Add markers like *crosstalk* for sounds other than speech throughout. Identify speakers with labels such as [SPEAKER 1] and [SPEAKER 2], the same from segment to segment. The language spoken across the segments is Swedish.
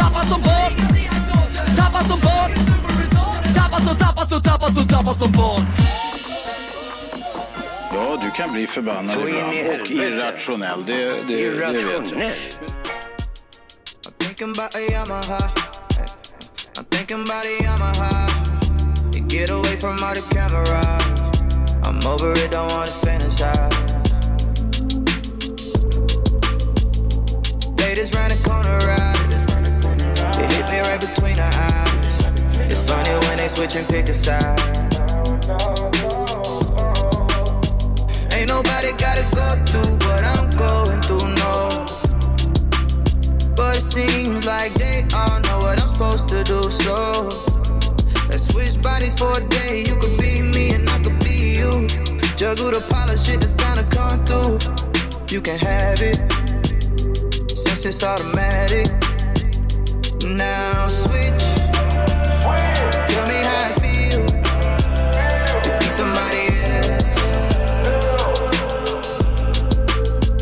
[SPEAKER 1] Tappad som barn Tappad som barn Tappad som, tappad som, tappad som, tappad som barn
[SPEAKER 2] Ja, du kan bli förbannad
[SPEAKER 3] Så in i
[SPEAKER 2] ibland och
[SPEAKER 3] helvete.
[SPEAKER 2] irrationell. Det, det, det vet jag.
[SPEAKER 3] Irrationellt.
[SPEAKER 4] Thinking about a Yamaha. I'm thinking about a Yamaha. You get away from all the cameras. I'm over it, don't wanna fantasize. Ladies round the corner, right? It hit me right between the eyes. It's funny when they switch and pick a side. Ain't nobody gotta go through what I'm going through, no. But it seems like they all know what I'm supposed to do. So let's switch bodies for a day. You could be me and I could be you. Juggle the pile of shit that's bound to come through. You can have it since it's automatic. Now switch. Tell me how it feels to be somebody else.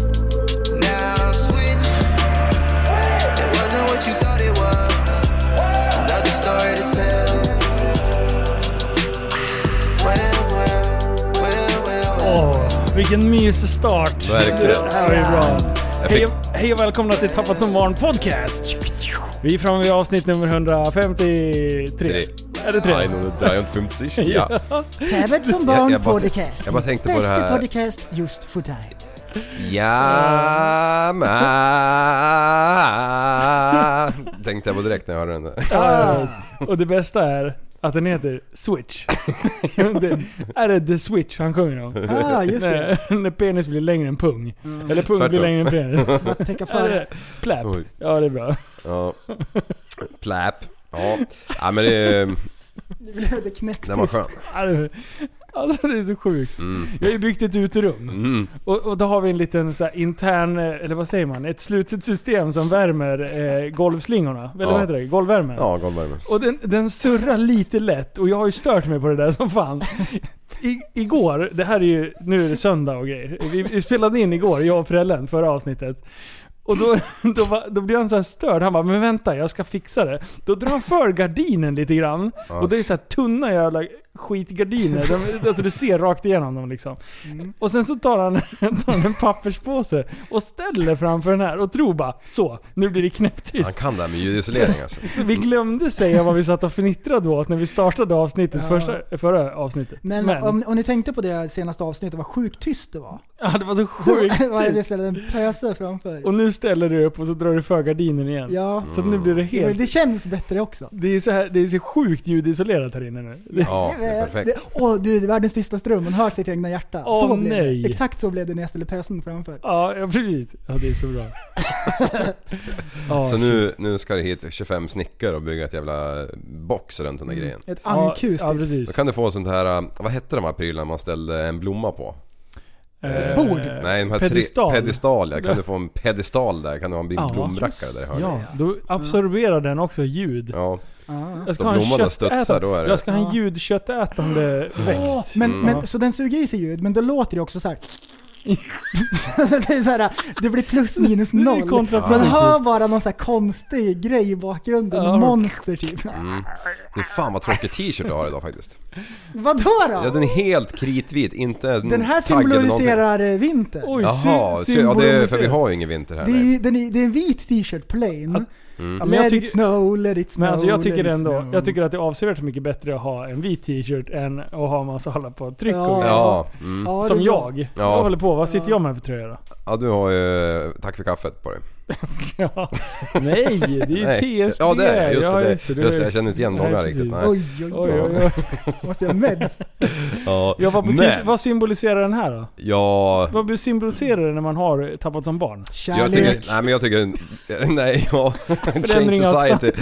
[SPEAKER 4] Now switch. It wasn't what you thought it was. Another story to tell. Well, well, well, well, well.
[SPEAKER 5] Åh, vilken mysig start.
[SPEAKER 6] Verkligen.
[SPEAKER 5] Det här är bra. Hej,
[SPEAKER 6] fick-
[SPEAKER 5] hej och välkomna till Tappat som barn podcast. Vi är framme vid avsnitt nummer 153.
[SPEAKER 6] Tre.
[SPEAKER 5] Är det tre?
[SPEAKER 6] Ein und 53. Ja.
[SPEAKER 7] Tabbert som
[SPEAKER 6] Jag-
[SPEAKER 7] barn
[SPEAKER 6] jag bara-
[SPEAKER 7] podcast.
[SPEAKER 6] jag bara tänkte på det
[SPEAKER 7] Bästa
[SPEAKER 6] här-
[SPEAKER 7] podcast just för dig.
[SPEAKER 6] Ja, men. Tänkte jag på direkt när jag hörde den där.
[SPEAKER 5] Ja, Ah. och det bästa är att den heter
[SPEAKER 6] *laughs*
[SPEAKER 5] Switch. det, är det The Switch han sjunger om?
[SPEAKER 7] Ah, just det.
[SPEAKER 5] När, när penis blir längre än pung. Eller pung blir
[SPEAKER 6] Mm.
[SPEAKER 5] längre
[SPEAKER 6] Tvärtom.
[SPEAKER 5] än
[SPEAKER 6] *laughs*
[SPEAKER 5] penis.
[SPEAKER 7] Att tänka
[SPEAKER 5] Är
[SPEAKER 7] för.
[SPEAKER 5] det Plap.
[SPEAKER 6] Oj.
[SPEAKER 5] Ja, det är bra.
[SPEAKER 6] Ja. Plap. Ja. ja, men det...
[SPEAKER 7] Det blev det knäpptyst.
[SPEAKER 6] Den var skön.
[SPEAKER 5] Ja, det- Alltså det är så sjukt.
[SPEAKER 6] Mm.
[SPEAKER 5] Jag har ju byggt ett uterum.
[SPEAKER 6] Mm.
[SPEAKER 5] Och, och då har vi en liten så här intern, eh, eller vad säger man? Ett slutet system som värmer eh, golvslingorna. Eller
[SPEAKER 6] Ja.
[SPEAKER 5] vad heter det? Golvvärmen.
[SPEAKER 6] Ja, golvvärme.
[SPEAKER 5] Och den, den surrar lite lätt och jag har ju stört mig på det där som fan. I, igår, det här är ju, nu är det söndag och grejer. Vi, vi spelade in igår, jag och Prellen, förra avsnittet. Och då, då, var, då blev han så här störd. Han bara 'Men vänta, jag ska fixa det' Då drar han för gardinen lite grann. Och det är så här tunna jävla skitgardiner. De, alltså du ser rakt igenom dem liksom. Och sen så tar han, tar han en papperspåse och ställer framför den här och tror bara 'Så, nu blir det
[SPEAKER 6] Han
[SPEAKER 5] knäpptyst'
[SPEAKER 6] kan det här med ljudisolering alltså.
[SPEAKER 5] Så *laughs* vi glömde säga vad vi satt och fnittrade åt när vi startade avsnittet,
[SPEAKER 7] Ja.
[SPEAKER 5] första, förra avsnittet.
[SPEAKER 7] Men, Om, om ni tänkte på det senaste avsnittet, vad sjukt tyst det var.
[SPEAKER 5] *laughs* ja, det var så
[SPEAKER 7] Så *laughs* var det
[SPEAKER 5] sjukt.
[SPEAKER 7] istället en pöse framför.
[SPEAKER 5] Och nu ställer du upp och så drar du för gardinen igen.
[SPEAKER 7] Ja,
[SPEAKER 5] Så att nu blir det
[SPEAKER 7] det,
[SPEAKER 5] helt...
[SPEAKER 7] det känns bättre också.
[SPEAKER 5] Det är så, här, det är så sjukt ljudisolerat här inne nu. Det-
[SPEAKER 6] Ja, det är perfekt.
[SPEAKER 7] Det- Åh du, det är världens tystaste rum. Man hör sitt egna hjärta.
[SPEAKER 5] Åh,
[SPEAKER 7] så blev
[SPEAKER 5] nej.
[SPEAKER 7] det. Exakt så blev det när jag ställde pösen framför.
[SPEAKER 5] *laughs* Ja, ja precis. Ja, det är så
[SPEAKER 7] *laughs*
[SPEAKER 5] bra. Ja,
[SPEAKER 6] Så nu, nu ska det hit 25 snickare och bygga ett jävla box runt den där grejen.
[SPEAKER 7] Ett
[SPEAKER 5] ja,
[SPEAKER 7] ankkus
[SPEAKER 5] ja,
[SPEAKER 7] typ.
[SPEAKER 6] Då
[SPEAKER 5] precis.
[SPEAKER 6] kan du få sånt här, äh, vad hette de här prylarna man ställde en blomma på?
[SPEAKER 5] Eh,
[SPEAKER 7] Bord.
[SPEAKER 6] Nej, de här
[SPEAKER 5] pedestal.
[SPEAKER 6] Tre, pedestal ja. Kan du få en pedestal där? Kan du ha en
[SPEAKER 5] Ja,
[SPEAKER 6] blomrackare där i hörnet?
[SPEAKER 5] Ja, då absorberar den också ljud.
[SPEAKER 6] Ja.
[SPEAKER 7] Ja.
[SPEAKER 5] Jag ska
[SPEAKER 6] Så
[SPEAKER 5] ha en
[SPEAKER 6] blommorna studsar,
[SPEAKER 5] köttätande-
[SPEAKER 6] då är det- Mm.
[SPEAKER 5] Jag ska ha en
[SPEAKER 7] Ja.
[SPEAKER 5] ljudköttätande
[SPEAKER 7] Åh,
[SPEAKER 5] växt.
[SPEAKER 7] men,
[SPEAKER 5] Ja.
[SPEAKER 7] men, så den suger i sig ljud, men då låter det också så här. *laughs* det, är så här, det blir plus minus
[SPEAKER 5] Det är ju
[SPEAKER 7] noll. Man
[SPEAKER 5] kontraproduktivt.
[SPEAKER 7] hör bara någon så här konstig grej i bakgrunden.
[SPEAKER 5] Ja.
[SPEAKER 7] Monster typ.
[SPEAKER 6] Mm. Det är fan vad tråkig t-shirt du har idag faktiskt.
[SPEAKER 7] Vadå då?
[SPEAKER 6] Ja, den är helt kritvit, inte en
[SPEAKER 7] den här
[SPEAKER 6] tagg eller någonting.
[SPEAKER 7] symboliserar eh, vinter.
[SPEAKER 5] Oj,
[SPEAKER 6] Jaha,
[SPEAKER 5] sy-
[SPEAKER 6] sy- ja, det är, för
[SPEAKER 5] symboliserar.
[SPEAKER 6] vi har ju ingen vinter här.
[SPEAKER 7] Det är,
[SPEAKER 6] nej.
[SPEAKER 7] ju, den är, det är en vit t-shirt, plain.
[SPEAKER 5] Alltså, Ja, men
[SPEAKER 7] let
[SPEAKER 5] jag
[SPEAKER 7] it
[SPEAKER 5] tycker,
[SPEAKER 7] snow, let it snow,
[SPEAKER 5] men alltså jag
[SPEAKER 7] let
[SPEAKER 5] tycker
[SPEAKER 7] it
[SPEAKER 5] ändå,
[SPEAKER 7] snow.
[SPEAKER 5] jag tycker att det är avsevärt mycket bättre att ha en vit t-shirt än att ha en massa alla på tryck och
[SPEAKER 6] Ja, mm.
[SPEAKER 7] Ja, det
[SPEAKER 5] Som
[SPEAKER 7] är bra.
[SPEAKER 5] jag.
[SPEAKER 6] Ja.
[SPEAKER 5] Jag håller på, vad sitter jag med för tröja då?
[SPEAKER 6] ja, du har ju... Tack för kaffet på dig.
[SPEAKER 5] *laughs* Ja. Nej, det är
[SPEAKER 6] Nej.
[SPEAKER 5] ju TSB.
[SPEAKER 6] Ja, det är det. Just det.
[SPEAKER 5] Ja,
[SPEAKER 6] det.
[SPEAKER 5] just det, du
[SPEAKER 6] Just det,
[SPEAKER 5] är-
[SPEAKER 6] jag känner inte igen
[SPEAKER 5] Nej,
[SPEAKER 6] långa
[SPEAKER 5] precis.
[SPEAKER 6] riktigt. Nej.
[SPEAKER 7] Oj, oj, oj.
[SPEAKER 5] Oj, oj, oj.
[SPEAKER 7] Måste jag meds?
[SPEAKER 6] Ja,
[SPEAKER 5] Jag var på
[SPEAKER 6] men,
[SPEAKER 5] vad symboliserar den här då?
[SPEAKER 6] ja,
[SPEAKER 5] Vad symboliserar det när man har tappat som barn?
[SPEAKER 6] jag
[SPEAKER 7] Kärlek.
[SPEAKER 6] tycker, *laughs* nej men jag tycker, nej ja, *laughs* Change
[SPEAKER 5] Förändring av sam-
[SPEAKER 6] society.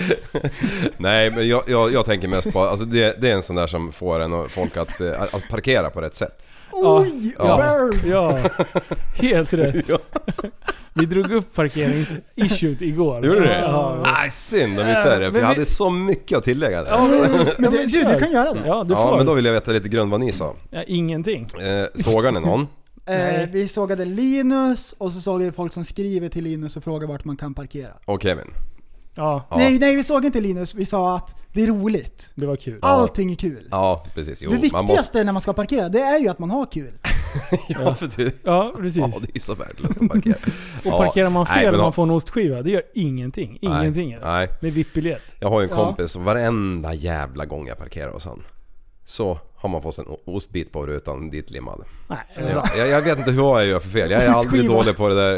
[SPEAKER 6] *laughs* Nej men jag, jag, jag tänker mest på, alltså det, det är en sån där som får en och folk att, eh, att parkera på rätt sätt.
[SPEAKER 7] Oj!
[SPEAKER 6] Ja.
[SPEAKER 7] Burn!
[SPEAKER 5] Ja, helt rätt.
[SPEAKER 6] *laughs* Ja.
[SPEAKER 5] Vi drog upp parkeringsissuet igår.
[SPEAKER 6] Gjorde du det?
[SPEAKER 5] Ja,
[SPEAKER 6] Ah, Nej synd om vi säger det, för
[SPEAKER 5] Men
[SPEAKER 6] jag
[SPEAKER 5] vi-
[SPEAKER 6] hade så mycket att tillägga där.
[SPEAKER 5] Ja, men,
[SPEAKER 7] Men du, du, du kan göra det.
[SPEAKER 5] Ja, du får.
[SPEAKER 6] Ja men då vill jag veta lite grund vad ni sa.
[SPEAKER 5] ja, ingenting.
[SPEAKER 6] Eh, sågar ni någon? *laughs*
[SPEAKER 7] Eh, vi sågade Linus och så såg vi folk som skriver till Linus och frågar vart man kan parkera.
[SPEAKER 6] Och Kevin?
[SPEAKER 5] Ja,
[SPEAKER 6] Ja.
[SPEAKER 7] Nej, nej vi såg inte Linus. Vi sa att det är roligt.
[SPEAKER 5] det var kul.
[SPEAKER 7] Allting är kul.
[SPEAKER 6] Ja precis, jo
[SPEAKER 7] det
[SPEAKER 6] man
[SPEAKER 7] viktigaste
[SPEAKER 6] måste... *laughs*
[SPEAKER 7] när man ska parkera, det är ju att man har kul.
[SPEAKER 6] Ja, för det,
[SPEAKER 5] Ja, precis.
[SPEAKER 6] ja det är ju så värdelöst att parkera.
[SPEAKER 5] *laughs* Och parkerar man
[SPEAKER 6] Ja,
[SPEAKER 5] fel och
[SPEAKER 6] men-
[SPEAKER 5] man får en ostskiva, det gör ingenting. Ingenting är det.
[SPEAKER 6] Nej.
[SPEAKER 5] Med VIP-biljett.
[SPEAKER 6] Jag har ju en
[SPEAKER 7] Ja.
[SPEAKER 6] kompis och varenda jävla gång jag parkerar hos han så har man fått en o- ostbit på rutan ditlimmad.
[SPEAKER 5] Nej, alltså,
[SPEAKER 6] Jag, jag, jag vet inte vad jag gör för fel. Jag är aldrig
[SPEAKER 7] Ostskiva.
[SPEAKER 6] dålig på det där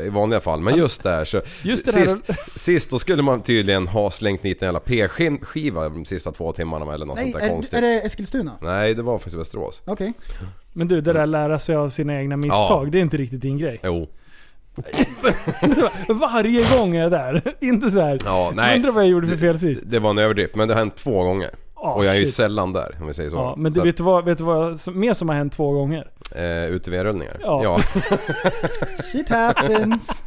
[SPEAKER 6] eh, i vanliga fall. Men just där så...
[SPEAKER 5] Just det där-
[SPEAKER 6] sist, sist då skulle man tydligen ha slängt dit en jävla p-skiva de sista två timmarna eller något
[SPEAKER 7] Nej,
[SPEAKER 6] sånt där
[SPEAKER 7] är,
[SPEAKER 6] konstigt.
[SPEAKER 7] är det Eskilstuna?
[SPEAKER 6] Nej, det var faktiskt Västerås.
[SPEAKER 7] Okej.
[SPEAKER 5] Men du, det där lära sig av sina egna misstag,
[SPEAKER 6] Mm. Ja.
[SPEAKER 5] det är inte riktigt din grej.
[SPEAKER 6] Jo.
[SPEAKER 5] Varje gång är jag där. *laughs* inte så här.
[SPEAKER 6] Ja, nej.
[SPEAKER 5] Undrar vad jag gjorde för fel sist.
[SPEAKER 6] Det var en överdrift, men det har hänt två gånger.
[SPEAKER 5] Ah,
[SPEAKER 6] och jag är ju
[SPEAKER 5] shit.
[SPEAKER 6] sällan där, om vi säger så.
[SPEAKER 5] Ja, men du
[SPEAKER 6] så
[SPEAKER 5] vet du vad, vet du vad som, mer som har hänt två gånger?
[SPEAKER 6] att, eh, UTV-rullningar.
[SPEAKER 5] Ja.
[SPEAKER 6] Ja. Ja.
[SPEAKER 5] *laughs*
[SPEAKER 7] Shit happens.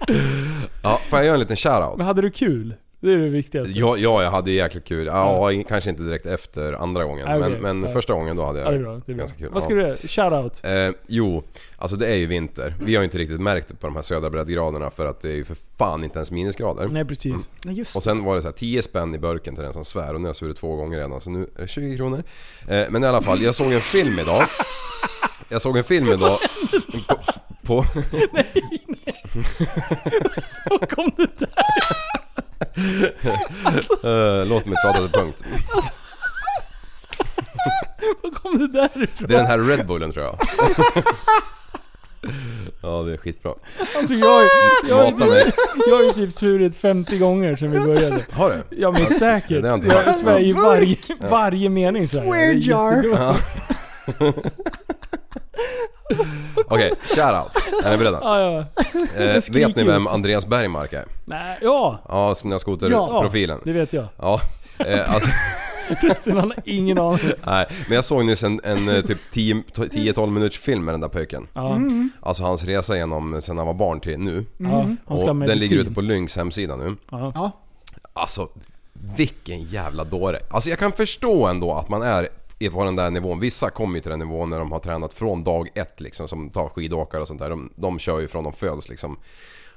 [SPEAKER 6] ja. Får jag göra en liten shoutout?
[SPEAKER 5] Men hade du kul? Det är det viktigaste.
[SPEAKER 6] Ja, ja, jag hade jäkligt kul. Ja, kanske inte direkt efter andra gången.
[SPEAKER 5] Nej, okej.
[SPEAKER 6] Men, men
[SPEAKER 5] Ja.
[SPEAKER 6] första gången då hade
[SPEAKER 5] Ja,
[SPEAKER 6] jag
[SPEAKER 5] det är bra. Det är bra.
[SPEAKER 6] ganska kul.
[SPEAKER 5] Vad ska
[SPEAKER 6] ja.
[SPEAKER 5] du göra? Shoutout.
[SPEAKER 6] Eh, jo, alltså det är ju vinter. Vi har ju inte riktigt märkt det på de här södra breddgraderna för att det är ju för fan inte ens minusgrader.
[SPEAKER 5] Nej *laughs*
[SPEAKER 6] mm.
[SPEAKER 5] precis.
[SPEAKER 7] Nej just
[SPEAKER 6] Och sen var det så här 10 spänn i burken till den som svär och nu har jag svurit två gånger redan så nu är det 20 kronor. Eh, men i alla fall, jag såg en film idag. Jag såg en film idag på... på
[SPEAKER 5] Vad kom det där?
[SPEAKER 6] eh, låt mig prata till punkt.
[SPEAKER 5] Vad kom det där ifrån?
[SPEAKER 6] *laughs* Det är den här Red Bullen tror
[SPEAKER 5] *laughs*
[SPEAKER 6] jag. Ja det är skitbra.
[SPEAKER 5] Alltså jag, har ju- jag, har ju-
[SPEAKER 6] Mata mig.
[SPEAKER 5] jag har ju typ svurit 50 gånger sedan vi började.
[SPEAKER 6] Har du?
[SPEAKER 5] Ja men säkert.
[SPEAKER 6] Det har inte
[SPEAKER 5] Jag
[SPEAKER 6] varit-
[SPEAKER 5] svär ju varje, *laughs* varje mening så här.
[SPEAKER 7] Swear
[SPEAKER 5] Det är
[SPEAKER 7] jar.
[SPEAKER 5] jättedumt.
[SPEAKER 6] Okej, shoutout. Är ni beredda?
[SPEAKER 5] Ja, ja.
[SPEAKER 6] Eh, vet
[SPEAKER 5] skriker
[SPEAKER 6] ni vem
[SPEAKER 5] ut.
[SPEAKER 6] Andreas Bergmark är?
[SPEAKER 5] Nej, ja.
[SPEAKER 6] Ja, som jag skoterprofilen.
[SPEAKER 5] Det vet jag.
[SPEAKER 6] Ja, eh, alltså, *laughs*
[SPEAKER 5] Förresten han har ingen aning.
[SPEAKER 6] nej. Men jag såg nyss en, en eh, typ 10 10-12 minuters film med den där pöjken.
[SPEAKER 5] Ja.
[SPEAKER 7] Mm,
[SPEAKER 5] Mm.
[SPEAKER 6] Alltså hans resa genom sen han var barn till nu.
[SPEAKER 5] Ja,
[SPEAKER 7] mm.
[SPEAKER 5] han ska ha
[SPEAKER 6] Och den ligger
[SPEAKER 5] medicin.
[SPEAKER 6] ute på Lyngs hemsida nu.
[SPEAKER 5] Ja.
[SPEAKER 7] Ja.
[SPEAKER 6] Alltså, vilken jävla dåre. Alltså jag kan förstå ändå att man är i- på den där nivån. Vissa kommer ju till den nivån när de har tränat från dag ett liksom. Som tar skidåkare och sånt där. De, de kör ju från de föds liksom.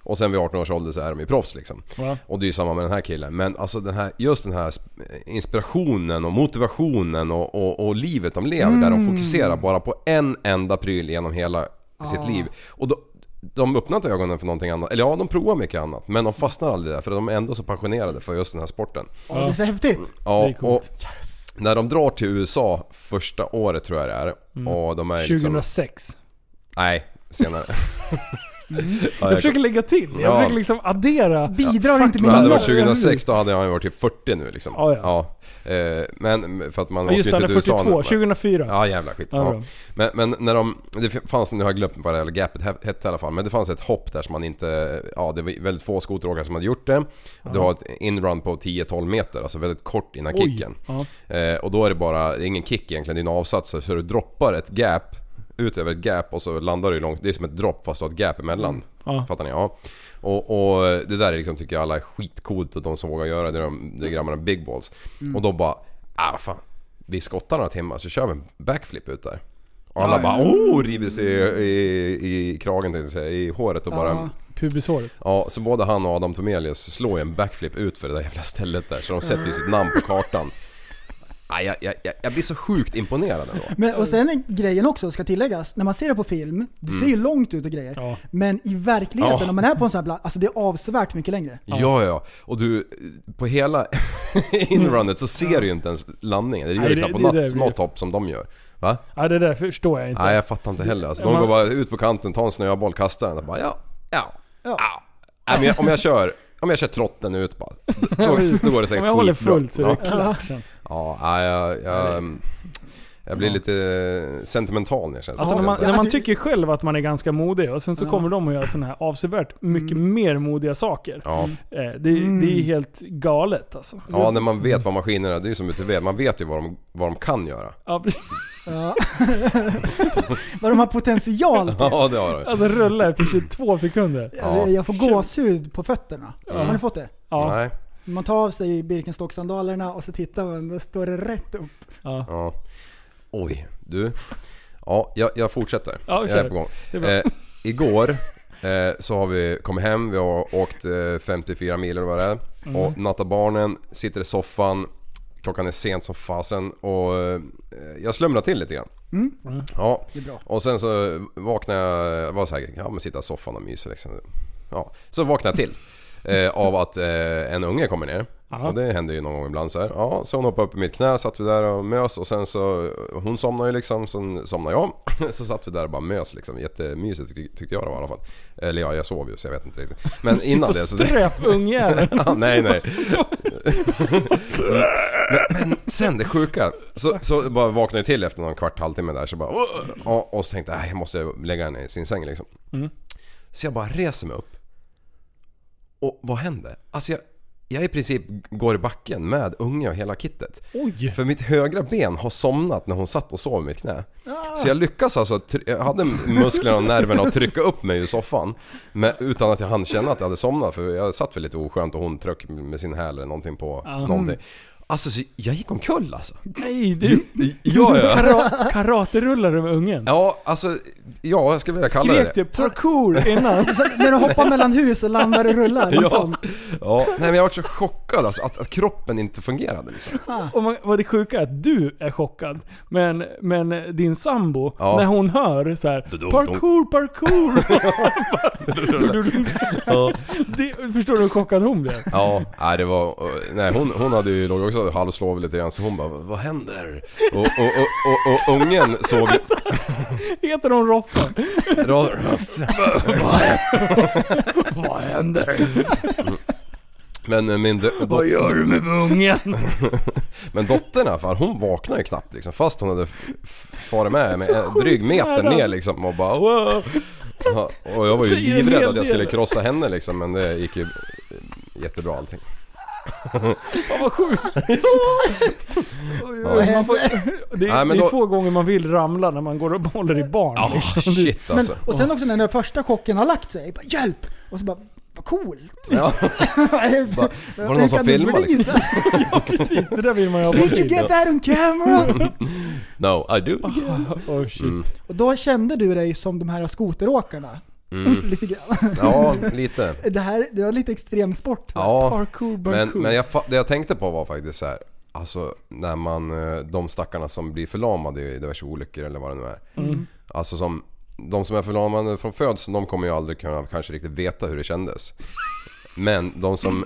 [SPEAKER 6] Och sen vid 18 års ålder så är de ju proffs liksom.
[SPEAKER 5] Ja.
[SPEAKER 6] Och det är ju samma med den här killen. Men alltså den här, just den här sp- inspirationen och motivationen och, och, och livet de lever där de fokuserar bara på en enda pryl genom hela sitt liv. Och då, de öppnar inte ögonen för någonting annat. Eller ja, de provar mycket annat. Men de fastnar aldrig där för de är ändå så passionerade för just den här sporten.
[SPEAKER 7] Åh, Det är så häftigt.
[SPEAKER 6] Ja,
[SPEAKER 5] Det är coolt.
[SPEAKER 6] och när de drar till USA första året tror jag det är.
[SPEAKER 5] Mm.
[SPEAKER 6] Och de är liksom...
[SPEAKER 5] 2006.
[SPEAKER 6] Nej, senare.
[SPEAKER 5] Mm.
[SPEAKER 6] *laughs*
[SPEAKER 5] Jag försöker lägga till. Jag
[SPEAKER 6] Ja.
[SPEAKER 5] försöker liksom addera.
[SPEAKER 7] Bidrar inte
[SPEAKER 6] Men
[SPEAKER 7] med
[SPEAKER 6] hade det varit
[SPEAKER 7] något.
[SPEAKER 6] 2006 då hade han ju varit typ 40 nu liksom.
[SPEAKER 5] Ja,
[SPEAKER 6] Eh, Men för att man
[SPEAKER 5] Ja, just det, han är
[SPEAKER 6] till USA
[SPEAKER 5] 42.
[SPEAKER 6] nu.
[SPEAKER 5] 2004.
[SPEAKER 6] Ja jävla skit.
[SPEAKER 5] Ja, bra.
[SPEAKER 6] Ja. Men, men när de, det fanns, nu har jag glömt vad det här gapet he- hette i alla fall, men det fanns ett hopp där som man inte, ja det var väldigt få skoteråkare som hade gjort det. Du har ett inrun på 10-12 meter, alltså väldigt kort innan
[SPEAKER 5] Oj.
[SPEAKER 6] kicken.
[SPEAKER 5] Ja.
[SPEAKER 6] Eh, och då är det bara, det är ingen kick egentligen, det är en avsats så du droppar ett gap ut över ett gap och så landar du långt, det är som ett dropp fast du har ett gap emellan.
[SPEAKER 5] Mm. Ja.
[SPEAKER 6] Fattar ni? Ja. Och, och det där är liksom, tycker jag alla är skitcoolt att de som vågar göra det, det är de, det är grabbarna big balls.
[SPEAKER 5] Mm.
[SPEAKER 6] Och då bara, ah vad fan. Vi skottar några timmar så kör vi en backflip ut där. Och alla
[SPEAKER 5] Ja,
[SPEAKER 6] bara oh, river sig i, i, i kragen tänkte jag säga, i håret och bara...
[SPEAKER 7] Ja.
[SPEAKER 6] Ja.
[SPEAKER 5] Pubishåret.
[SPEAKER 6] så både han och Adam Tomelius slår ju en backflip ut för det där jävla stället där. Så de sätter ju sitt namn
[SPEAKER 5] *laughs*
[SPEAKER 6] på kartan. Ah, jag, jag, jag, jag blir så sjukt imponerad ändå.
[SPEAKER 7] Men, och sen är grejen också, ska tilläggas, när man ser det på film, det ser ju långt ut och grejer.
[SPEAKER 5] Ja.
[SPEAKER 7] Men i verkligheten,
[SPEAKER 6] Mm. Ja.
[SPEAKER 7] om man är på en sån här plats, alltså det är avsevärt mycket längre.
[SPEAKER 6] Ja, ja. Och du, på hela *laughs* inrunet så ser du ju inte ens landningen. Det är
[SPEAKER 5] Nej,
[SPEAKER 6] ju
[SPEAKER 5] det-
[SPEAKER 6] knappt på
[SPEAKER 5] det är det
[SPEAKER 6] något,
[SPEAKER 5] vi-
[SPEAKER 6] något hopp som de gör. Va?
[SPEAKER 5] Ja, det där förstår jag inte.
[SPEAKER 6] Nej, jag fattar inte heller. Alltså, de
[SPEAKER 5] Man-
[SPEAKER 6] går bara ut på kanten, tar en snöboll, kastar den och bara ja, ja,
[SPEAKER 7] Ja.
[SPEAKER 6] ja. Nej, men jag, om jag kör, om jag kör trotten ut bara. Då, då går det säkert
[SPEAKER 5] Om jag håller
[SPEAKER 6] skitbra.
[SPEAKER 5] fullt så är det
[SPEAKER 6] Ja, ah,
[SPEAKER 5] klart sen.
[SPEAKER 6] ja nej, jag, jag, ehm, Jag blir lite eh, sentimental när jag känner
[SPEAKER 5] Alltså när man,
[SPEAKER 6] sånt.
[SPEAKER 5] när man
[SPEAKER 7] Alltså-
[SPEAKER 5] tycker själv att man är ganska modig och sen så
[SPEAKER 7] Ja. Mm.
[SPEAKER 5] kommer de och gör sådana här avsevärt mycket mer modiga saker.
[SPEAKER 6] Ja.
[SPEAKER 5] Eh, Det, det är helt galet alltså.
[SPEAKER 6] ja, när man vet vad maskinerna, det är ju som UTV, man vet ju vad de, vad de kan göra.
[SPEAKER 5] Ja, precis.
[SPEAKER 7] Ja. *laughs* Vad de har potential till.
[SPEAKER 6] Ja, det har de.
[SPEAKER 5] Alltså rulla efter 22 sekunder.
[SPEAKER 6] Ja.
[SPEAKER 7] Alltså, Jag får gåshud på fötterna.
[SPEAKER 6] Mm.
[SPEAKER 7] Har ni fått det?
[SPEAKER 5] Ja,
[SPEAKER 6] Nej.
[SPEAKER 7] Man tar av sig Birkenstock-sandalerna och så tittar man, då står det rätt upp.
[SPEAKER 5] ja.
[SPEAKER 6] Ja. Oj, du. Ja, jag, jag fortsätter.
[SPEAKER 5] Ja,
[SPEAKER 6] jag
[SPEAKER 5] kör.
[SPEAKER 6] är på gång.
[SPEAKER 5] Det är bra.
[SPEAKER 6] Eh, igår eh, så har vi kommit hem, vi har åkt eh, 54 mil eller vad det är.
[SPEAKER 5] Mm.
[SPEAKER 6] Och nattar barnen, sitter i soffan. Klockan är sent som fasen och eh, jag slumrar till lite grann. Ja, och sen så vaknar jag, jag var så här, ja men sitta i soffan och myser liksom. Ja, så vaknar jag till eh, av att eh, en unge kommer ner.
[SPEAKER 5] Aha.
[SPEAKER 6] Och det händer ju någon gång ibland så här. Ja, så hon hoppade upp i mitt knä, satt vi där och mös och sen så, hon somnade ju liksom, sen somnade jag. *laughs* Så satt vi där och bara mös liksom. Jättemysigt tyck- tyckte jag det var i alla fall. Eller ja, jag sov ju så jag vet inte riktigt. Men
[SPEAKER 5] Sitt
[SPEAKER 6] innan
[SPEAKER 5] och
[SPEAKER 6] det så... Det,
[SPEAKER 5] ströp
[SPEAKER 6] *laughs*
[SPEAKER 5] ungjäveln.
[SPEAKER 6] Ja, nej, nej. men, men sen det sjuka. Så, så bara vaknade jag till efter någon kvart, halvtimme där. Så bara, och, och så tänkte jag, "Aj, jag måste lägga henne i sin säng liksom. Så jag bara reser mig upp. Och vad hände? Alltså jag, jag i princip går i backen med unge och hela kittet.
[SPEAKER 5] Oj!
[SPEAKER 6] För mitt högra ben har somnat när hon satt och sov i mitt knä. Så jag lyckas alltså, try- jag hade musklerna och nerverna att trycka upp mig ur soffan. Men utan att jag hann känna att jag hade somnat för jag satt väl lite oskönt och hon tryck med sin häl eller någonting på någonting. Alltså så jag gick omkull alltså.
[SPEAKER 5] Nej du!
[SPEAKER 6] Ja, ja.
[SPEAKER 5] Kara- Karaterullar du med ungen?
[SPEAKER 6] Ja, alltså, ja jag skulle vilja kalla det
[SPEAKER 5] Skrek du parkour innan? *laughs*
[SPEAKER 7] Så när du hoppar mellan hus och landar och rullar.
[SPEAKER 6] Ja,
[SPEAKER 7] Liksom.
[SPEAKER 6] ja. Nej men jag var så chockad alltså, att, att kroppen inte fungerade liksom.
[SPEAKER 5] Och man, vad det sjuka är att du är chockad. Men, men din sambo,
[SPEAKER 6] Ja.
[SPEAKER 5] när hon hör så här
[SPEAKER 6] dum,
[SPEAKER 5] parkour,
[SPEAKER 6] *laughs*
[SPEAKER 5] parkour. *laughs* det, förstår du hur chockad hon blev?
[SPEAKER 6] Ja, nej det var... Nej hon, hon hade ju, låg också halvslov lite grann så hon bara Vad händer? Och, och, och, och, och ungen såg ju...
[SPEAKER 5] Heter hon Roffa?
[SPEAKER 6] Vad
[SPEAKER 5] *laughs*
[SPEAKER 6] Vad händer? Men eh, min, dö- dot-
[SPEAKER 5] gör du med ungen?
[SPEAKER 6] *laughs* men dottern i alla fall, hon vaknade ju knappt liksom, fast hon hade f- f- farit med mig
[SPEAKER 5] Så
[SPEAKER 6] en
[SPEAKER 5] sjukt
[SPEAKER 6] dryg meter
[SPEAKER 5] nära.
[SPEAKER 6] ner liksom och bara "Wow." Ja, Och jag var ju
[SPEAKER 5] Säger en
[SPEAKER 6] livrädd
[SPEAKER 5] hel
[SPEAKER 6] att jag skulle
[SPEAKER 5] del.
[SPEAKER 6] krossa henne liksom men det gick ju jättebra allting.
[SPEAKER 5] Vad
[SPEAKER 6] *laughs*
[SPEAKER 5] sjukt.
[SPEAKER 6] Ja.
[SPEAKER 5] Man får, det är,
[SPEAKER 6] Nej, men
[SPEAKER 5] det är
[SPEAKER 6] då-
[SPEAKER 5] få gånger man vill ramla när man går och håller i barn.
[SPEAKER 6] Ja,
[SPEAKER 5] liksom. *laughs* Det-
[SPEAKER 6] shit
[SPEAKER 7] Men,
[SPEAKER 6] alltså.
[SPEAKER 7] och sen också när den första chocken har lagt sig. Bara, Hjälp! Och så bara, vad coolt! *laughs*
[SPEAKER 6] Ja. Bara, var det någon som filmade liksom?
[SPEAKER 5] Ja precis, det där vill man ju ha på
[SPEAKER 7] Did you
[SPEAKER 5] film.
[SPEAKER 7] get that on
[SPEAKER 6] Mm.
[SPEAKER 7] camera?
[SPEAKER 6] No, I do.
[SPEAKER 5] Oh, shit.
[SPEAKER 6] Mm.
[SPEAKER 7] och då kände du dig som de här skoteråkarna.
[SPEAKER 6] Mm.
[SPEAKER 7] *laughs* Lite grann.
[SPEAKER 6] Ja, lite.
[SPEAKER 7] Det här det var lite extremsport.
[SPEAKER 6] Ja,
[SPEAKER 5] Parkour,
[SPEAKER 6] men,
[SPEAKER 5] parkour.
[SPEAKER 6] men jag, fa- det jag tänkte på var faktiskt så här. Alltså när man, eh, de stackarna som blir förlamade i diverse olyckor eller vad det nu är.
[SPEAKER 5] Mm.
[SPEAKER 6] Alltså som, de som är förlamade från födseln de kommer ju aldrig kunna kanske riktigt veta hur det kändes. Men de som,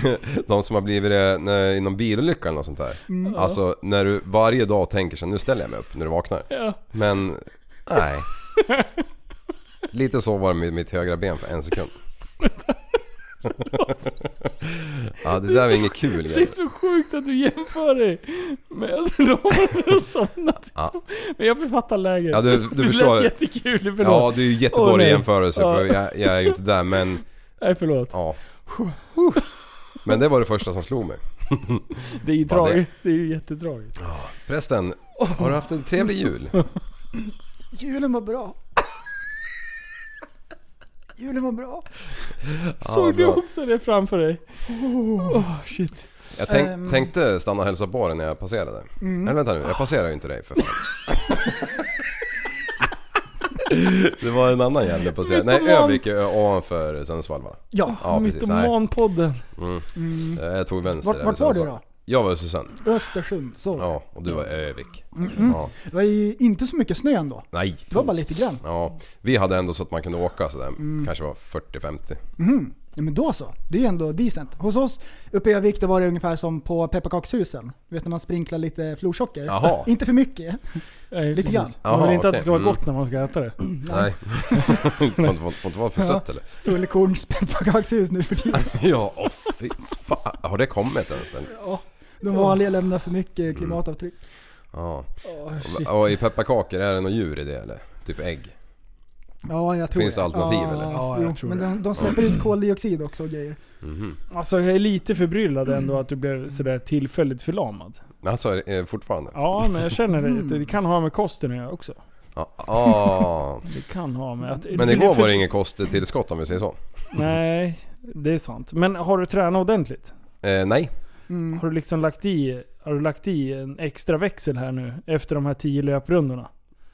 [SPEAKER 6] *laughs* de som har blivit det när, inom bilolyckan eller något sånt där.
[SPEAKER 5] Mm.
[SPEAKER 6] Alltså när du varje dag tänker så här, nu ställer jag mig upp när du vaknar.
[SPEAKER 5] Ja.
[SPEAKER 6] Men,
[SPEAKER 5] *laughs*
[SPEAKER 6] nej. Lite så var det med mitt högra ben för
[SPEAKER 5] *laughs*
[SPEAKER 6] en sekund. Ja det där var inget kul
[SPEAKER 5] Det är *laughs*
[SPEAKER 6] grejer.
[SPEAKER 5] så sjukt att du jämför dig med *laughs* Robert och somnat.
[SPEAKER 6] Ja.
[SPEAKER 5] Men jag författar läget.
[SPEAKER 6] Ja, du- du
[SPEAKER 5] *laughs* Det
[SPEAKER 6] förstår.
[SPEAKER 5] lät jättekul, förlåt.
[SPEAKER 6] Ja det är ju
[SPEAKER 5] Åh,
[SPEAKER 6] jättedålig
[SPEAKER 5] nej.
[SPEAKER 6] jämförelse för
[SPEAKER 5] Ja.
[SPEAKER 6] jag, jag är ju inte där men
[SPEAKER 5] Nej förlåt. *laughs*
[SPEAKER 6] ja. Men det var det första som slog mig.
[SPEAKER 5] Det är ju
[SPEAKER 6] Vad
[SPEAKER 5] tragiskt. Det är ju jättetragiskt.
[SPEAKER 6] Förresten, har du haft en trevlig jul?
[SPEAKER 7] Julen var bra. Julen var bra.
[SPEAKER 5] Såg du
[SPEAKER 6] bra.
[SPEAKER 5] också det framför dig?
[SPEAKER 7] Oh.
[SPEAKER 5] Åh shit.
[SPEAKER 6] Jag tänk,
[SPEAKER 7] Ehm. Mm.
[SPEAKER 6] tänkte stanna och hälsa på dig när jag passerade. Eller vänta nu, jag passerar ju inte dig
[SPEAKER 7] *laughs*
[SPEAKER 6] för fan. Det var en annan jävel jag passerade. Nej
[SPEAKER 5] Mytoman.
[SPEAKER 6] Ö-vik är ovanför Sundsvall va?
[SPEAKER 7] Ja.
[SPEAKER 6] Ja precis, nej. eh,
[SPEAKER 5] Mytomanpodden.
[SPEAKER 6] Jag tog vänster
[SPEAKER 7] Vart-
[SPEAKER 6] där vid
[SPEAKER 7] vart var du
[SPEAKER 6] Sundsvall.
[SPEAKER 7] då?
[SPEAKER 6] Jag var i Susanne.
[SPEAKER 7] Östersund, så.
[SPEAKER 6] Ja, och du var i Ö-vik. Ja.
[SPEAKER 7] Det var ju inte så mycket snö ändå.
[SPEAKER 6] Nej,
[SPEAKER 7] Det var bara Mm. lite grann.
[SPEAKER 6] Ja, vi hade ändå så att man kunde åka sådär, kanske var 40-50.
[SPEAKER 7] Ja, men då så. Det är ju ändå decent. Hos oss uppe i Övik, det var det ungefär som på pepparkakshusen. Du vet när man sprinklar lite florsocker.
[SPEAKER 6] Jaha.
[SPEAKER 7] *laughs* Inte för mycket.
[SPEAKER 5] Nej,
[SPEAKER 7] Lite
[SPEAKER 5] precis.
[SPEAKER 7] grann.
[SPEAKER 5] Man
[SPEAKER 6] Jaha,
[SPEAKER 5] vill inte att det
[SPEAKER 6] okej.
[SPEAKER 5] ska vara
[SPEAKER 6] Mm.
[SPEAKER 5] gott när man ska äta det.
[SPEAKER 6] Nej. *laughs* får, inte, får, får inte vara för
[SPEAKER 7] Mm, Ja.
[SPEAKER 6] sött eller?
[SPEAKER 7] Fullkorns pepparkakshus nu
[SPEAKER 6] *laughs*
[SPEAKER 7] för tiden.
[SPEAKER 6] Ja, åh fy fan. Har det kommit ens? eller? Mm.
[SPEAKER 7] De vanliga lämnar för mycket klimatavtryck.
[SPEAKER 6] Ja.
[SPEAKER 5] Åh, shit.
[SPEAKER 6] Och i pepparkakor, är det något djur i det eller? Typ ägg?
[SPEAKER 7] Ja, jag tror
[SPEAKER 6] Finns det alternativ, eller?
[SPEAKER 5] Ja,
[SPEAKER 7] jo,
[SPEAKER 5] jag tror
[SPEAKER 7] men
[SPEAKER 5] det.
[SPEAKER 7] De, de släpper ut koldioxid också och grejer.
[SPEAKER 6] Mhm.
[SPEAKER 5] Alltså jag är lite förbryllad ändå att du blev sådär tillfälligt förlamad.
[SPEAKER 6] Alltså är det fortfarande?
[SPEAKER 5] Ja, men jag känner
[SPEAKER 7] Mm.
[SPEAKER 5] det. Det kan ha med kosten att göra också.
[SPEAKER 6] Ja. Ah.
[SPEAKER 5] Det kan ha med att...
[SPEAKER 6] Men igår var det inget kosttillskott om vi säger så.
[SPEAKER 5] Nej, det är sant. Men har du tränat ordentligt?
[SPEAKER 6] Eh, nej.
[SPEAKER 7] Mm.
[SPEAKER 5] Har du liksom lagt i, har du lagt i en extra växel här nu efter de här tio löprundorna?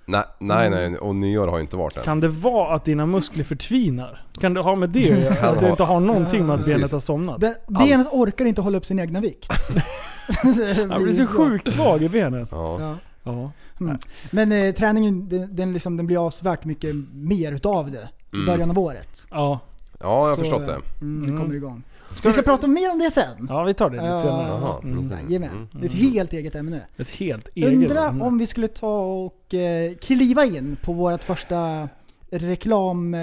[SPEAKER 6] Nej, nej, nej. Och nyår har ju inte varit än.
[SPEAKER 5] Kan det vara att dina muskler förtvinar? Kan det ha med det
[SPEAKER 6] *laughs*
[SPEAKER 5] att göra? Att du inte har någonting med att
[SPEAKER 6] Precis.
[SPEAKER 5] benet har somnat?
[SPEAKER 7] Den, benet orkar inte hålla upp sin
[SPEAKER 6] *laughs*
[SPEAKER 7] egna vikt. Det
[SPEAKER 5] Jag blir
[SPEAKER 7] blir
[SPEAKER 5] så sjukt svag i benet.
[SPEAKER 6] Ja.
[SPEAKER 7] Ja.
[SPEAKER 5] Ja.
[SPEAKER 7] Men eh, träningen den, den, liksom, den blir avsevärt mycket mer utav det i
[SPEAKER 6] Mm.
[SPEAKER 7] början av året.
[SPEAKER 5] Ja.
[SPEAKER 6] ja, jag har
[SPEAKER 7] Så,
[SPEAKER 6] förstått
[SPEAKER 7] eh,
[SPEAKER 6] det.
[SPEAKER 7] Mm, det
[SPEAKER 5] Mm.
[SPEAKER 7] kommer igång. vi ska prata mer om det sen.
[SPEAKER 5] ja, vi tar det lite
[SPEAKER 7] Ja.
[SPEAKER 5] senare.
[SPEAKER 6] Jaha.
[SPEAKER 5] Mm.
[SPEAKER 7] Jajamän. Det är ett helt eget ämne.
[SPEAKER 5] Ett helt eget Mm.
[SPEAKER 7] Undra
[SPEAKER 5] ämne.
[SPEAKER 7] om vi skulle ta och eh, kliva in på vårt första reklampaus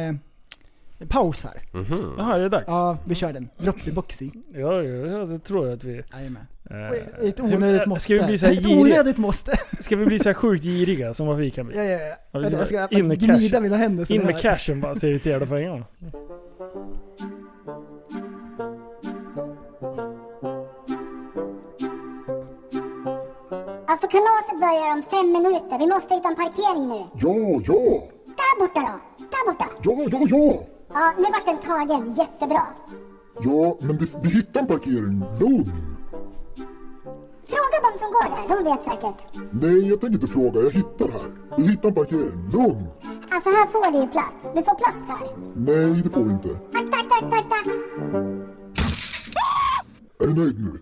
[SPEAKER 7] eh, paus här.
[SPEAKER 6] Mhm.
[SPEAKER 5] Jaha, är det dags?
[SPEAKER 7] Ja, vi kör den. Droppy boxy.
[SPEAKER 5] Ja, ja, jag tror att vi...
[SPEAKER 7] Jajamän.
[SPEAKER 5] eh,
[SPEAKER 7] Ett onödigt måste.
[SPEAKER 5] Ska vi bli så här
[SPEAKER 7] Ett
[SPEAKER 5] giriga?
[SPEAKER 7] onödigt måste.
[SPEAKER 5] Ska vi bli så här sjukt giriga som vad vi kan bli?
[SPEAKER 7] Ja, ja, ja.
[SPEAKER 5] Ja, vi
[SPEAKER 7] Vänta, Jag
[SPEAKER 5] ska
[SPEAKER 7] ska
[SPEAKER 5] in med
[SPEAKER 7] gnida
[SPEAKER 5] cashen.
[SPEAKER 7] mina händer så
[SPEAKER 5] In
[SPEAKER 7] ni
[SPEAKER 5] med
[SPEAKER 7] hör.
[SPEAKER 5] cashen bara, säger vi till jävla på en gång.
[SPEAKER 8] Alltså kalaset börjar om fem minuter. Vi måste hitta en parkering nu.
[SPEAKER 9] Ja, ja,
[SPEAKER 8] Där borta då! Där borta!
[SPEAKER 9] ja, ja, ja.
[SPEAKER 8] Ja, nu vart den tagen. Jättebra.
[SPEAKER 9] Ja, men det, vi hittar en parkering. Lugn.
[SPEAKER 8] Fråga de som går där. De vet säkert.
[SPEAKER 9] Nej, jag tänker inte fråga. Jag hittar här. Vi hittar en parkering. Lugn.
[SPEAKER 8] Alltså här får du ju plats. Du får plats här.
[SPEAKER 9] Nej, det får vi inte.
[SPEAKER 8] Akta, akta, akta, akta!
[SPEAKER 9] Är du nöjd nu?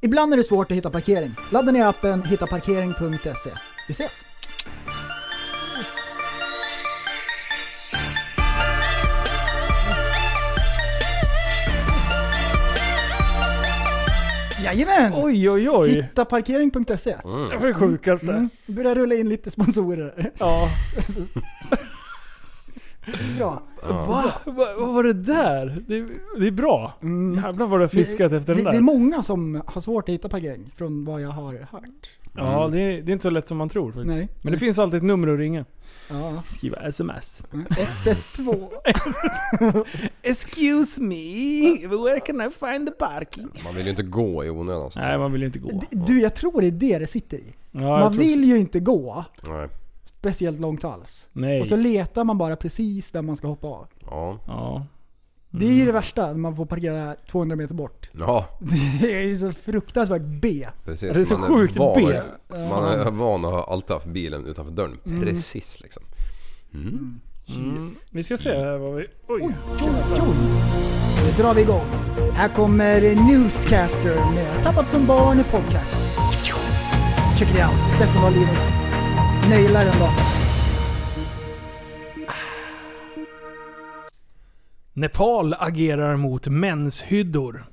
[SPEAKER 7] Ibland är det svårt att hitta parkering. Ladda ner appen hittaparkering.se. Vi ses! Jajamän!
[SPEAKER 5] Oj, oj, oj.
[SPEAKER 7] Hittaparkering.se.
[SPEAKER 5] Det var det sjukaste.
[SPEAKER 7] Mm. Börjar rulla in lite sponsorer. *laughs*
[SPEAKER 5] Ja.
[SPEAKER 7] Bra.
[SPEAKER 5] Va? Va? Vad var det där? Det, det är bra. Jävlar vad du har *laughs* fiskat efter
[SPEAKER 7] det,
[SPEAKER 5] den där.
[SPEAKER 7] det är många som har svårt att hitta parkering från vad jag har hört.
[SPEAKER 5] ja, det är, det är inte så lätt som man tror faktiskt.
[SPEAKER 7] Nej.
[SPEAKER 5] Men det finns alltid ett nummer att ringa.
[SPEAKER 7] Ja.
[SPEAKER 5] *laughs* Skriva sms.
[SPEAKER 7] 112.
[SPEAKER 5] Excuse me, where can I find the parking?
[SPEAKER 6] Man vill ju inte gå i onödan. så
[SPEAKER 5] Nej,
[SPEAKER 6] att säga.
[SPEAKER 5] man vill ju inte gå.
[SPEAKER 7] Du, jag tror det är det det sitter i.
[SPEAKER 5] Ja, jag
[SPEAKER 7] Man
[SPEAKER 5] tror-
[SPEAKER 7] vill ju inte gå
[SPEAKER 6] Nej.
[SPEAKER 7] speciellt långt alls. Och
[SPEAKER 5] Nej.
[SPEAKER 7] så letar man bara precis där man ska hoppa av.
[SPEAKER 6] Ja.
[SPEAKER 5] Ja.
[SPEAKER 7] Det är
[SPEAKER 5] Mm.
[SPEAKER 7] ju det värsta, när man får parkera 200 meter bort. *laughs*
[SPEAKER 6] Ja,
[SPEAKER 7] Det är så fruktansvärt B.
[SPEAKER 6] precis.
[SPEAKER 5] Det är så
[SPEAKER 6] Man
[SPEAKER 5] sjukt
[SPEAKER 6] van-
[SPEAKER 5] B.
[SPEAKER 6] Man är van att ha alltid haft bilen utanför dörren. Precis liksom. Mm.
[SPEAKER 5] Vi ska se här vad vi... Oj.
[SPEAKER 7] Oj, oj. Nu drar vi igång. Här kommer Newscaster med Tappat som barn i podcast. Check it out. Sätt den var Linus. Nailar den då.
[SPEAKER 5] Nepal agerar mot mänshyddor.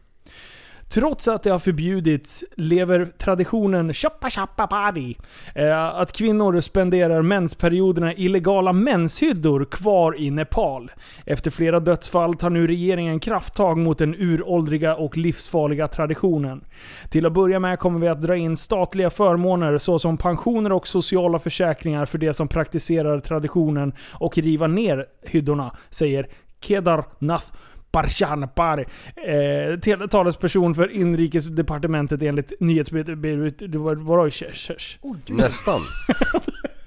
[SPEAKER 5] Trots att det har förbjudits lever traditionen chappa chappa party. Eh, att kvinnor spenderar mensperioderna i illegala menshyddor kvar i Nepal. Efter flera dödsfall tar nu regeringen krafttag mot den uråldriga och livsfarliga traditionen. Till att börja med kommer vi att dra in statliga förmåner såsom pensioner och sociala försäkringar för de som praktiserar traditionen och riva ner hyddorna, säger Kedarnath Parshanpar, eh, tele- talesperson för inrikesdepartementet enligt nyhetsbyrån. *laughs*
[SPEAKER 6] Nästan.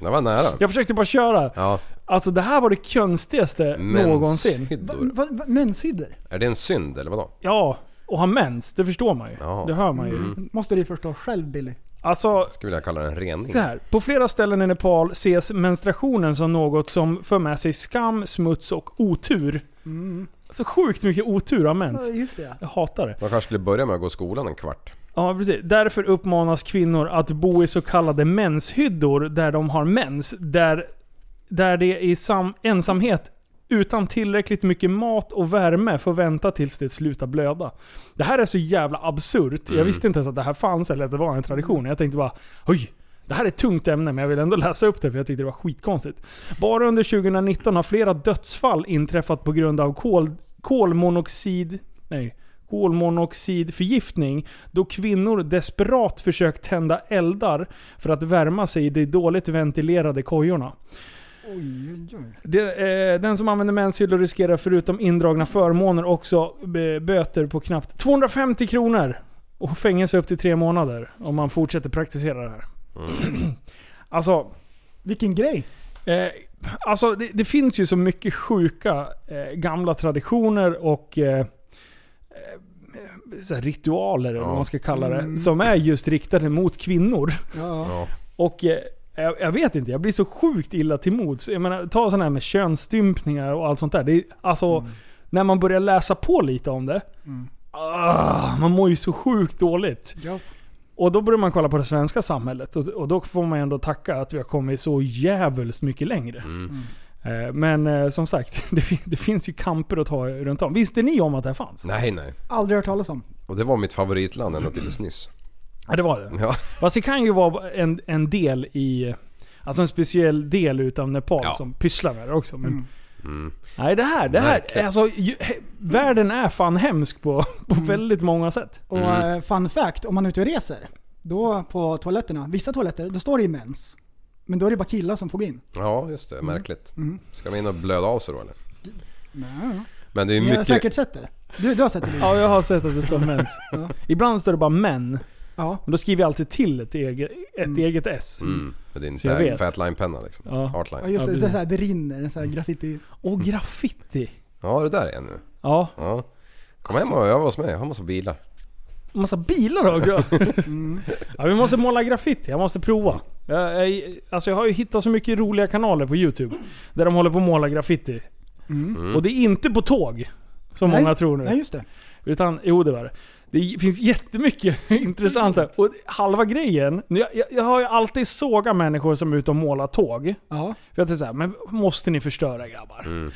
[SPEAKER 6] Det var nära.
[SPEAKER 5] Jag försökte bara köra.
[SPEAKER 6] Ja.
[SPEAKER 5] Alltså det här var det konstigaste någonsin.
[SPEAKER 7] Va,
[SPEAKER 6] Menshyddor.
[SPEAKER 7] va, va, menshyddor?
[SPEAKER 6] Är det en synd eller vadå?
[SPEAKER 5] Ja, och ha mens, det förstår man ju.
[SPEAKER 6] Ja. Mm.
[SPEAKER 5] Det hör man ju.
[SPEAKER 7] Måste du förstå själv Billy.
[SPEAKER 5] Alltså,
[SPEAKER 6] Skulle vilja kalla det en rening.
[SPEAKER 5] Så här, på flera ställen i Nepal ses menstruationen som något som för med sig skam, smuts och otur. Så sjukt mycket otur av mens.
[SPEAKER 7] Ja, just det.
[SPEAKER 5] Jag hatar det.
[SPEAKER 6] De kanske skulle börja med att gå i skolan en kvart.
[SPEAKER 5] Ja, precis. Därför uppmanas kvinnor att bo i så kallade menshyddor där de har mens. Där, där det i sam, ensamhet utan tillräckligt mycket mat och värme får vänta tills det slutar blöda. Det här är så jävla absurt. Jag visste inte ens att det här fanns eller att det var en tradition. Jag tänkte bara oj. Det här är ett tungt ämne men jag vill ändå läsa upp det för jag tyckte det var skitkonstigt. Bara under 2019 har flera dödsfall inträffat på grund av kol, kolmonoxid... Nej, kolmonoxidförgiftning då kvinnor desperat försökt tända eldar för att värma sig i de dåligt ventilerade kojorna.
[SPEAKER 7] Oj, oj, oj.
[SPEAKER 5] Det, eh, den som använder menshyllor riskerar förutom indragna förmåner också eh, böter på knappt 250 kronor och fängelse upp till tre månader om man fortsätter praktisera det här. alltså,
[SPEAKER 7] Mm. Vilken grej.
[SPEAKER 5] eh, alltså det, det finns ju så mycket sjuka eh, gamla traditioner och eh, eh, så här ritualer, eller vad man ska kalla det,
[SPEAKER 7] Mm.
[SPEAKER 5] som är just riktade mot kvinnor.
[SPEAKER 7] Ja.
[SPEAKER 6] Ja.
[SPEAKER 5] Och eh, jag, jag vet inte, jag blir så sjukt illa till mods. Jag menar, ta sådana här med könsstympningar och allt sånt där. Det är, alltså, när man börjar läsa på lite om det. Ah, man mår ju så sjukt dåligt.
[SPEAKER 7] Ja.
[SPEAKER 5] Och då börjar man kolla på det svenska samhället. Och, och då får man ändå tacka att vi har kommit så jävligt mycket längre. Eh, Men eh, som sagt, *laughs* det, fin- det finns ju kamper att ta runt om. Visste ni om att det här fanns?
[SPEAKER 6] Nej, nej.
[SPEAKER 7] Aldrig hört talas om.
[SPEAKER 6] Och det var mitt favoritland ända tills nyss.
[SPEAKER 5] Ja, det var det.
[SPEAKER 6] Ja.
[SPEAKER 5] Fast det kan ju vara en, en del i... Alltså en speciell del utav Nepal
[SPEAKER 6] Ja.
[SPEAKER 5] som pysslar med det också. Men,
[SPEAKER 7] Mm.
[SPEAKER 5] Nej det här, det här.
[SPEAKER 6] Verkligen.
[SPEAKER 5] Alltså, ju, he, världen är fan hemsk på, på väldigt många sätt.
[SPEAKER 7] Och
[SPEAKER 6] Mm.
[SPEAKER 7] eh, fun fact, om man är ute och reser, då på toaletterna, vissa toaletter, då står det ju mens. Men då är det bara killar som får gå in.
[SPEAKER 6] Ja, just det. Märkligt.
[SPEAKER 5] Mm.
[SPEAKER 6] Ska man in och blöda av sig då eller?
[SPEAKER 7] Ja.
[SPEAKER 6] Men det är
[SPEAKER 7] Ni har
[SPEAKER 6] mycket...
[SPEAKER 7] säkert sett det. Du, du har sett det? Lina.
[SPEAKER 5] Ja jag har sett att det står mens. *laughs*
[SPEAKER 7] Ja.
[SPEAKER 5] Ibland står det bara män.
[SPEAKER 7] Ja.
[SPEAKER 5] Men då skriver jag alltid till ett eget, ett
[SPEAKER 7] Mm.
[SPEAKER 5] eget S.
[SPEAKER 6] Mm, med din
[SPEAKER 5] Så jag
[SPEAKER 6] tag,
[SPEAKER 5] vet.
[SPEAKER 6] fatline-penna liksom.
[SPEAKER 5] Ja.
[SPEAKER 7] Ja
[SPEAKER 6] Artline.
[SPEAKER 7] just
[SPEAKER 5] Ja,
[SPEAKER 7] det,
[SPEAKER 5] Mm.
[SPEAKER 7] det, är så här, det rinner, en sån här graffiti.
[SPEAKER 5] Och graffiti.
[SPEAKER 6] Ja, det där är en nu.
[SPEAKER 5] Ja.
[SPEAKER 6] Ja. Kom
[SPEAKER 5] Alltså.
[SPEAKER 6] hem och öva hos mig. Jag har massa bilar.
[SPEAKER 5] Massa bilar också.
[SPEAKER 7] *laughs*
[SPEAKER 5] Mm. ja, vi måste måla graffiti, jag måste prova. Jag, jag, alltså jag har ju hittat så mycket roliga kanaler på youtube. Där de håller på att måla graffiti. Och det är inte på tåg. Som
[SPEAKER 7] Mm. Nej.
[SPEAKER 5] många tror nu.
[SPEAKER 7] Nej just det.
[SPEAKER 5] Utan, jo det var det. Det finns jättemycket *laughs* intressant
[SPEAKER 7] Mm.
[SPEAKER 5] här. Och halva grejen, jag, jag, jag har ju alltid sågat människor som är ute och målar tåg.
[SPEAKER 7] Ja.
[SPEAKER 5] För jag tänkte såhär, men måste ni förstöra grabbar?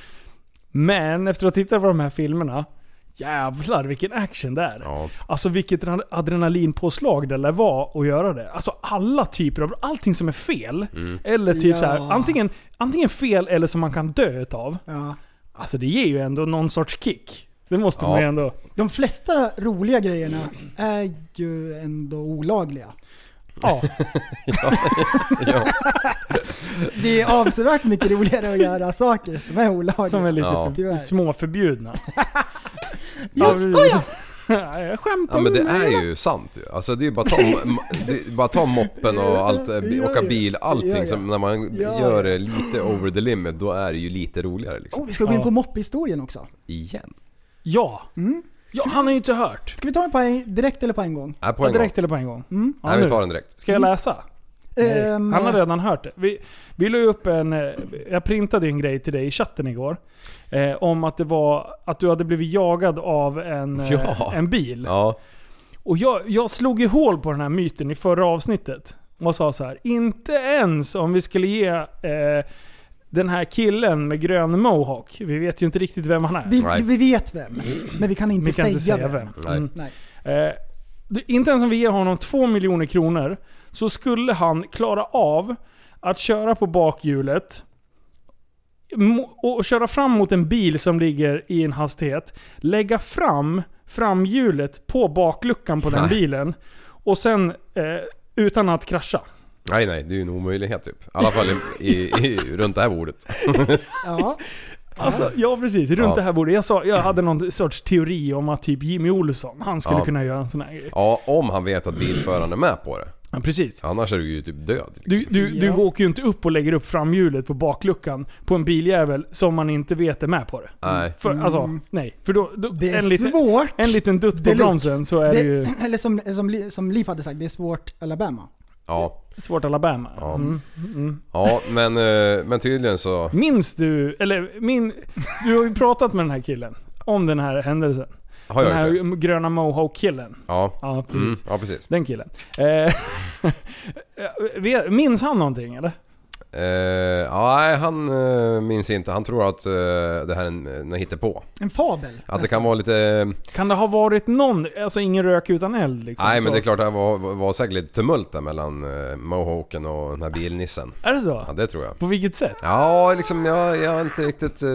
[SPEAKER 5] Men efter att ha tittat på de här filmerna, jävlar vilken action det är.
[SPEAKER 6] Ja.
[SPEAKER 5] Alltså vilket adren- adrenalinpåslag det lär vara att göra det. Alltså alla typer av, allting som är fel.
[SPEAKER 6] Mm.
[SPEAKER 5] Eller typ
[SPEAKER 7] Ja.
[SPEAKER 5] så här, antingen, antingen fel eller som man kan dö utav.
[SPEAKER 7] ja.
[SPEAKER 5] Alltså det ger ju ändå någon sorts kick. Det måste
[SPEAKER 6] Ja.
[SPEAKER 5] man ju ändå.
[SPEAKER 7] De flesta roliga grejerna är ju ändå olagliga.
[SPEAKER 5] Ja.
[SPEAKER 7] Det är avsevärt mycket roligare att göra saker som är olagliga.
[SPEAKER 5] Som är lite
[SPEAKER 6] Ja.
[SPEAKER 5] för,
[SPEAKER 7] Tyvärr.
[SPEAKER 5] småförbjudna.
[SPEAKER 7] Jag skojar!
[SPEAKER 5] *laughs* Nej, jag skämtar
[SPEAKER 6] Ja men det
[SPEAKER 5] med mig.
[SPEAKER 6] är ju sant ju. Alltså det är ju bara att ta,
[SPEAKER 7] *laughs*
[SPEAKER 6] m- det är bara att ta moppen och allt, eh, bi-
[SPEAKER 7] Ja,
[SPEAKER 6] åka
[SPEAKER 7] ja.
[SPEAKER 6] bil, allting
[SPEAKER 7] Ja, ja.
[SPEAKER 6] som när man
[SPEAKER 7] Ja,
[SPEAKER 6] gör det lite over the limit, då är det ju lite roligare liksom.
[SPEAKER 7] Oh, vi ska gå in
[SPEAKER 5] Ja.
[SPEAKER 7] på moppehistorien också.
[SPEAKER 6] Igen.
[SPEAKER 5] Ja. ja. Han har ju inte hört.
[SPEAKER 7] Ska vi ta den på en, direkt eller på en gång?
[SPEAKER 6] Nej Äh, på
[SPEAKER 5] Ja,
[SPEAKER 6] en gång.
[SPEAKER 5] direkt eller på en gång? Ja,
[SPEAKER 6] Nej
[SPEAKER 5] nu.
[SPEAKER 6] vi tar den direkt.
[SPEAKER 5] Ska jag läsa? Nej.
[SPEAKER 7] Ehm,
[SPEAKER 5] Han har redan hört det. Vi, vi la ju upp en... eh, Jag printade ju en grej till dig i chatten igår. Eh, om att det var att du hade blivit jagad av en, eh,
[SPEAKER 6] Ja.
[SPEAKER 5] en bil.
[SPEAKER 6] Ja.
[SPEAKER 5] Och jag, jag slog ju hål på den här myten i förra avsnittet. Och sa så här. Inte ens om vi skulle ge eh, den här killen med grön mohawk. Vi vet ju inte riktigt vem han är.
[SPEAKER 7] vi,
[SPEAKER 6] Right.
[SPEAKER 7] vi vet vem, men vi kan inte,
[SPEAKER 5] vi kan
[SPEAKER 7] säga,
[SPEAKER 5] inte säga vem.
[SPEAKER 6] Nej.
[SPEAKER 5] Mm.
[SPEAKER 7] Nej.
[SPEAKER 5] Eh, du- inte ens om vi ger honom 2 miljoner kronor så skulle han klara av att köra på bakhjulet mo- och köra fram mot en bil som ligger i en hastighet, lägga fram framhjulet på bakluckan på den
[SPEAKER 6] Nej.
[SPEAKER 5] bilen och sen eh, utan att krascha.
[SPEAKER 6] Nej nej, det är ju en omöjlighet typ. I alla fall i, i, i, runt det här bordet.
[SPEAKER 7] Ja,
[SPEAKER 5] Alltså, ja precis. Runt
[SPEAKER 6] Ja.
[SPEAKER 5] det här bordet. Jag, sa, jag hade någon sorts teori om att typ Jimmy Olsson, han skulle
[SPEAKER 6] Ja.
[SPEAKER 5] kunna göra en sån här grej.
[SPEAKER 6] Ja, om han vet att bilföraren är med på det.
[SPEAKER 5] Ja, precis.
[SPEAKER 6] Annars är du ju typ död. Liksom.
[SPEAKER 5] Du, du, du
[SPEAKER 7] Ja.
[SPEAKER 5] åker ju inte upp och lägger upp framhjulet på bakluckan på en biljävel som man inte vet är med på det.
[SPEAKER 6] Nej. Mm.
[SPEAKER 5] För, alltså, nej. För då, då
[SPEAKER 7] det är
[SPEAKER 5] en, liten,
[SPEAKER 7] svårt.
[SPEAKER 5] en liten dutt på
[SPEAKER 7] Deluxe.
[SPEAKER 5] bromsen så är det, ju
[SPEAKER 7] Eller som, som, Li- som Liv hade sagt, det är svårt Alabama.
[SPEAKER 6] Ja.
[SPEAKER 5] svårt Alabama.
[SPEAKER 6] Ja.
[SPEAKER 5] Mm.
[SPEAKER 6] Ja men, eh, men tydligen så...
[SPEAKER 5] Minns du, eller min, du har ju pratat med den här killen om den här händelsen.
[SPEAKER 6] Har jag
[SPEAKER 5] den här
[SPEAKER 6] gjort det? Mm.
[SPEAKER 5] gröna mohawk-killen.
[SPEAKER 6] Ja.
[SPEAKER 5] Ja, precis.
[SPEAKER 6] Mm, ja precis.
[SPEAKER 5] *laughs* Den killen. Eh, vet- Minns han någonting eller?
[SPEAKER 6] Eh, nej, han eh, minns inte. Han tror att eh, det här är en, en hittepå.
[SPEAKER 7] En fabel.
[SPEAKER 6] Att det kan vara lite... eh,
[SPEAKER 5] Kan det ha varit någon, alltså ingen rök utan eld liksom?
[SPEAKER 6] nej,
[SPEAKER 5] så?
[SPEAKER 6] men det är klart det här var, var säkert lite tumult där mellan eh, Mohawken och den här bilnissen.
[SPEAKER 5] Är det så?
[SPEAKER 6] Ja, det tror jag.
[SPEAKER 5] På vilket sätt?
[SPEAKER 6] Ja, liksom jag, jag har inte riktigt... eh,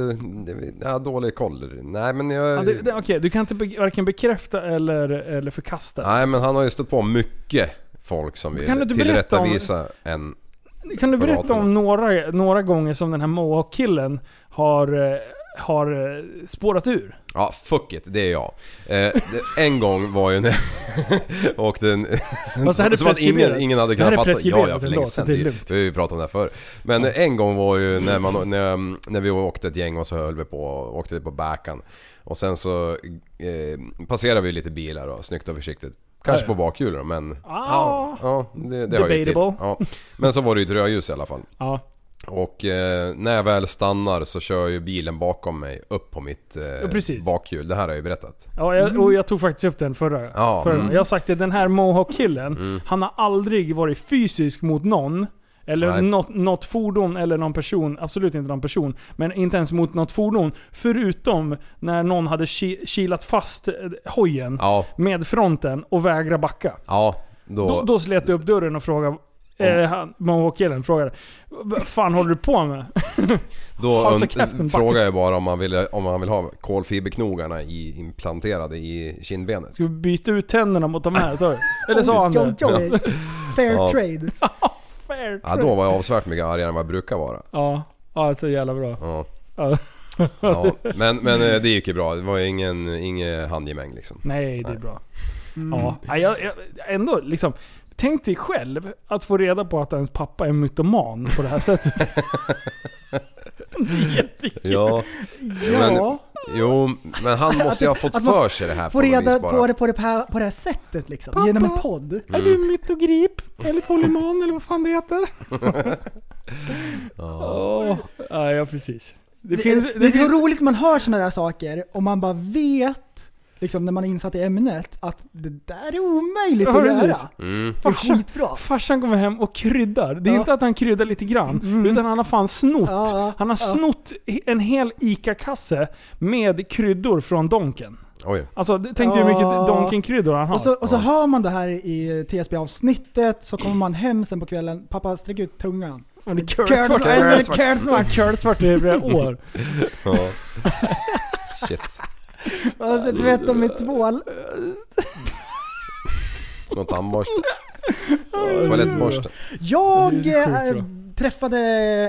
[SPEAKER 6] Jag har dålig koll. Nej, men jag...
[SPEAKER 5] Ja, det, det, Okej, du kan inte be, varken bekräfta eller, eller förkasta.
[SPEAKER 6] Nej, men han har ju stött på mycket folk som vill
[SPEAKER 5] Kan du inte berätta om-
[SPEAKER 6] tillrättavisa en...
[SPEAKER 5] Kan du
[SPEAKER 6] på
[SPEAKER 5] berätta
[SPEAKER 6] gatorna.
[SPEAKER 5] om några, några gånger som den här Mohawk-killen har, eh, har eh, spårat ur?
[SPEAKER 6] Ja, fuck it, det är jag. Eh, det- en gång var ju när *laughs* jag åkte en...
[SPEAKER 5] Fast Alltså, det här är
[SPEAKER 6] som att ingen,
[SPEAKER 5] preskriberat.
[SPEAKER 6] ingen hade
[SPEAKER 5] Det här
[SPEAKER 6] kunnat
[SPEAKER 5] är
[SPEAKER 6] fatta. Ja,
[SPEAKER 5] preskriberat
[SPEAKER 6] ja, för
[SPEAKER 5] ändå,
[SPEAKER 6] länge
[SPEAKER 5] så
[SPEAKER 6] sedan.
[SPEAKER 5] det är
[SPEAKER 6] Vi,
[SPEAKER 5] lugnt.
[SPEAKER 6] vi har ju pratat om det här förr. Men en gång var ju när, man, när, när vi åkte ett gäng och så höll vi på åkte på backan. Och sen så eh, passerade vi lite bilar då, snyggt och försiktigt. Kanske på bakhjulen men... Ja, ja, det, det hör ju till.
[SPEAKER 5] Ah. Debatable.
[SPEAKER 6] Ja. Men så var det ju ett rödljus i alla fall.
[SPEAKER 5] Ja.
[SPEAKER 6] Och eh, när jag väl stannar så kör ju bilen bakom mig upp på mitt eh,
[SPEAKER 5] precis.
[SPEAKER 6] bakhjul. Det här har jag ju berättat.
[SPEAKER 5] Ja, jag, och jag tog faktiskt upp den förra.
[SPEAKER 6] Ja,
[SPEAKER 5] förra.
[SPEAKER 6] mm.
[SPEAKER 5] Jag har sagt det, den här Mohawk-killen, han har aldrig varit fysisk mot någon. Eller
[SPEAKER 6] Nej.
[SPEAKER 5] något, något fordon eller någon person, absolut inte någon person. Men inte ens mot något fordon. Förutom när någon hade ki- kilat fast eh, hojen
[SPEAKER 6] Ja,
[SPEAKER 5] med fronten och vägrade backa.
[SPEAKER 6] ja. Då,
[SPEAKER 5] Då, då slet jag upp dörren och frågade, eh, han- Mohawk-killen frågade Vad fan håller du på med? *laughs*
[SPEAKER 6] Då
[SPEAKER 5] Alltså,
[SPEAKER 6] und-
[SPEAKER 5] käften, backa.
[SPEAKER 6] frågar jag bara om man vill, om man vill ha kolfiberknogarna i, implanterade i kindbenet.
[SPEAKER 5] Ska vi byta ut tänderna mot de här? sa
[SPEAKER 6] *laughs*
[SPEAKER 5] du? Eller sa han
[SPEAKER 7] Oj,
[SPEAKER 5] det?
[SPEAKER 7] oj, oj. Fair
[SPEAKER 6] Ja.
[SPEAKER 7] trade.
[SPEAKER 5] Fair
[SPEAKER 6] Ja,
[SPEAKER 5] trade.
[SPEAKER 6] då var jag avsevärt mycket argare än vad jag brukar vara.
[SPEAKER 5] Ja, ja, så jävla bra.
[SPEAKER 6] Ja.
[SPEAKER 5] Ja.
[SPEAKER 6] Ja, men, men eh, det gick ju bra. Det var ju ingen, ingen handgemäng liksom.
[SPEAKER 5] Nej, det är bra. Ja. Ja, jag, jag, ändå liksom. Tänk dig själv att få reda på att ens pappa är mytoman på det *laughs* här sättet. det är jättekul.
[SPEAKER 6] Ja,
[SPEAKER 7] Ja.
[SPEAKER 6] jo, men han måste ju ha fått
[SPEAKER 7] att man
[SPEAKER 6] för sig det här
[SPEAKER 7] Få
[SPEAKER 6] på något
[SPEAKER 7] reda
[SPEAKER 6] vis
[SPEAKER 7] på
[SPEAKER 6] bara. Mm.
[SPEAKER 7] det på det här, på det här sättet liksom. Genom en podd.
[SPEAKER 5] Är du mytogrip? Eller polyman eller vad fan det heter? Åh, *laughs* ja. ja, precis. Det, finns...
[SPEAKER 7] det,
[SPEAKER 5] Det,
[SPEAKER 7] det är så
[SPEAKER 5] finns-
[SPEAKER 7] roligt man hör sådana där saker och man bara vet, liksom när man är insatt i ämnet, att det där är omöjligt
[SPEAKER 5] Ja,
[SPEAKER 7] att göra.
[SPEAKER 5] precis.
[SPEAKER 6] Mm.
[SPEAKER 7] Det är
[SPEAKER 5] Farsan-
[SPEAKER 7] skitbra.
[SPEAKER 5] Farsan kommer hem och kryddar. Det är
[SPEAKER 7] Ja.
[SPEAKER 5] inte att han kryddar lite grann, utan han har fan snott.
[SPEAKER 7] Ja, ja,
[SPEAKER 5] han har
[SPEAKER 7] ja.
[SPEAKER 5] snott en hel ICA-kasse med kryddor från Donken.
[SPEAKER 6] Oj.
[SPEAKER 5] Alltså tänk dig hur
[SPEAKER 7] Ja.
[SPEAKER 5] mycket Donken-kryddor han har.
[SPEAKER 7] Och så, och så hör man det här i TSB-avsnittet, så kommer man hem sen på kvällen, pappa sträck ut tungan.
[SPEAKER 5] Men det är
[SPEAKER 7] Curl
[SPEAKER 5] curlsvart.
[SPEAKER 7] svart, eller curl svart.
[SPEAKER 5] Curlsvart i flera
[SPEAKER 7] *laughs*
[SPEAKER 5] år.
[SPEAKER 6] Ja. *laughs* Shit.
[SPEAKER 7] Och så tvättar Alltså, de med tvål.
[SPEAKER 6] Någon tandborste. Toalettborste.
[SPEAKER 7] Jag
[SPEAKER 5] Det är så sjukt
[SPEAKER 7] eh,
[SPEAKER 5] bra.
[SPEAKER 7] träffade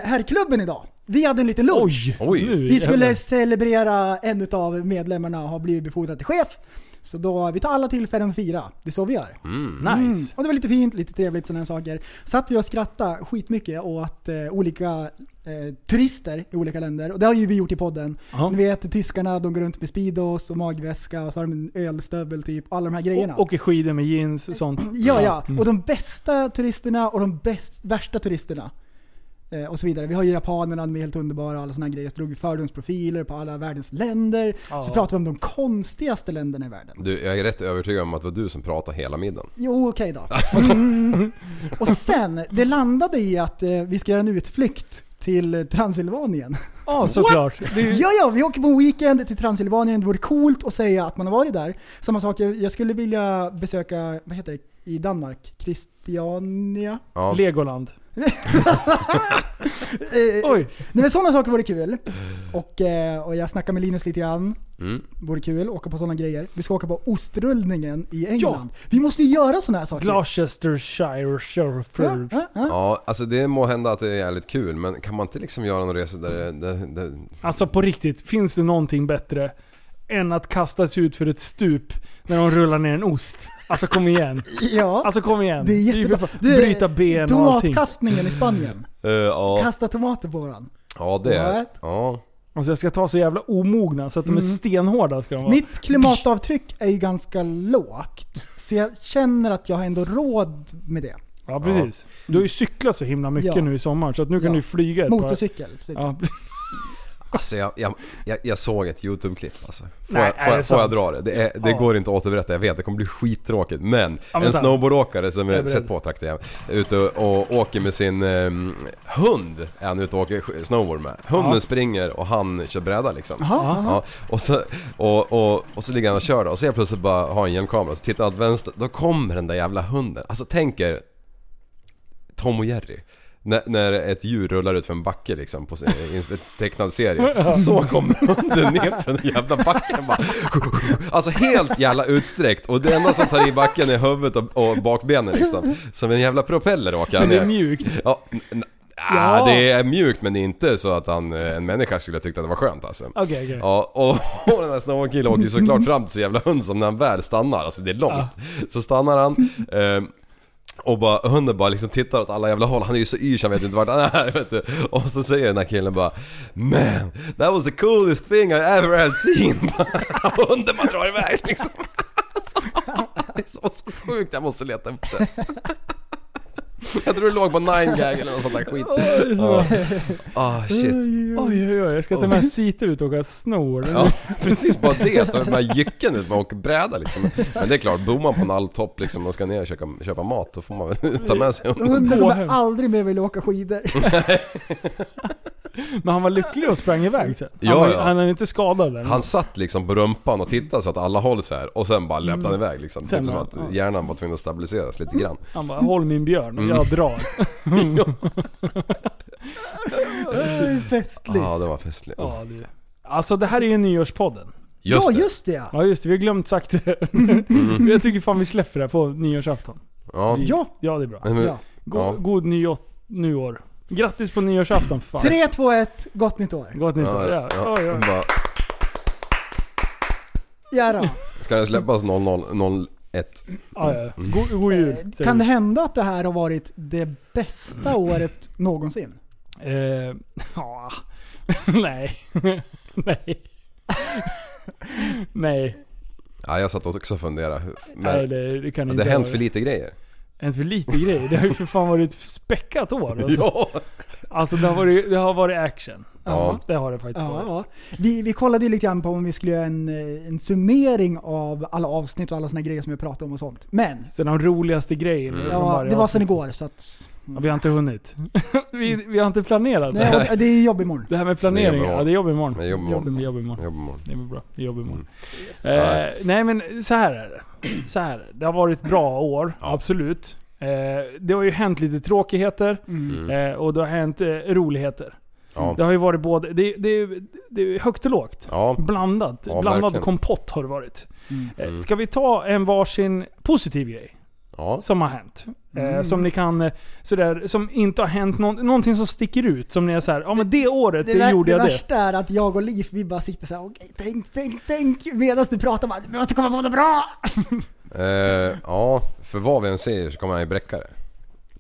[SPEAKER 7] herrklubben idag. Vi hade en liten lunch.
[SPEAKER 5] Oj!
[SPEAKER 6] Oj.
[SPEAKER 5] Nu
[SPEAKER 7] Vi
[SPEAKER 5] jävlar.
[SPEAKER 7] skulle celebrera en av medlemmarna har blivit befordrad till chef. Så då, vi tar alla tillfällen att fira. Det är så vi gör. Mm.
[SPEAKER 5] Nice.
[SPEAKER 7] Och det var lite fint, lite trevligt sådana här saker. Satt vi och skrattade skitmycket åt eh, olika eh, turister i olika länder. Och det har ju vi gjort i podden.
[SPEAKER 5] Ja.
[SPEAKER 7] Ni vet tyskarna, de går runt med Speedos och magväska och så har de en ölstövel typ. Alla de här grejerna.
[SPEAKER 5] Och, Mm. åker skidor med jeans och sånt.
[SPEAKER 7] ja, ja. Och de bästa turisterna och de bäst, värsta turisterna. Eh, och så vidare. Vi har ju japanerna, de är helt underbara och alla sådana här grejer. Så drog vi fördomsprofiler på alla världens länder. Så pratade vi om de konstigaste länderna i världen.
[SPEAKER 6] Du, jag är rätt övertygad om att det var du som pratade hela middagen.
[SPEAKER 7] Jo, okej då. Mm. Och sen, det landade i att eh, vi ska göra en utflykt till Transylvanien.
[SPEAKER 5] Ja, såklart. Det är ju-
[SPEAKER 7] Ja, ja, vi åker på en weekend till Transylvanien. Det vore coolt att säga att man har varit där. Samma sak, jag, jag skulle vilja besöka, vad heter det, i Danmark? Christiania?
[SPEAKER 6] Ja.
[SPEAKER 5] Legoland.
[SPEAKER 7] Eh,
[SPEAKER 5] Oj!
[SPEAKER 7] Nej men sådana saker vore kul. Och, eh, och jag snackade med Linus lite grann.
[SPEAKER 6] Mm.
[SPEAKER 7] Vore kul, åka på sådana grejer. Vi ska åka på ostrullningen i England. Vi måste ju göra sådana här saker.
[SPEAKER 5] Gloucestershire
[SPEAKER 7] Ja,
[SPEAKER 5] Shurford.
[SPEAKER 7] ja, ja.
[SPEAKER 6] Ja, alltså det må hända att det är jävligt kul men kan man inte liksom göra någon resa där, där, där
[SPEAKER 5] Alltså på riktigt, finns det någonting bättre än att kastas ut för ett stup när de rullar ner en ost? Alltså kom igen.
[SPEAKER 7] ja.
[SPEAKER 5] Alltså kom igen.
[SPEAKER 7] det är jättebra. Du,
[SPEAKER 5] Bryta ben och allting.
[SPEAKER 7] Tomatkastningen i Spanien.
[SPEAKER 6] Eh, ja.
[SPEAKER 7] Kasta tomater på varandra.
[SPEAKER 6] ja, det är...
[SPEAKER 7] What?
[SPEAKER 6] Ja.
[SPEAKER 5] Alltså jag ska ta så jävla omogna så att de är stenhårda ska de vara.
[SPEAKER 7] Mm. Mitt klimatavtryck är ju ganska lågt. Så jag känner att jag har ändå råd med det.
[SPEAKER 5] Ja precis. Du har ju cyklat så himla mycket
[SPEAKER 7] Ja.
[SPEAKER 5] nu i sommar så att nu kan
[SPEAKER 7] Ja.
[SPEAKER 5] du ju flyga ett par-
[SPEAKER 7] Motorcykel. Så
[SPEAKER 5] Ja.
[SPEAKER 6] Alltså jag, jag, jag, jag såg ett YouTube-klipp alltså. Får,
[SPEAKER 5] Nej, är
[SPEAKER 6] jag, får,
[SPEAKER 5] det
[SPEAKER 6] jag, får jag
[SPEAKER 5] sant?
[SPEAKER 6] dra det? Det, är, det
[SPEAKER 5] Ja.
[SPEAKER 6] går inte att återberätta, jag vet. Det kommer bli skittråkigt. Men
[SPEAKER 5] men
[SPEAKER 6] en
[SPEAKER 5] sant.
[SPEAKER 6] snowboardåkare som
[SPEAKER 5] Jag
[SPEAKER 6] är,
[SPEAKER 5] är beredd.
[SPEAKER 6] sett på tack det är, är ute och åker med sin eh, hund. Är han ute och åker sk- snowboard med. Hunden
[SPEAKER 5] Ja.
[SPEAKER 6] springer och han kör bräda liksom. Ja, och, så, och, och, och så ligger han och kör då, och så helt plötsligt bara har han hjälmkamera. Så tittar han åt vänster, då kommer den där jävla hunden. Alltså tänk er Tom och Jerry. När, när ett djur rullar ut för en backe liksom på sin i en tecknad serie. Så kommer hunden ner för den jävla backen bara. Alltså helt jävla utsträckt och det enda som tar i backen är huvudet och, och bakbenen liksom. Som en jävla propeller åker han
[SPEAKER 5] Men det är
[SPEAKER 6] ner.
[SPEAKER 5] mjukt.
[SPEAKER 6] Ja, n- n- ah, det är mjukt men det är inte så att han, eh, en människa skulle tycka att det var skönt alltså.
[SPEAKER 5] *laughs* Okej, okej.
[SPEAKER 6] Ja, och, och den här snowboardkillen åker ju såklart fram till sin jävla hund som när han väl stannar, alltså det är långt. Så stannar han eh, och bara, hunden bara liksom tittar åt alla jävla håll, han är ju så yr så han vet inte vart han är *laughs* vet du. Och så säger den här killen bara Man, that was the coolest thing I ever have seen. *laughs* och hunden bara drar iväg liksom. *laughs* Det är så, så sjukt, jag måste leta upp det. *laughs* Jag tror det låg på 9gag eller något sånt där skit.
[SPEAKER 5] Oj, så bra.
[SPEAKER 6] Ah shit.
[SPEAKER 5] Oj, oj, oj. Jag ska ta med Sita ut och åka snor.
[SPEAKER 6] Ja, *laughs* precis bara det. Ta den här jycken ut, man åker bräda liksom. Men det är klart, bor man på en alptopp liksom och ska ner och köpa, köpa mat, då får man väl *laughs* ta med sig hunden.
[SPEAKER 7] Hunden
[SPEAKER 5] Gå
[SPEAKER 7] kommer
[SPEAKER 5] hem.
[SPEAKER 7] aldrig mer vilja åka skidor.
[SPEAKER 5] Men han var lycklig och sprang iväg sen. Han,
[SPEAKER 6] Ja,
[SPEAKER 5] var,
[SPEAKER 6] ja.
[SPEAKER 5] han är inte skadad än.
[SPEAKER 6] Han satt liksom på rumpan och tittade så att alla håll så här och sen bara löpte han iväg liksom.
[SPEAKER 5] Sen
[SPEAKER 6] Typ som
[SPEAKER 5] bara,
[SPEAKER 6] att
[SPEAKER 5] ja.
[SPEAKER 6] hjärnan var tvungen att stabiliseras lite grann.
[SPEAKER 5] Han bara 'Håll min björn,
[SPEAKER 6] Mm.
[SPEAKER 5] jag
[SPEAKER 6] *laughs*
[SPEAKER 5] drar'
[SPEAKER 7] Hur festligt.
[SPEAKER 6] Ja, det var festligt.
[SPEAKER 5] ja, det. Alltså det här är ju nyårspodden.
[SPEAKER 6] Just
[SPEAKER 7] ja,
[SPEAKER 6] det.
[SPEAKER 7] just det ja.
[SPEAKER 5] Ja just det, vi har glömt sagt det.
[SPEAKER 6] Mm.
[SPEAKER 5] Men *laughs* jag tycker fan vi släpper det här på nyårsafton.
[SPEAKER 6] Ja.
[SPEAKER 7] Ja,
[SPEAKER 5] Ja det är bra.
[SPEAKER 6] Men-
[SPEAKER 7] ja.
[SPEAKER 5] Go-
[SPEAKER 6] Mm. Ja.
[SPEAKER 5] God nyår, nyår. Grattis på nyårsafton för fan.
[SPEAKER 7] 3, 2, 1, gott nytt år.
[SPEAKER 5] Gott nytt år.
[SPEAKER 6] Ja, Mm.
[SPEAKER 5] Ja.
[SPEAKER 6] ja.
[SPEAKER 5] Oj, oj.
[SPEAKER 6] Bara,
[SPEAKER 7] Ja, då.
[SPEAKER 6] ska den släppas 0001?
[SPEAKER 5] Ja, ja. God, god jul.
[SPEAKER 7] Eh,
[SPEAKER 5] säger
[SPEAKER 7] Kan det
[SPEAKER 5] vi.
[SPEAKER 7] hända att det här har varit det
[SPEAKER 5] *clears throat*
[SPEAKER 7] bästa året någonsin?
[SPEAKER 5] Eh, *laughs* ja. Nej. *laughs* Nej. *laughs* Nej.
[SPEAKER 6] Ja, jag satt också och funderade. hur-
[SPEAKER 5] Nej,
[SPEAKER 6] Men
[SPEAKER 5] det, det kan
[SPEAKER 6] det
[SPEAKER 5] inte
[SPEAKER 6] har hänt
[SPEAKER 5] vara.
[SPEAKER 6] för lite grejer.
[SPEAKER 5] Hänt för lite grejer. Det har ju för fan varit ett späckat år. Alltså,
[SPEAKER 6] *laughs* Ja!
[SPEAKER 5] alltså det, har varit, det har varit action.
[SPEAKER 6] Ja.
[SPEAKER 5] Det har det faktiskt
[SPEAKER 7] Ja,
[SPEAKER 5] varit.
[SPEAKER 7] ja. Vi, vi kollade ju lite grann på om vi skulle göra en, eh, en summering av alla avsnitt och alla såna grejer som vi pratade om och sånt. Men,
[SPEAKER 5] Så de roligaste grejerna
[SPEAKER 6] Mm.
[SPEAKER 5] Mm. från
[SPEAKER 7] ja,
[SPEAKER 5] varje
[SPEAKER 7] det var sen
[SPEAKER 5] avsnitt.
[SPEAKER 7] igår så att...
[SPEAKER 5] Ja, vi har inte hunnit. *laughs* vi, vi har inte planerat det.
[SPEAKER 7] Nej, och det är jobb imorgon.
[SPEAKER 5] Det här med
[SPEAKER 6] Det är jobb
[SPEAKER 5] planering,
[SPEAKER 6] imorgon.
[SPEAKER 5] ja det är jobb imorgon.
[SPEAKER 6] Det är jobb imorgon.
[SPEAKER 5] Det är jobb imorgon.
[SPEAKER 6] Jobbar imorgon.
[SPEAKER 5] Det är bra. Det är jobb imorgon.
[SPEAKER 6] Mm. Ja.
[SPEAKER 5] Eh, nej men så här är det. Så här är det. det har varit bra år,
[SPEAKER 6] Ja.
[SPEAKER 5] absolut. Eh, det har ju hänt lite tråkigheter
[SPEAKER 6] Mm.
[SPEAKER 5] eh, och det har hänt eh, roligheter.
[SPEAKER 6] Ja.
[SPEAKER 5] Det har ju varit både, det, det, det är högt och lågt.
[SPEAKER 6] Ja.
[SPEAKER 5] Blandat.
[SPEAKER 6] Ja,
[SPEAKER 5] Blandad
[SPEAKER 6] verkligen.
[SPEAKER 5] kompott har det varit. Eh,
[SPEAKER 6] Mm.
[SPEAKER 5] Ska vi ta en varsin positiv grej?
[SPEAKER 6] Ja.
[SPEAKER 5] som har hänt. Eh, som ni kan, eh, sådär, som inte har hänt, någon, någonting som sticker ut. Som ni är såhär, ja men det året, det,
[SPEAKER 7] vär-
[SPEAKER 5] gjorde jag det.
[SPEAKER 7] värsta är att jag och Liv, vi bara sitter såhär okej, tänk, tänk, tänk. Medan du pratar bara, vi måste komma på något bra!
[SPEAKER 6] Eh, ja, för vad vi än säger så kommer han ju bräcka det.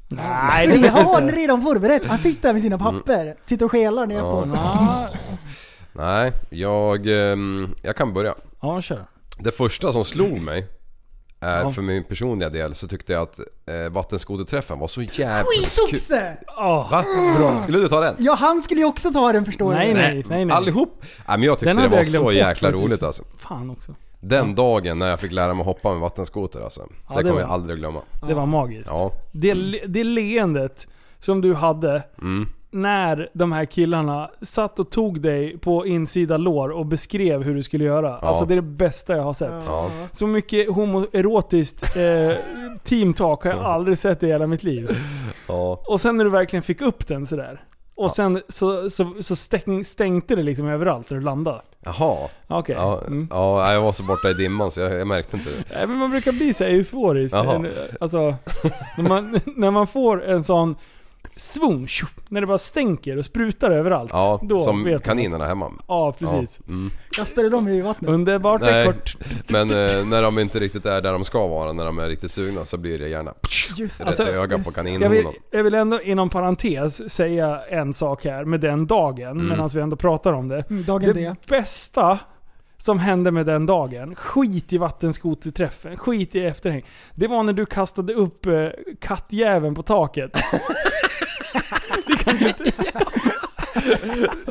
[SPEAKER 5] Nej,
[SPEAKER 7] *laughs* Vi
[SPEAKER 5] det Mm.
[SPEAKER 7] har det redan förberett. Han sitter här med sina papper. Sitter och skelar ner
[SPEAKER 6] Ja.
[SPEAKER 7] på honom. *laughs* Ah,
[SPEAKER 6] Nej, jag, ehm, jag kan börja.
[SPEAKER 5] Ja, kör.
[SPEAKER 6] Det första som slog mig är
[SPEAKER 5] Ja.
[SPEAKER 6] för min personliga del så tyckte jag att eh, vattenskoterträffen var så jävla kul.
[SPEAKER 7] Skitoxe!
[SPEAKER 5] Åh,
[SPEAKER 6] Va? Bra. Skulle du ta den?
[SPEAKER 7] Ja, han skulle ju också ta den förstår
[SPEAKER 5] Nej,
[SPEAKER 7] du.
[SPEAKER 5] nej, nej, nej.
[SPEAKER 6] Allihop? Nej men jag tyckte
[SPEAKER 5] Den
[SPEAKER 6] det
[SPEAKER 5] hade
[SPEAKER 6] var
[SPEAKER 5] jag glömt
[SPEAKER 6] så
[SPEAKER 5] bort
[SPEAKER 6] jäkla
[SPEAKER 5] faktiskt.
[SPEAKER 6] roligt alltså.
[SPEAKER 5] Fan också.
[SPEAKER 6] Den dagen när jag fick lära mig att hoppa med vattenskoter alltså.
[SPEAKER 5] Ja, det
[SPEAKER 6] det kommer
[SPEAKER 5] var-
[SPEAKER 6] jag aldrig glömma.
[SPEAKER 5] Det var magiskt.
[SPEAKER 6] Ja.
[SPEAKER 5] Det, le- det leendet som du hade
[SPEAKER 6] Mm.
[SPEAKER 5] när de här killarna satt och tog dig på insida lår och beskrev hur du skulle göra.
[SPEAKER 6] Ja.
[SPEAKER 5] Alltså det är det bästa jag har sett.
[SPEAKER 6] Ja.
[SPEAKER 5] Så mycket homoerotiskt eh, teamtalk har jag aldrig sett i hela mitt liv.
[SPEAKER 6] Ja.
[SPEAKER 5] Och sen när du verkligen fick upp den sådär. Och sen så, så, så stäng, stängde det liksom överallt när du landade.
[SPEAKER 6] Jaha.
[SPEAKER 5] Okej.
[SPEAKER 6] Ja,
[SPEAKER 5] Mm.
[SPEAKER 6] ja, nej, jag var så borta i dimman så jag, jag märkte inte det.
[SPEAKER 5] Äh, Men man brukar bli så här euforisk.
[SPEAKER 6] Jaha.
[SPEAKER 5] Alltså, när, man, *laughs* när man får en sån svung, tjup, när det bara stänker och sprutar överallt.
[SPEAKER 6] Ja,
[SPEAKER 5] då vet
[SPEAKER 6] som
[SPEAKER 5] man.
[SPEAKER 6] kaninerna hemma.
[SPEAKER 5] Ja, precis.
[SPEAKER 6] Ja. Mm.
[SPEAKER 7] Kastade de i vattnet?
[SPEAKER 5] Underbart
[SPEAKER 6] Nej.
[SPEAKER 5] kort.
[SPEAKER 6] Men eh, när de inte riktigt är där de ska vara, när de är riktigt sugna så blir det gärna
[SPEAKER 7] Just det.
[SPEAKER 6] rätt
[SPEAKER 5] Alltså,
[SPEAKER 6] i ögat på
[SPEAKER 5] Jag vill,
[SPEAKER 6] kaninhonan.
[SPEAKER 5] jag vill ändå inom parentes säga en sak här med den dagen,
[SPEAKER 6] Mm.
[SPEAKER 5] medan vi ändå pratar om det.
[SPEAKER 7] Mm, Dagen
[SPEAKER 5] det
[SPEAKER 7] D.
[SPEAKER 5] bästa som hände med den dagen, skit i vattenskoterträffen, skit i efterhäng. Det var när du kastade upp eh,
[SPEAKER 7] *laughs*
[SPEAKER 5] kattjäveln på taket. det kan du inte...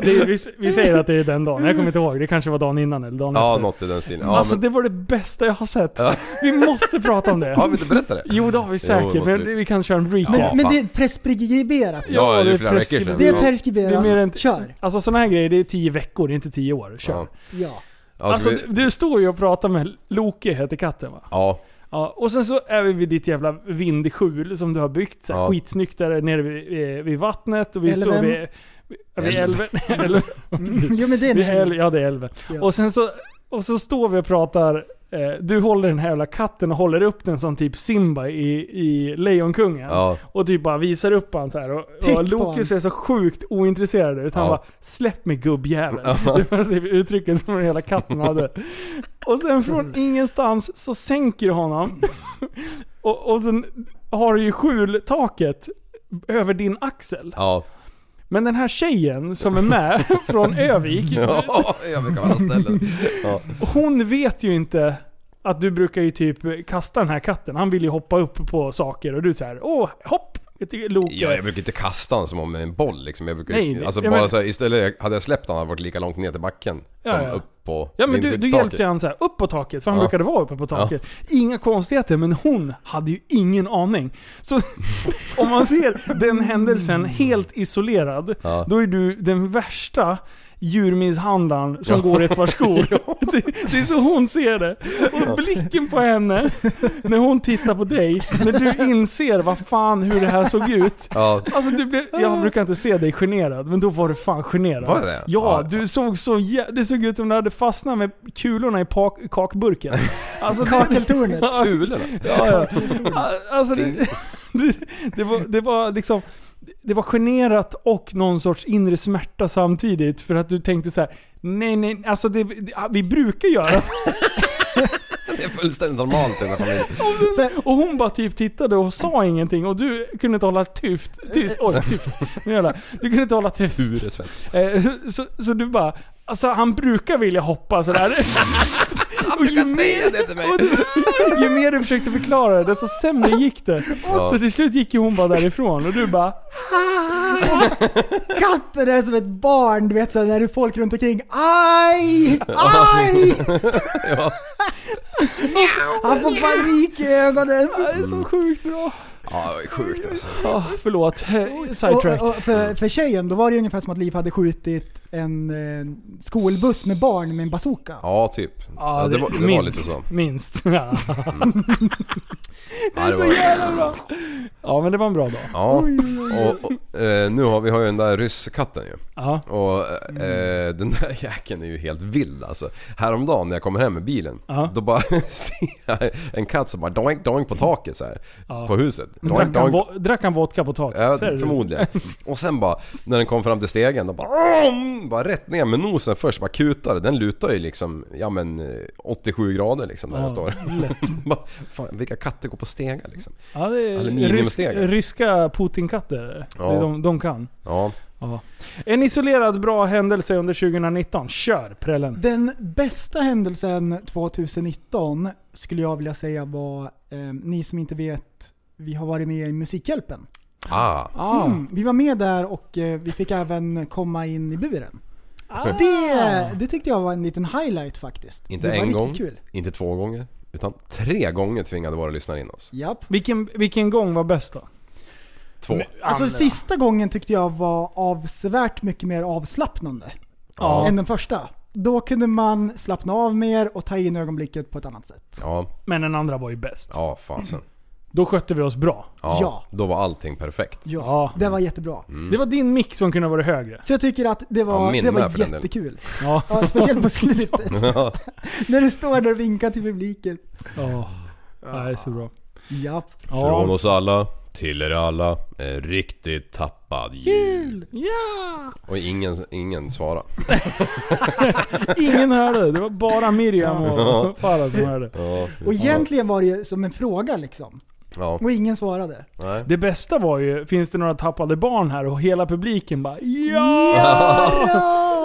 [SPEAKER 5] Det är, vi, vi säger att det är den dagen, jag kommer inte ihåg. Det kanske var dagen innan eller dagen
[SPEAKER 6] Ja,
[SPEAKER 5] efter.
[SPEAKER 6] något i den stilen. Ja,
[SPEAKER 5] alltså
[SPEAKER 6] men,
[SPEAKER 5] det var det bästa jag har sett.
[SPEAKER 6] Ja.
[SPEAKER 5] Vi måste prata om det.
[SPEAKER 6] har vi inte berättat det?
[SPEAKER 5] Jo det har vi säkert,
[SPEAKER 6] måste
[SPEAKER 5] men
[SPEAKER 6] vi.
[SPEAKER 5] vi kan köra en recap.
[SPEAKER 7] Men,
[SPEAKER 6] Ja,
[SPEAKER 7] men
[SPEAKER 6] fan.
[SPEAKER 7] det är preskriberat.
[SPEAKER 6] Ja,
[SPEAKER 5] Ja,
[SPEAKER 6] det
[SPEAKER 5] det
[SPEAKER 6] är flera
[SPEAKER 5] är
[SPEAKER 6] veckor sedan.
[SPEAKER 7] Det är
[SPEAKER 6] Ja.
[SPEAKER 5] det är
[SPEAKER 7] preskriberat.
[SPEAKER 5] mer än,
[SPEAKER 7] Kör.
[SPEAKER 5] Alltså sådana här grejer, det är 10 veckor, det är inte 10 år. Kör.
[SPEAKER 6] Ja.
[SPEAKER 7] Ja.
[SPEAKER 6] Ja,
[SPEAKER 5] Alltså,
[SPEAKER 6] ska vi-
[SPEAKER 5] du, du står ju och pratar med Loke, heter katten va?
[SPEAKER 6] ja,
[SPEAKER 5] Ja, och sen så är vi vid ditt jävla vindskjul som du har byggt så här,
[SPEAKER 6] Ja.
[SPEAKER 5] skitsnyggt där nere vid, eh, vid vattnet och vi står
[SPEAKER 7] Älven.
[SPEAKER 5] vid, vid älven. *laughs* Älven. Precis.
[SPEAKER 7] Jo men det är
[SPEAKER 5] Vid
[SPEAKER 7] en
[SPEAKER 5] äl, ja det är älven.
[SPEAKER 7] Ja.
[SPEAKER 5] Och sen så, och så står vi och pratar, eh, du håller den här jävla katten och håller upp den som typ Simba i, i Lejonkungen.
[SPEAKER 6] ja.
[SPEAKER 5] Och typ bara visar upp han så här. Och,
[SPEAKER 7] Titt på
[SPEAKER 5] och Loki
[SPEAKER 7] han.
[SPEAKER 5] ser så sjukt ointresserad ut. Han
[SPEAKER 6] Ja.
[SPEAKER 5] bara “Släpp mig gubbjävel”. *laughs* Det var typ uttrycken som den hela katten hade. Och sen från ingenstans så sänker du honom. Och, och sen har du ju skjultaket över din axel.
[SPEAKER 6] ja.
[SPEAKER 5] Men den här tjejen som är med *laughs* från Övik,
[SPEAKER 6] Ja, jag brukar vara ställen. Ja.
[SPEAKER 5] hon vet ju inte att du brukar ju typ kasta den här katten. Han vill ju hoppa upp på saker och du så här “Åh, hopp!” Loki.
[SPEAKER 6] ja, jag brukar inte kasta honom som om en boll liksom. Jag brukar,
[SPEAKER 5] Nej, nej.
[SPEAKER 6] alltså,
[SPEAKER 5] Jag
[SPEAKER 6] bara
[SPEAKER 5] men-
[SPEAKER 6] så här, istället hade jag släppt honom hade han varit lika långt ner till backen
[SPEAKER 5] Ja,
[SPEAKER 6] som
[SPEAKER 5] ja.
[SPEAKER 6] upp på
[SPEAKER 5] Ja men du, du
[SPEAKER 6] vindskyddsstaket.
[SPEAKER 5] hjälpte han så här upp på taket, för han
[SPEAKER 6] Ja.
[SPEAKER 5] brukade vara uppe på taket. Inga konstigheter, men hon hade ju ingen aning. Så *laughs* om man ser den händelsen helt isolerad,
[SPEAKER 6] Ja.
[SPEAKER 5] då är du den värsta djurmisshandlaren som går i ett par
[SPEAKER 6] *laughs*
[SPEAKER 5] skor. *laughs* Det, det är så hon ser det. Och blicken på henne, när hon tittar på dig, när du inser vad fan hur det här såg ut.
[SPEAKER 6] Ja,
[SPEAKER 5] Alltså du blev, jag brukar inte se dig generad, men då var du fan generad.
[SPEAKER 6] Var det?
[SPEAKER 5] Ja,
[SPEAKER 6] Ja.
[SPEAKER 5] du såg så jä- Det såg ut som du hade fastnat med kulorna i pak-
[SPEAKER 6] *laughs*
[SPEAKER 5] kakburken. Alltså, det-
[SPEAKER 7] kakeltornet.
[SPEAKER 5] *laughs* Ja,
[SPEAKER 6] kulorna.
[SPEAKER 5] ja, ja. Alltså, det, det, *laughs* det, var, det var liksom... Det var generat och någon sorts inre smärta samtidigt för att du tänkte så här: nej nej, alltså det, det, vi brukar göra så.
[SPEAKER 6] Det är fullständigt normalt i den här familjen.
[SPEAKER 5] Och hon bara typ tittade och sa ingenting och du kunde inte hålla tyft, tyst, oj tyft, nu jävlar. Du kunde inte hålla tyst.
[SPEAKER 6] Ture Svensson.
[SPEAKER 5] Eh, så, så du bara, alltså han brukar vilja hoppa sådär.
[SPEAKER 6] *laughs*
[SPEAKER 5] och ju, mer,
[SPEAKER 6] det till mig!
[SPEAKER 5] och du, ju mer du försökte förklara det, desto sämre gick det.
[SPEAKER 6] Ja.
[SPEAKER 5] Så till slut gick ju hon bara därifrån och du bara,
[SPEAKER 7] Katten är som ett barn, du vet såhär när det är folk runt omkring. Aj! Aj! Han får panik i ögonen.
[SPEAKER 5] "Ah, det är
[SPEAKER 6] Mm.
[SPEAKER 5] så sjukt bra.
[SPEAKER 6] Ja, det är sjukt alltså.
[SPEAKER 5] Ah, förlåt, Eh, sidetrack.
[SPEAKER 7] Och, och för, för tjejen, då var det ju ungefär som att Liv hade skjutit en eh, skolbuss med barn med en bazooka.
[SPEAKER 6] Ja, typ.
[SPEAKER 5] Ja,
[SPEAKER 6] Ja, det, var, det var
[SPEAKER 5] minst,
[SPEAKER 6] lite så.
[SPEAKER 5] *laughs* Minst. Ja.
[SPEAKER 6] Ja, det var,
[SPEAKER 5] ja men det var en bra dag.
[SPEAKER 6] ja. Och, och eh, nu har vi har ju den där rysskatten ju.
[SPEAKER 5] Ja.
[SPEAKER 6] Och eh, den där *laughs* jäkeln är ju helt vild alltså. Häromdagen när jag kommer hem med bilen,
[SPEAKER 5] Ja.
[SPEAKER 6] då bara *laughs* ser jag en katt som bara doink doink på taket så här På huset. Doink
[SPEAKER 5] Drack han,
[SPEAKER 6] doink.
[SPEAKER 5] vo- drack han vodka på taket?
[SPEAKER 6] Ja,
[SPEAKER 5] Ser du?
[SPEAKER 6] förmodligen. Och sen bara, när den kom fram till stegen, då bara, om, bara rätt ner med nosen först, bara kutade. Den lutar ju liksom, ja men eh, 87 grader liksom när
[SPEAKER 5] Ja,
[SPEAKER 6] den står. *laughs* Bara, Fan, vilka katter går på stegar liksom?
[SPEAKER 5] Ja, det är rysk,
[SPEAKER 6] Aluminiumstegar.
[SPEAKER 5] ryska Putin-katter.
[SPEAKER 6] Ja.
[SPEAKER 5] Det är De, de kan.
[SPEAKER 6] Ja,
[SPEAKER 5] En isolerad bra händelse under 2019. Kör prällen.
[SPEAKER 7] Den bästa händelsen 2019 skulle jag vilja säga var, eh, ni som inte vet, vi har varit med i Musikhjälpen.
[SPEAKER 6] ah,
[SPEAKER 5] Ah.
[SPEAKER 7] Mm, vi var med där och eh, vi fick även komma in i buren. Det, det tyckte jag var en liten highlight faktiskt.
[SPEAKER 6] Inte
[SPEAKER 7] det var
[SPEAKER 6] en
[SPEAKER 7] riktigt
[SPEAKER 6] gång.
[SPEAKER 7] kul.
[SPEAKER 6] inte två gånger, utan tre gånger tvingade våra lyssnare in oss.
[SPEAKER 7] Japp.
[SPEAKER 5] Vilken, vilken gång var bäst då?
[SPEAKER 6] Två.
[SPEAKER 7] Alltså sista gången tyckte jag var avsevärt mycket mer avslappnande
[SPEAKER 5] Ja.
[SPEAKER 7] än den första. Då kunde man slappna av mer och ta in ögonblicket på ett annat sätt.
[SPEAKER 6] Ja,
[SPEAKER 5] Men den andra var ju bäst.
[SPEAKER 6] ja fasen.
[SPEAKER 5] Då skötte vi oss bra.
[SPEAKER 6] Ja,
[SPEAKER 7] Ja.
[SPEAKER 6] Då var allting perfekt.
[SPEAKER 5] Ja.
[SPEAKER 7] Det var jättebra.
[SPEAKER 5] Det var din mick som kunde ha varit högre.
[SPEAKER 7] Så jag tycker att det
[SPEAKER 6] Mm. Ja,
[SPEAKER 7] var,
[SPEAKER 6] min
[SPEAKER 7] det
[SPEAKER 6] med
[SPEAKER 7] var
[SPEAKER 6] för den delen.
[SPEAKER 7] jättekul.
[SPEAKER 5] Ja.
[SPEAKER 7] Ja, speciellt på slutet.
[SPEAKER 6] *laughs* Ja.
[SPEAKER 7] När du står där och vinkar till publiken.
[SPEAKER 5] Oh. Nej, så bra.
[SPEAKER 7] Japp.
[SPEAKER 6] Från
[SPEAKER 5] Ja.
[SPEAKER 6] oss alla, till er alla, en riktigt tappad jul.
[SPEAKER 5] ja!
[SPEAKER 6] Och ingen, ingen svarade.
[SPEAKER 5] Ingen hörde. Det var bara Miriam
[SPEAKER 6] *laughs*
[SPEAKER 5] och Farah som hörde.
[SPEAKER 6] Ja,
[SPEAKER 7] Och egentligen var det ju som en fråga liksom.
[SPEAKER 6] ja.
[SPEAKER 7] Och ingen svarade.
[SPEAKER 6] Nej.
[SPEAKER 5] Det bästa var ju, finns det några tappade barn här? Och hela publiken bara ja!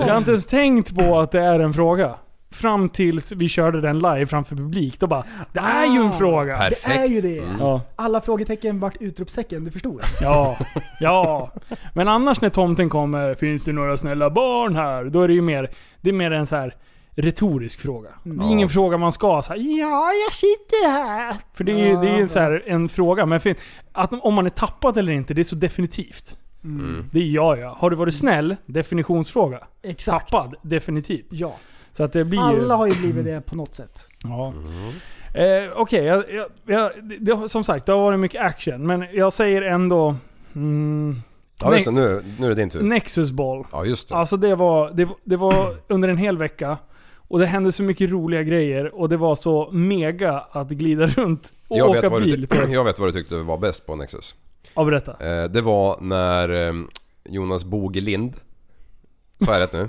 [SPEAKER 5] Jag har inte ens tänkt på att det är en fråga. fram tills vi körde den live framför publik. Då bara, det är ju en
[SPEAKER 7] Ah.
[SPEAKER 5] fråga.
[SPEAKER 6] Perfekt.
[SPEAKER 7] Det är ju det.
[SPEAKER 5] Ja,
[SPEAKER 7] Alla frågetecken vart utropstecken, du förstår.
[SPEAKER 5] ja, ja. Men annars när tomten kommer, finns det några snälla barn här? Då är det ju mer, det är mer en så här retorisk fråga. Det är ingen fråga man ska så här, ja jag sitter här. För det är ju det är ju en så här, en fråga. Men fin- att, om man är tappad eller inte, det är så definitivt. Det är ja ja. Har du varit snäll? Definitionsfråga.
[SPEAKER 7] Mm. Exakt.
[SPEAKER 5] Tappad? Definitivt.
[SPEAKER 7] Ja.
[SPEAKER 5] Så att det blir ju...
[SPEAKER 7] Alla har ju blivit det på något sätt.
[SPEAKER 5] Ja. Eh, Okej, jag, jag, jag, det- det, har- som sagt det har varit mycket action. Men jag säger ändå... Mm,
[SPEAKER 6] Ja just det, nu, nu är det din tur.
[SPEAKER 5] Nexus Ball.
[SPEAKER 6] Ja just det.
[SPEAKER 5] Alltså det var, det, var- det
[SPEAKER 6] *clears throat*
[SPEAKER 5] var under en hel vecka. Och det hände så mycket roliga grejer och det var så mega att glida runt och
[SPEAKER 6] jag,
[SPEAKER 5] åka
[SPEAKER 6] vet vad
[SPEAKER 5] bil.
[SPEAKER 6] du,
[SPEAKER 5] På.
[SPEAKER 6] ty- *clears throat* jag vet vad du tyckte var bäst på Nexus.
[SPEAKER 5] Ja, berätta.
[SPEAKER 6] Eh, det var när eh, Jonas Bogelind, sa jag rätt nu?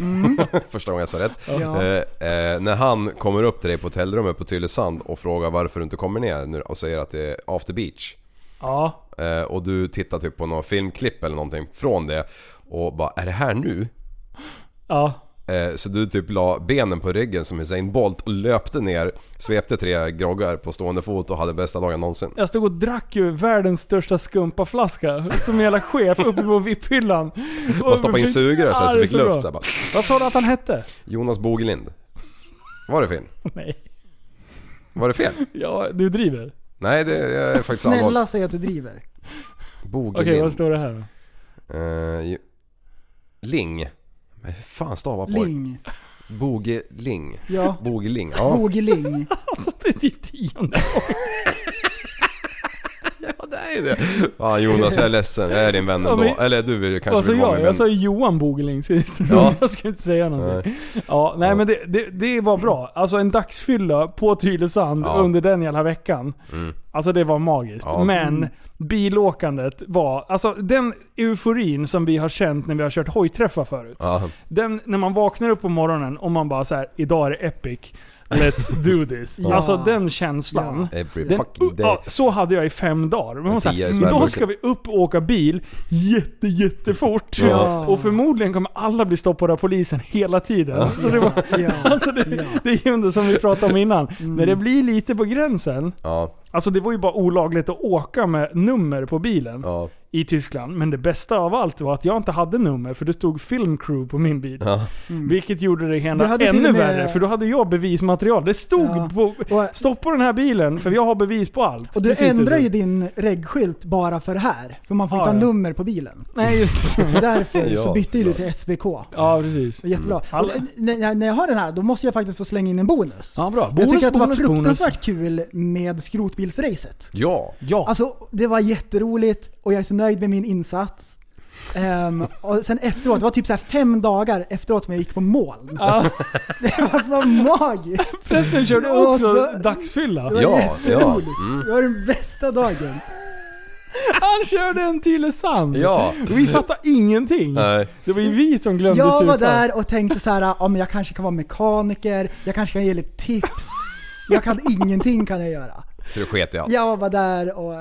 [SPEAKER 5] Mm.
[SPEAKER 6] *laughs* Första gången jag sa rätt.
[SPEAKER 7] Ja.
[SPEAKER 6] Eh, eh, när han kommer upp till dig på hotellrummet på Tylösand och frågar varför du inte kommer ner nu och säger att det är after beach.
[SPEAKER 5] Ja.
[SPEAKER 6] Eh, och du tittar typ på någon filmklipp eller någonting från det och bara är det här nu?
[SPEAKER 5] Ja.
[SPEAKER 6] Eh, Så du typ la benen på ryggen som Usain Bolt och löpte ner, svepte tre groggar på stående fot och hade bästa dagen någonsin.
[SPEAKER 5] Jag stod och drack ju världens största skumpaflaska som hela chef uppe på VIP-hyllan.
[SPEAKER 6] Man stoppade in sugrör så, här,
[SPEAKER 5] Ja,
[SPEAKER 6] så
[SPEAKER 5] det är
[SPEAKER 6] fick
[SPEAKER 5] så
[SPEAKER 6] luft
[SPEAKER 5] bra.
[SPEAKER 6] så här, bara.
[SPEAKER 5] Vad sa du att han hette?
[SPEAKER 6] Jonas Bogelind. Var det fel?
[SPEAKER 5] Nej.
[SPEAKER 6] Var det fel?
[SPEAKER 5] Ja, du driver?
[SPEAKER 6] Nej, det är faktiskt allvarligt.
[SPEAKER 7] Snälla säg att du driver.
[SPEAKER 5] Okej,
[SPEAKER 6] Bogelind.
[SPEAKER 5] vad står det här då?
[SPEAKER 6] Eh, ju- Ling. Men hur fan stavar på
[SPEAKER 7] Ling.
[SPEAKER 6] Bogeling.
[SPEAKER 7] Ja.
[SPEAKER 6] Bogeling. Ja.
[SPEAKER 7] Bogeling.
[SPEAKER 5] Alltså det är typ tionde.
[SPEAKER 6] ja, det är det. Ja, Jonas, jag är ledsen. Jag är din vän
[SPEAKER 5] Ja,
[SPEAKER 6] ändå.
[SPEAKER 5] men- Alltså,
[SPEAKER 6] Eller du vill kanske
[SPEAKER 5] Vad sa
[SPEAKER 6] vill vara
[SPEAKER 5] jag?
[SPEAKER 6] min
[SPEAKER 5] Jag sa
[SPEAKER 6] vän.
[SPEAKER 5] ju Johan Bogeling, så
[SPEAKER 6] Ja.
[SPEAKER 5] jag skulle inte säga någonting. Ja, nej men det, det, det var bra. Alltså en dagsfylla på Tylösand
[SPEAKER 6] Ja. Mm.
[SPEAKER 5] under den jävla veckan. Alltså det var magiskt.
[SPEAKER 6] Ja.
[SPEAKER 5] Men bilåkandet var... Alltså den euforin som vi har känt när vi har kört hojträffar förut.
[SPEAKER 6] Ja.
[SPEAKER 5] Den, när man vaknar upp på morgonen och man bara så här: idag är det epic. Let's do this. Alltså den känslan.
[SPEAKER 6] Every
[SPEAKER 5] Den,
[SPEAKER 6] fucking day.
[SPEAKER 5] ja, så hade jag i fem dagar. Men man så
[SPEAKER 6] Tia i
[SPEAKER 5] här,
[SPEAKER 6] Sverige brukar-
[SPEAKER 5] idag ska vi upp och åka bil jätte, jättefort.
[SPEAKER 6] Ja.
[SPEAKER 5] Och förmodligen kommer alla bli stoppade av polisen hela tiden. *laughs* Så det, var,
[SPEAKER 7] Ja. Mm.
[SPEAKER 5] alltså det, det är ju det som vi pratade om innan. När det blir lite på gränsen.
[SPEAKER 6] Ja,
[SPEAKER 5] Alltså det var ju bara olagligt att åka med nummer på bilen
[SPEAKER 6] ja.
[SPEAKER 5] i Tyskland. Men det bästa av allt var att jag inte hade nummer för det stod filmcrew på min bil.
[SPEAKER 6] Ja.
[SPEAKER 5] Vilket gjorde det
[SPEAKER 7] Du
[SPEAKER 5] hela
[SPEAKER 7] hade till
[SPEAKER 5] ännu
[SPEAKER 7] och med-
[SPEAKER 5] värre för då hade jag bevismaterial. Det stod
[SPEAKER 7] Ja.
[SPEAKER 5] på...
[SPEAKER 7] Och,
[SPEAKER 5] Stoppa den här bilen för jag har bevis på allt.
[SPEAKER 7] och du
[SPEAKER 5] Precis,
[SPEAKER 7] ändrar
[SPEAKER 5] du.
[SPEAKER 7] ju din reggskylt bara för det här. För man får
[SPEAKER 5] Ja,
[SPEAKER 7] inte ha
[SPEAKER 5] ja. Mm.
[SPEAKER 7] nummer på bilen.
[SPEAKER 5] Nej just det.
[SPEAKER 7] Så därför
[SPEAKER 6] Ja,
[SPEAKER 7] så bytte ju du
[SPEAKER 6] såklart.
[SPEAKER 7] till SVK.
[SPEAKER 5] Ja precis.
[SPEAKER 7] Jättebra.
[SPEAKER 5] Mm. Alla-
[SPEAKER 7] Och, eh, när, när jag har den här, då måste jag faktiskt få slänga in en bonus.
[SPEAKER 5] Ja bra.
[SPEAKER 7] jag tycker att det var
[SPEAKER 5] bonus, bonus.
[SPEAKER 7] fruktansvärt kul med skrotbilsracet.
[SPEAKER 6] ja.
[SPEAKER 5] Ja.
[SPEAKER 7] Alltså, det var jätteroligt och jag är så nöjd med min insats. Ehm, och sen efteråt, det var typ så här fem dagar efteråt som jag gick på moln.
[SPEAKER 5] Ja,
[SPEAKER 7] *laughs* Det var så magiskt!
[SPEAKER 5] förresten körde
[SPEAKER 7] Ja,
[SPEAKER 5] också
[SPEAKER 7] så-
[SPEAKER 5] dagsfylla.
[SPEAKER 6] Ja,
[SPEAKER 7] var
[SPEAKER 6] ja.
[SPEAKER 7] jätteroligt.
[SPEAKER 5] Mm.
[SPEAKER 7] Det var den bästa dagen.
[SPEAKER 5] Han körde en Tylösand.
[SPEAKER 6] Mm, Ja. Eh,
[SPEAKER 5] Vi fattar ingenting.
[SPEAKER 6] Nej.
[SPEAKER 5] Det var ju vi som glömde
[SPEAKER 7] Jag
[SPEAKER 5] supa.
[SPEAKER 7] var där och tänkte så här, ja men jag kanske kan vara mekaniker, jag kanske kan ge lite tips. Jag kan ingenting kan jag göra.
[SPEAKER 6] Så du sket i allt?
[SPEAKER 7] Jag var bara där och,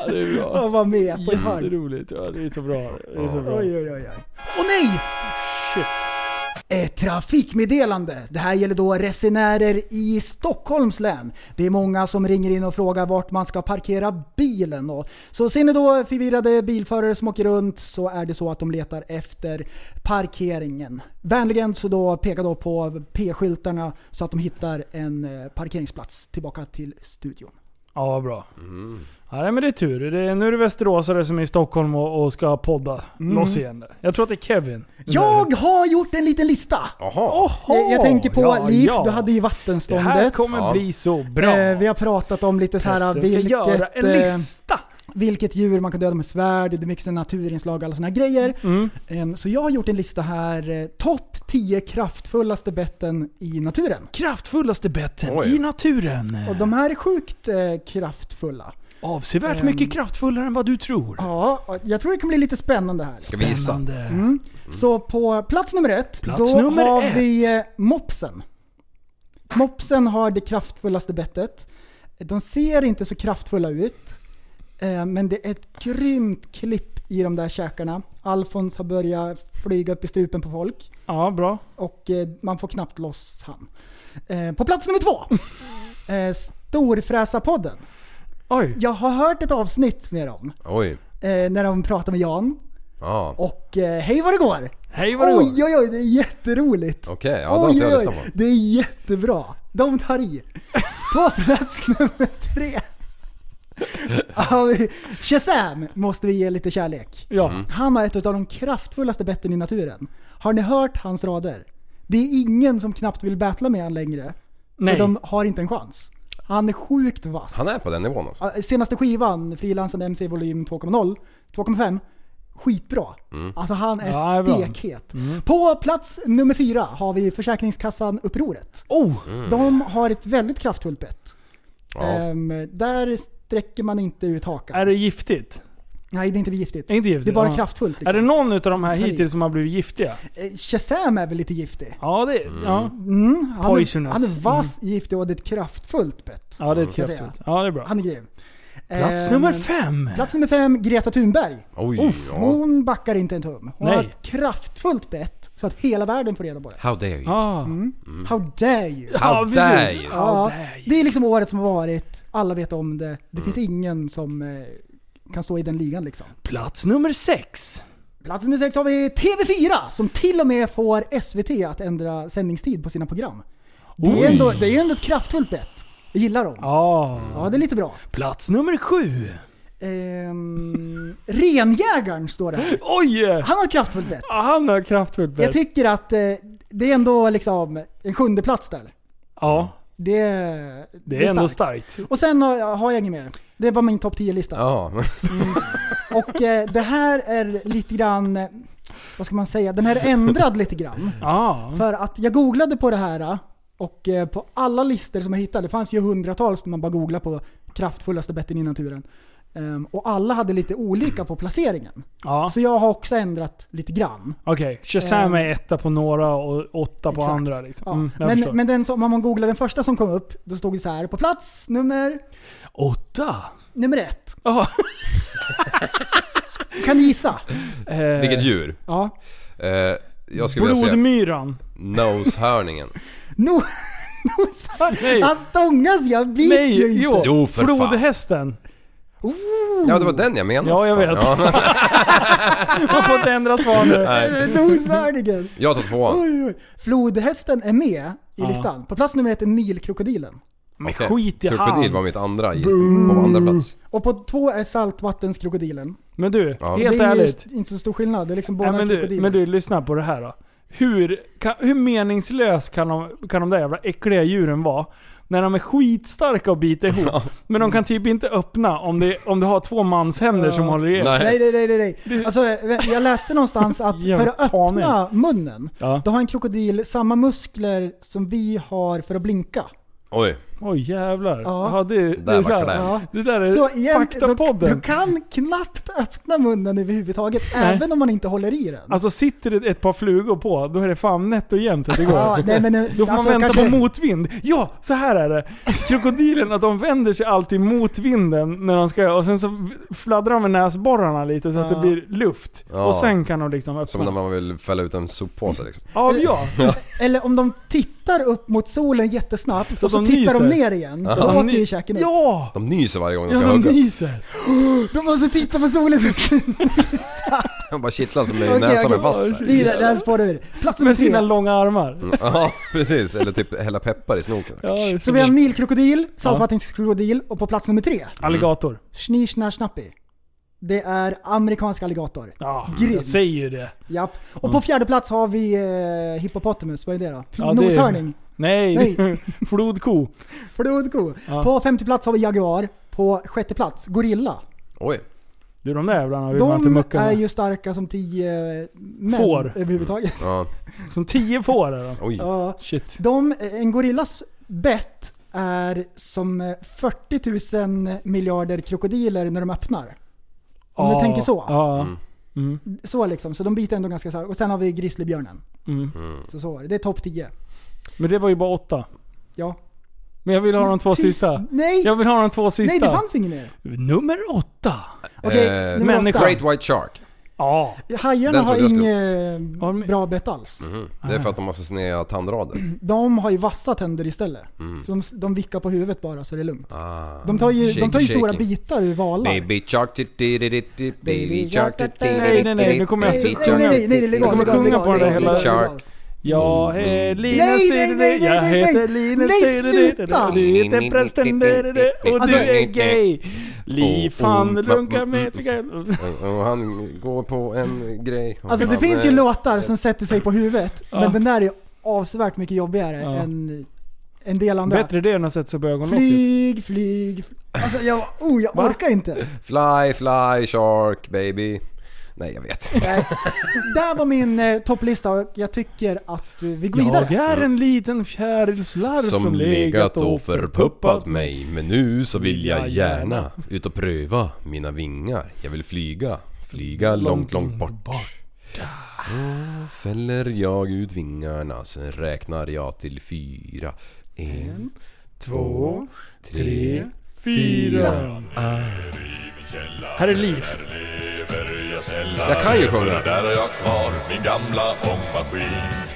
[SPEAKER 5] Ja, det är bra.
[SPEAKER 7] och var med på ett hörn.
[SPEAKER 5] Jätteroligt. Ja, det är så bra. Det är så bra.
[SPEAKER 7] Oj, oj, oj, oj. Åh nej!
[SPEAKER 5] Shit.
[SPEAKER 7] Ett Eh, trafikmeddelande. Det här gäller då resenärer i Stockholms län. Det är många som ringer in och frågar vart man ska parkera bilen. Och så ser ni då förvirrade bilförare som åker runt så är det så att de letar efter parkeringen. Vänligen så då peka då på P-skyltarna så att de hittar en eh, parkeringsplats tillbaka till studion.
[SPEAKER 5] Ja, vad bra. Ja, nej, men det är tur. Det är, nu är det västeråsare som är i Stockholm och, och ska podda loss igen. där. Jag tror att det är Kevin.
[SPEAKER 7] Mm. Jag har gjort en liten lista!
[SPEAKER 6] Jaha.
[SPEAKER 5] Oho,
[SPEAKER 7] Jag, jag tänker på
[SPEAKER 5] ja,
[SPEAKER 7] Liv,
[SPEAKER 5] ja.
[SPEAKER 7] du hade ju
[SPEAKER 5] Det
[SPEAKER 7] vattenståndet.
[SPEAKER 5] här kommer
[SPEAKER 6] Ja.
[SPEAKER 5] bli så bra.
[SPEAKER 7] Eh, vi har pratat om lite så här
[SPEAKER 5] Testen ska
[SPEAKER 7] vilket,
[SPEAKER 5] göra en
[SPEAKER 7] eh,
[SPEAKER 5] lista.
[SPEAKER 7] vilket djur man kan döda med svärd, det är mycket sån naturinslag och alla såna här grejer.
[SPEAKER 5] Mm.
[SPEAKER 7] Ehm, Så jag har gjort en lista här, eh, topp 10 kraftfullaste betten i naturen.
[SPEAKER 5] Kraftfullaste betten
[SPEAKER 6] Oj.
[SPEAKER 5] i naturen.
[SPEAKER 7] Och de här är sjukt eh, kraftfulla.
[SPEAKER 5] Avsevärt
[SPEAKER 7] Ehm.
[SPEAKER 5] mycket kraftfullare än vad du tror.
[SPEAKER 7] Ja, och jag tror det kan bli lite spännande här.
[SPEAKER 6] Ska vi gissa?
[SPEAKER 5] Spännande.
[SPEAKER 7] Mm. Så på plats nummer ett,
[SPEAKER 5] Plats
[SPEAKER 7] då
[SPEAKER 5] nummer
[SPEAKER 7] har
[SPEAKER 5] ett.
[SPEAKER 7] vi eh, mopsen. Mopsen har det kraftfullaste bettet. De ser inte så kraftfulla ut, eh, men det är ett grymt klipp i de där käkarna. Alfons har börjat flyga upp i strupen på folk.
[SPEAKER 5] Ja, bra.
[SPEAKER 7] Och eh, man får knappt loss han. Eh, på plats nummer två! Eh, Storfräsarpodden.
[SPEAKER 5] Oj.
[SPEAKER 7] Jag har hört ett avsnitt med dem.
[SPEAKER 6] Oj.
[SPEAKER 7] Eh, när de pratar med Jan.
[SPEAKER 6] Ja.
[SPEAKER 7] Och eh, hej vad det går!
[SPEAKER 5] Hej vad det går.
[SPEAKER 7] Oj, oj, oj, det är jätteroligt!
[SPEAKER 6] Okej, ja, det har inte jag lyssnat på.
[SPEAKER 7] det är jättebra. De tar i. På plats *laughs* nummer tre. Har vi- Shazam måste vi ge lite kärlek.
[SPEAKER 5] Ja.
[SPEAKER 7] Han har ett av de kraftfullaste betten i naturen. Har ni hört hans rader? Det är ingen som knappt vill battla med han längre.
[SPEAKER 5] Nej.
[SPEAKER 7] För de har inte en chans. Han är sjukt vass.
[SPEAKER 6] Han är på den nivån alltså.
[SPEAKER 7] Ja, Eh, Senaste skivan, frilansande MC volym 2.0, 2.5, skitbra. Alltså han är
[SPEAKER 5] Ja, det är bra. Mm.
[SPEAKER 7] stekhet. På plats nummer fyra har vi Försäkringskassan-upproret.
[SPEAKER 5] Oh!
[SPEAKER 7] De har ett väldigt kraftfullt bett.
[SPEAKER 5] Eh,
[SPEAKER 6] Ja.
[SPEAKER 7] Ehm, där sträcker man inte ut hakan.
[SPEAKER 5] Är det giftigt?
[SPEAKER 7] Nej, det är inte giftigt.
[SPEAKER 5] Är inte giftigt?
[SPEAKER 7] Det är bara
[SPEAKER 5] Ja.
[SPEAKER 7] kraftfullt.
[SPEAKER 5] Är det
[SPEAKER 7] Liksom.
[SPEAKER 5] någon utav de här
[SPEAKER 7] Nej.
[SPEAKER 5] hittills som har blivit giftiga?
[SPEAKER 7] Eh, Shazam är väl lite giftig?
[SPEAKER 5] Ja, det... Ja.
[SPEAKER 7] Mm, han, är,
[SPEAKER 5] Poisonous.
[SPEAKER 7] han är vass, giftig och det är ett kraftfullt bett.
[SPEAKER 5] ja, det är ett
[SPEAKER 7] Ska jag
[SPEAKER 5] kraftfullt. Ja, det är bra.
[SPEAKER 7] Han är grym.
[SPEAKER 5] Plats
[SPEAKER 7] Ehm,
[SPEAKER 5] nummer fem.
[SPEAKER 7] Plats nummer fem, Greta Thunberg.
[SPEAKER 5] oh,
[SPEAKER 6] Oj, ja.
[SPEAKER 7] Hon backar inte en tum. Hon
[SPEAKER 5] Nej.
[SPEAKER 7] har ett kraftfullt bett så att hela världen får reda på det.
[SPEAKER 6] How dare you?
[SPEAKER 5] Ah.
[SPEAKER 7] How dare you?
[SPEAKER 6] How
[SPEAKER 5] Ja, precis.
[SPEAKER 6] dare you?
[SPEAKER 7] Mm. Ja,
[SPEAKER 5] dare you.
[SPEAKER 7] det är liksom året som har varit, alla vet om det.
[SPEAKER 5] Mm.
[SPEAKER 7] Det finns ingen som eh, kan stå i den ligan liksom.
[SPEAKER 5] Plats nummer sex.
[SPEAKER 7] Plats nummer sex har vi TV4 som till och med får SVT att ändra sändningstid på sina program. Det
[SPEAKER 5] Oj.
[SPEAKER 7] är, ändå, det är ändå ett kraftfullt bett. Jag gillar dem. Ja,
[SPEAKER 5] Ja.
[SPEAKER 7] det är lite bra.
[SPEAKER 5] Plats nummer sju.
[SPEAKER 7] Ehm, renjägaren står det här.
[SPEAKER 5] Oj!
[SPEAKER 7] Han har ett kraftfullt bett.
[SPEAKER 5] Han har kraftfullt
[SPEAKER 7] Jag
[SPEAKER 5] bett.
[SPEAKER 7] tycker att eh, det är ändå liksom en sjunde plats där.
[SPEAKER 5] Ja,
[SPEAKER 7] Det,
[SPEAKER 5] det är ändå starkt.
[SPEAKER 7] Och sen har jag, har jag inget mer. Det var min topp 10-lista.
[SPEAKER 6] Ja. *laughs*
[SPEAKER 7] Och eh, det här är lite grann, eh, vad ska man säga, den här är ändrad lite grann.
[SPEAKER 5] Ja.
[SPEAKER 7] För att jag googlade på det här eh, och eh, på alla listor som jag hittade, det fanns ju hundratals när man bara googlade på kraftfullaste betten i naturen. Ehm, och alla hade lite olika på placeringen.
[SPEAKER 5] ja.
[SPEAKER 7] Så jag har också ändrat lite grann.
[SPEAKER 5] Okej, Shazam är
[SPEAKER 7] Ehm.
[SPEAKER 5] etta på några och åtta på
[SPEAKER 7] Exakt.
[SPEAKER 5] andra. Liksom.
[SPEAKER 7] Ja.
[SPEAKER 5] Mm, jag förstår.
[SPEAKER 7] men men den som, om man googlar den första som kom upp, då stod det så här på plats nummer,
[SPEAKER 5] Åtta?
[SPEAKER 7] nummer ett. *laughs*
[SPEAKER 5] Ja.
[SPEAKER 7] Kan ni gissa?
[SPEAKER 5] Eh,
[SPEAKER 6] Vilket djur?
[SPEAKER 7] Ja.
[SPEAKER 6] Eh, jag skulle vilja säga
[SPEAKER 5] Blodmyran.
[SPEAKER 6] Nosehörningen.
[SPEAKER 7] No, *laughs* nosar.
[SPEAKER 5] Nej.
[SPEAKER 7] Han stångas jag bits ju
[SPEAKER 5] Nej,
[SPEAKER 7] inte.
[SPEAKER 5] jo.
[SPEAKER 6] Jo, för fan.
[SPEAKER 5] Flodhästen.
[SPEAKER 6] Ja, det var den jag menade.
[SPEAKER 5] Ja, jag
[SPEAKER 6] Fan,
[SPEAKER 5] vet.
[SPEAKER 6] Ja. *laughs*
[SPEAKER 5] Man får inte ändra svar nu.
[SPEAKER 7] *laughs*
[SPEAKER 6] Nej,
[SPEAKER 7] Nosördigen.
[SPEAKER 6] jag tar
[SPEAKER 5] *laughs*
[SPEAKER 6] tvåan.
[SPEAKER 7] Oj, oj. Flodhästen är med i
[SPEAKER 5] Ja.
[SPEAKER 7] listan. På plats nummer ett är nilkrokodilen.
[SPEAKER 5] Men
[SPEAKER 6] Okej.
[SPEAKER 5] skit i
[SPEAKER 6] Krokodil
[SPEAKER 5] han.
[SPEAKER 6] var mitt andra, i- på andra plats.
[SPEAKER 7] Och på två är saltvattenkrokodilen.
[SPEAKER 5] Men du,
[SPEAKER 6] Ja.
[SPEAKER 5] helt
[SPEAKER 7] det är ju
[SPEAKER 5] ärligt.
[SPEAKER 7] inte så stor skillnad. Det är liksom båda
[SPEAKER 5] Nej, men, du,
[SPEAKER 7] krokodiler.
[SPEAKER 5] men du, lyssna på det här då. Hur, kan, hur meningslös kan de, kan de där jävla äckliga djuren vara? När de är skitstarka och biter ihop. Men de kan typ inte öppna om, det, om du har två manshänder som
[SPEAKER 7] Ja.
[SPEAKER 5] håller i.
[SPEAKER 6] Nej.
[SPEAKER 7] Nej, nej, nej, nej, nej. Alltså, jag
[SPEAKER 5] *laughs*
[SPEAKER 7] läste någonstans att för
[SPEAKER 5] Jävla
[SPEAKER 7] att öppna munnen,
[SPEAKER 5] Ja.
[SPEAKER 7] då har en krokodil samma muskler som vi har för att blinka.
[SPEAKER 6] Oj.
[SPEAKER 5] Oj jävlar.
[SPEAKER 7] Ja.
[SPEAKER 5] Ja. det, det,
[SPEAKER 6] Där
[SPEAKER 5] är
[SPEAKER 6] var
[SPEAKER 5] så här,
[SPEAKER 6] kläm.
[SPEAKER 7] Ja.
[SPEAKER 5] det där
[SPEAKER 7] Så
[SPEAKER 5] är
[SPEAKER 7] igen, du,
[SPEAKER 5] Eh, faktapodden.
[SPEAKER 7] du kan knappt öppna munnen överhuvudtaget, även om man inte håller i den.
[SPEAKER 5] Alltså sitter det ett par flugor på, då är det fan nätt och jämnt att det går.
[SPEAKER 7] Ja, nej, men, eh,
[SPEAKER 5] Då får
[SPEAKER 7] alltså,
[SPEAKER 5] man vänta
[SPEAKER 7] kanske-
[SPEAKER 5] på motvind. Ja, så här är det. Krokodilerna de vänder sig alltid mot vinden när de ska och sen så fladdrar de med näsborrarna lite så att
[SPEAKER 7] Ja.
[SPEAKER 5] det blir luft.
[SPEAKER 6] Ja.
[SPEAKER 5] Och sen kan de liksom öppna.
[SPEAKER 6] Som när man vill fälla ut en soppåse liksom.
[SPEAKER 5] Ja, ja.
[SPEAKER 7] Eller om de tittar upp mot solen jättesnabbt
[SPEAKER 5] Så
[SPEAKER 7] och så
[SPEAKER 5] de
[SPEAKER 7] tittar de
[SPEAKER 5] nyser.
[SPEAKER 7] ner igen. Då
[SPEAKER 5] Ja,
[SPEAKER 7] åker
[SPEAKER 5] ni-
[SPEAKER 7] ju käken ut.
[SPEAKER 5] Ja!
[SPEAKER 6] De nyser varje gång de
[SPEAKER 5] Ja,
[SPEAKER 6] ska
[SPEAKER 5] de
[SPEAKER 6] hugga.
[SPEAKER 5] nyser.
[SPEAKER 7] De måste alltså titta
[SPEAKER 5] *laughs*
[SPEAKER 7] på solen!
[SPEAKER 6] De bara kittlar som i
[SPEAKER 7] Okej,
[SPEAKER 6] näsan
[SPEAKER 7] okej.
[SPEAKER 6] med vass. här.
[SPEAKER 7] Vidare, det här spårar ur. Plats nummer
[SPEAKER 5] Med sina
[SPEAKER 7] tre.
[SPEAKER 5] långa armar.
[SPEAKER 6] Ja, precis. Eller typ hälla peppar i snoken.
[SPEAKER 5] Ja, det är
[SPEAKER 7] Så vi har nilkrokodil, saltvattenskrokodil och på plats nummer tre,
[SPEAKER 5] Alligator.
[SPEAKER 7] schnishnashnappi. Det är amerikansk alligator.
[SPEAKER 5] Ja,
[SPEAKER 7] Grymt.
[SPEAKER 5] jag säger ju det.
[SPEAKER 7] Japp. Och på fjärde plats har vi eh, hippopotamus, vad är det då?
[SPEAKER 5] Ja, det är-
[SPEAKER 7] Noshörning.
[SPEAKER 5] Nej,
[SPEAKER 7] Nej.
[SPEAKER 5] *laughs* flodko.
[SPEAKER 7] Flodko.
[SPEAKER 5] Ja.
[SPEAKER 7] På femte plats har vi jaguar. På sjätte plats, gorilla.
[SPEAKER 6] Oj.
[SPEAKER 5] Du de där jävlarna vill man inte
[SPEAKER 7] De
[SPEAKER 5] mucka
[SPEAKER 7] är
[SPEAKER 5] med.
[SPEAKER 7] ju starka som tio eh, män
[SPEAKER 5] Får. *laughs*
[SPEAKER 7] överhuvudtaget.
[SPEAKER 6] Ja.
[SPEAKER 5] Som tio får är de.
[SPEAKER 6] Oj.
[SPEAKER 7] Ja.
[SPEAKER 5] Shit.
[SPEAKER 7] De, eh, en gorillas bett är som eh, 40 000 miljarder krokodiler när de öppnar. Om
[SPEAKER 5] Ja,
[SPEAKER 7] du tänker så.
[SPEAKER 5] Ja.
[SPEAKER 6] Mm.
[SPEAKER 5] Mm.
[SPEAKER 7] Så liksom, så de biter ändå ganska starkt. Och sen har vi grizzlybjörnen.
[SPEAKER 5] Mm.
[SPEAKER 7] Så så var det. Det är topp 10.
[SPEAKER 5] Men det var ju bara åtta.
[SPEAKER 7] Ja.
[SPEAKER 5] Men jag vill ha de två
[SPEAKER 7] Tyst-
[SPEAKER 5] sista.
[SPEAKER 7] Nej!
[SPEAKER 5] Jag vill ha de två sista.
[SPEAKER 7] Nej, det fanns ingen mer.
[SPEAKER 5] Nummer åtta.
[SPEAKER 7] Okej,
[SPEAKER 6] Eh,
[SPEAKER 7] nummer
[SPEAKER 5] människa.
[SPEAKER 7] åtta.
[SPEAKER 6] Great White Shark.
[SPEAKER 5] Ja.
[SPEAKER 7] Hajarna
[SPEAKER 6] Den
[SPEAKER 7] har
[SPEAKER 6] trodde jag Mm.
[SPEAKER 5] Har de-
[SPEAKER 7] inget bra bett alls.
[SPEAKER 5] Mhm.
[SPEAKER 6] Det
[SPEAKER 5] Ah.
[SPEAKER 6] är för att de har så sneda
[SPEAKER 5] Mm.
[SPEAKER 6] tandrader.
[SPEAKER 7] De har ju vassa tänder istället. Så de, de vickar på huvudet bara så det är lugnt.
[SPEAKER 6] Mm. Ah.
[SPEAKER 7] De tar ju, de tar ju
[SPEAKER 6] Shaking,
[SPEAKER 7] stora
[SPEAKER 6] shaking.
[SPEAKER 7] bitar ur valar.
[SPEAKER 6] Baby shark di- di- di- di- di- baby shark di- di- di-
[SPEAKER 5] Nej, nej, nej,
[SPEAKER 6] di-
[SPEAKER 5] nu kommer jag
[SPEAKER 6] di-
[SPEAKER 5] sjunga.
[SPEAKER 6] di-
[SPEAKER 7] Nej, nej, nej, det är
[SPEAKER 6] di-
[SPEAKER 7] legal,
[SPEAKER 5] kommer
[SPEAKER 7] legal,
[SPEAKER 5] sjunga
[SPEAKER 7] legal,
[SPEAKER 5] på den
[SPEAKER 7] legal,
[SPEAKER 5] hela-
[SPEAKER 7] legal.
[SPEAKER 6] Shark.
[SPEAKER 5] Jag är Linus
[SPEAKER 7] Nej, nej, nej, nej,
[SPEAKER 5] Jag
[SPEAKER 7] nej,
[SPEAKER 5] heter
[SPEAKER 7] nej.
[SPEAKER 5] Linus
[SPEAKER 7] Nej, sluta.
[SPEAKER 5] och du heter prästen och du
[SPEAKER 7] Alltså-
[SPEAKER 5] är gay. Liv
[SPEAKER 6] Oh, oh,
[SPEAKER 5] fan
[SPEAKER 6] ma-
[SPEAKER 5] lunkar
[SPEAKER 6] mm,
[SPEAKER 5] med
[SPEAKER 6] mm.
[SPEAKER 5] sig själv.
[SPEAKER 6] Och han går på en grej. Och
[SPEAKER 7] Alltså det
[SPEAKER 6] han,
[SPEAKER 7] finns ju
[SPEAKER 6] eh,
[SPEAKER 7] låtar som sätter sig på huvudet,
[SPEAKER 5] Ja.
[SPEAKER 7] men den där är avsevärt mycket jobbigare
[SPEAKER 5] Ja.
[SPEAKER 7] än en del andra.
[SPEAKER 5] Bättre det än att sätta sig på ögonlocket.
[SPEAKER 7] Flyg, flyg, fl- Alltså jag, oh, jag
[SPEAKER 5] Va?
[SPEAKER 7] orkar inte.
[SPEAKER 6] Fly, fly, shark, baby. Nej, jag vet.
[SPEAKER 7] Nej. där var min eh, topplista och jag tycker att eh, vi går
[SPEAKER 5] Jag
[SPEAKER 7] vidare.
[SPEAKER 5] är en liten fjärilslarv som, legat och förpuppat mig.
[SPEAKER 6] men nu så
[SPEAKER 5] vill jag gärna
[SPEAKER 6] ut och pröva mina vingar. Jag vill flyga, flyga
[SPEAKER 5] långt, långt bort.
[SPEAKER 6] Då fäller jag ut vingarna, sen räknar jag till fyra. En, två, tre.
[SPEAKER 5] Tre, fyra. Här är Liv.
[SPEAKER 6] Jag kan ju sjunga.
[SPEAKER 10] Där har jag kvar min gamla ångmaskin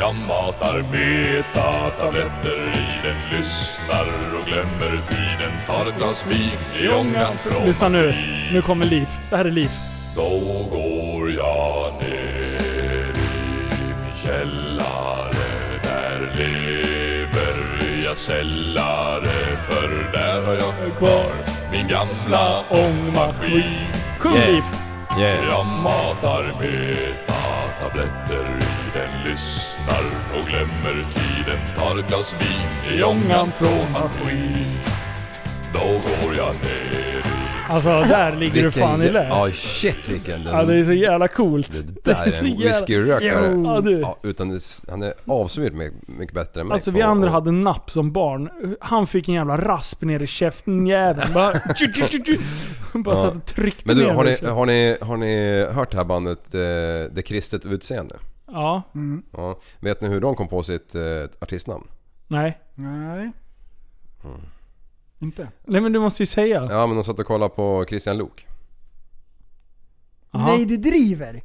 [SPEAKER 10] Jag matar beta-tabletter i den Lyssnar och glömmer tiden Tar ett glas vin i ångan från
[SPEAKER 5] Lyssna nu. Nu kommer Liv. Det här är Liv.
[SPEAKER 10] Då går jag ner i min källare Där lever jag sällare För där har jag kvar min gamla ångmaskin
[SPEAKER 5] Sjung
[SPEAKER 6] Yeah.
[SPEAKER 5] Liv.
[SPEAKER 6] Yeah.
[SPEAKER 10] jag matar beta-tabletter Den lyssnar och glömmer tiden Tar ett glas vin i ångan från maskin Då går jag ner
[SPEAKER 5] Alltså där ligger du fan i lä.
[SPEAKER 6] Ja, shit vilken. Den,
[SPEAKER 5] Ja, det är så jävla coolt.
[SPEAKER 6] det
[SPEAKER 5] *laughs*
[SPEAKER 6] där är
[SPEAKER 5] så jävla-
[SPEAKER 6] en
[SPEAKER 5] Jo. Ja,
[SPEAKER 6] whiskyrökare.
[SPEAKER 5] du.
[SPEAKER 6] Ja, utan det, han är avsevärt mycket, mycket bättre än mig.
[SPEAKER 5] Alltså
[SPEAKER 6] på-
[SPEAKER 5] vi andra hade napp som barn. Han fick en jävla rasp ner i käften jäveln. Bara,
[SPEAKER 10] *laughs*
[SPEAKER 5] bara satt och tryckte
[SPEAKER 6] Men du,
[SPEAKER 5] ner
[SPEAKER 6] har
[SPEAKER 5] den.
[SPEAKER 6] ni, har ni, har ni hört det här bandet eh, Det Kristet Utseende?
[SPEAKER 5] Ja.
[SPEAKER 6] Ja. Vet ni hur de kom på sitt eh, artistnamn?
[SPEAKER 5] Nej. Mm.
[SPEAKER 7] Nej. Inte?
[SPEAKER 5] Nej men du måste ju säga.
[SPEAKER 6] Ja men de satt och kollade på Christian Lok.
[SPEAKER 5] Aha.
[SPEAKER 7] Nej, du driver.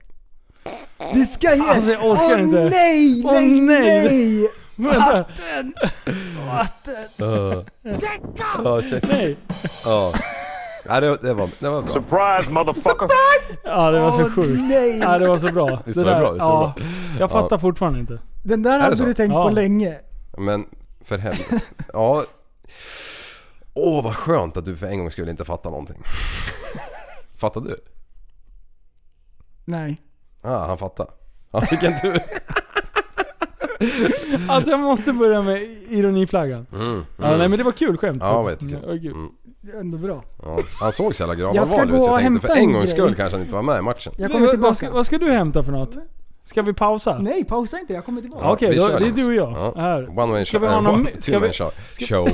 [SPEAKER 7] Du ska ju...
[SPEAKER 5] Alltså, jag orkar
[SPEAKER 7] Åh,
[SPEAKER 5] inte.
[SPEAKER 7] Nej,
[SPEAKER 5] Åh,
[SPEAKER 7] nej,
[SPEAKER 5] nej.
[SPEAKER 7] nej,
[SPEAKER 5] *laughs* Vänta.
[SPEAKER 6] Ja, shit.
[SPEAKER 5] Nej.
[SPEAKER 6] Ja. Nej, det, det, var, det var bra.
[SPEAKER 10] Surprise motherfucker!
[SPEAKER 5] Ja det var så
[SPEAKER 7] Åh,
[SPEAKER 5] sjukt.
[SPEAKER 7] nej.
[SPEAKER 5] *laughs* Ja det var så bra.
[SPEAKER 6] Visst var det bra, visst var det
[SPEAKER 5] ja. Jag fattar fortfarande inte.
[SPEAKER 7] Den där
[SPEAKER 6] det
[SPEAKER 7] hade
[SPEAKER 6] så?
[SPEAKER 7] du tänkt
[SPEAKER 5] Ja.
[SPEAKER 7] på länge.
[SPEAKER 6] Men för helvete. Ja. Åh vad skönt att du för en gång skulle inte fatta någonting. *laughs* Fattar du?
[SPEAKER 7] Nej.
[SPEAKER 6] ah, han fattar. Ja, vilken tur.
[SPEAKER 5] Alltså jag måste börja med ironiflaggan.
[SPEAKER 6] Mm,
[SPEAKER 5] Ja, nej
[SPEAKER 6] mm.
[SPEAKER 5] men det var kul skämt.
[SPEAKER 6] Ja,
[SPEAKER 5] faktiskt.
[SPEAKER 6] det var jättekul.
[SPEAKER 5] Ja, kul.
[SPEAKER 6] Mm.
[SPEAKER 7] Det är ändå bra.
[SPEAKER 6] Ja, han såg så jävla grav
[SPEAKER 7] Jag ska
[SPEAKER 6] allvarlig ut
[SPEAKER 7] gå
[SPEAKER 6] så
[SPEAKER 7] och
[SPEAKER 6] jag tänkte
[SPEAKER 7] hämta
[SPEAKER 6] för en
[SPEAKER 7] en
[SPEAKER 6] gångs
[SPEAKER 7] grej.
[SPEAKER 6] skull kanske han inte var med i matchen.
[SPEAKER 7] Jag kommer
[SPEAKER 5] Vad- vad,
[SPEAKER 7] tillbaka.
[SPEAKER 5] ska, vad ska du hämta för något? Ska vi pausa?
[SPEAKER 7] Nej, pausa inte. Jag kommer tillbaka.
[SPEAKER 5] Ja. Okej,
[SPEAKER 6] vi
[SPEAKER 5] då-
[SPEAKER 6] kör
[SPEAKER 5] det är
[SPEAKER 6] Linus.
[SPEAKER 5] du och jag.
[SPEAKER 6] Ja.
[SPEAKER 5] Här.
[SPEAKER 6] One man
[SPEAKER 5] Ska
[SPEAKER 6] show.
[SPEAKER 5] vi ha någon- ska vi-
[SPEAKER 6] Two man show. show.
[SPEAKER 5] *laughs*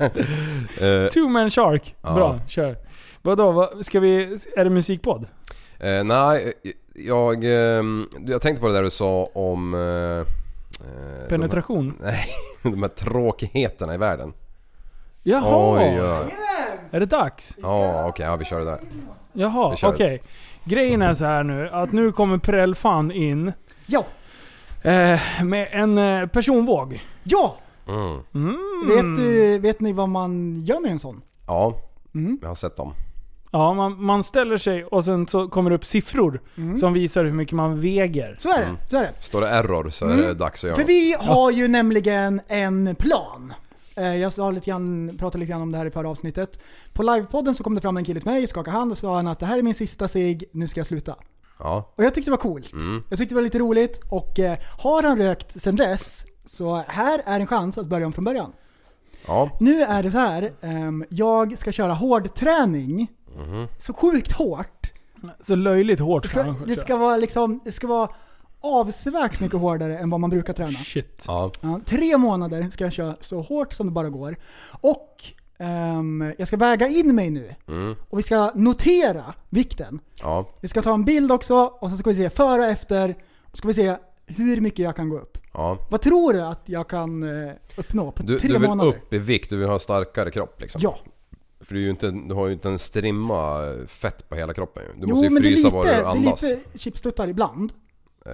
[SPEAKER 6] Eh,
[SPEAKER 5] Two Man Shark.
[SPEAKER 6] Ja.
[SPEAKER 5] Bra, kör. Vadå, vad, ska vi... Är det musikpodd?
[SPEAKER 6] eh, nej, eh, jag, ehm, jag tänkte på det där du sa om... eh, eh,
[SPEAKER 5] Penetration?
[SPEAKER 6] *laughs* De, här, de här tråkigheterna i världen.
[SPEAKER 5] Jaha!
[SPEAKER 6] Oj, ja.
[SPEAKER 5] Är det dags?
[SPEAKER 6] Ja, okej, ja, vi kör det där.
[SPEAKER 5] Jaha,
[SPEAKER 6] Vi
[SPEAKER 5] okej.
[SPEAKER 6] kör.
[SPEAKER 5] Grejen är så här nu, att nu kommer Prellfan in
[SPEAKER 7] Ja!
[SPEAKER 5] eh, med en eh, personvåg.
[SPEAKER 7] ja.
[SPEAKER 6] Mm.
[SPEAKER 7] Vet, du, vet ni vad man gör med en sån?
[SPEAKER 6] Ja,
[SPEAKER 7] Mm.
[SPEAKER 6] jag har sett dem.
[SPEAKER 5] Ja, man, man ställer sig och sen så kommer det upp siffror som visar hur mycket man väger.
[SPEAKER 7] Mm. Så är det.
[SPEAKER 6] Mm.
[SPEAKER 7] Så är det.
[SPEAKER 6] Står det error så är det
[SPEAKER 5] Mm.
[SPEAKER 6] dags att göra
[SPEAKER 7] För
[SPEAKER 6] något.
[SPEAKER 7] vi har ju nämligen en plan. Eh, Jag sa lite grann, pratade lite grann om det här i förra avsnittet. På livepodden så kom det fram en kille till mig, skakade hand och sa han att det här är min sista sig, nu ska jag sluta.
[SPEAKER 6] Ja.
[SPEAKER 7] Och jag tyckte det var coolt.
[SPEAKER 6] Mm.
[SPEAKER 7] Jag tyckte det var lite roligt och eh, har han rökt sen dess så här är en chans att börja om från början.
[SPEAKER 6] Ja.
[SPEAKER 7] Nu är det så här, ehm, jag ska köra hård träning
[SPEAKER 6] Mm-hmm.
[SPEAKER 7] så sjukt hårt.
[SPEAKER 5] Så löjligt hårt
[SPEAKER 7] Det ska,
[SPEAKER 5] fan.
[SPEAKER 7] det ska vara liksom, det ska vara avsevärt mycket hårdare än vad man brukar träna.
[SPEAKER 5] Shit.
[SPEAKER 6] ja.
[SPEAKER 7] Ja, tre månader ska jag köra så hårt som det bara går. Och ehm, jag ska väga in mig nu.
[SPEAKER 6] Mm.
[SPEAKER 7] Och vi ska notera vikten.
[SPEAKER 6] Ja.
[SPEAKER 7] Vi ska ta en bild också och sen ska vi se före och efter. Och ska vi se hur mycket jag kan gå upp.
[SPEAKER 6] Ja.
[SPEAKER 7] Vad tror du att jag kan eh, uppnå på
[SPEAKER 6] Du,
[SPEAKER 7] tre
[SPEAKER 6] du vill
[SPEAKER 7] månader?
[SPEAKER 6] upp i vikt, du vill ha starkare kropp liksom.
[SPEAKER 7] Ja.
[SPEAKER 6] För du, är ju inte, du har ju inte en strimma eh, fett på hela kroppen ju. Du
[SPEAKER 7] Jo,
[SPEAKER 6] måste ju
[SPEAKER 7] men det är
[SPEAKER 6] frysa
[SPEAKER 7] lite,
[SPEAKER 6] bara
[SPEAKER 7] det
[SPEAKER 6] du
[SPEAKER 7] är
[SPEAKER 6] andas.
[SPEAKER 7] lite chipstuttar ibland.
[SPEAKER 6] Eh,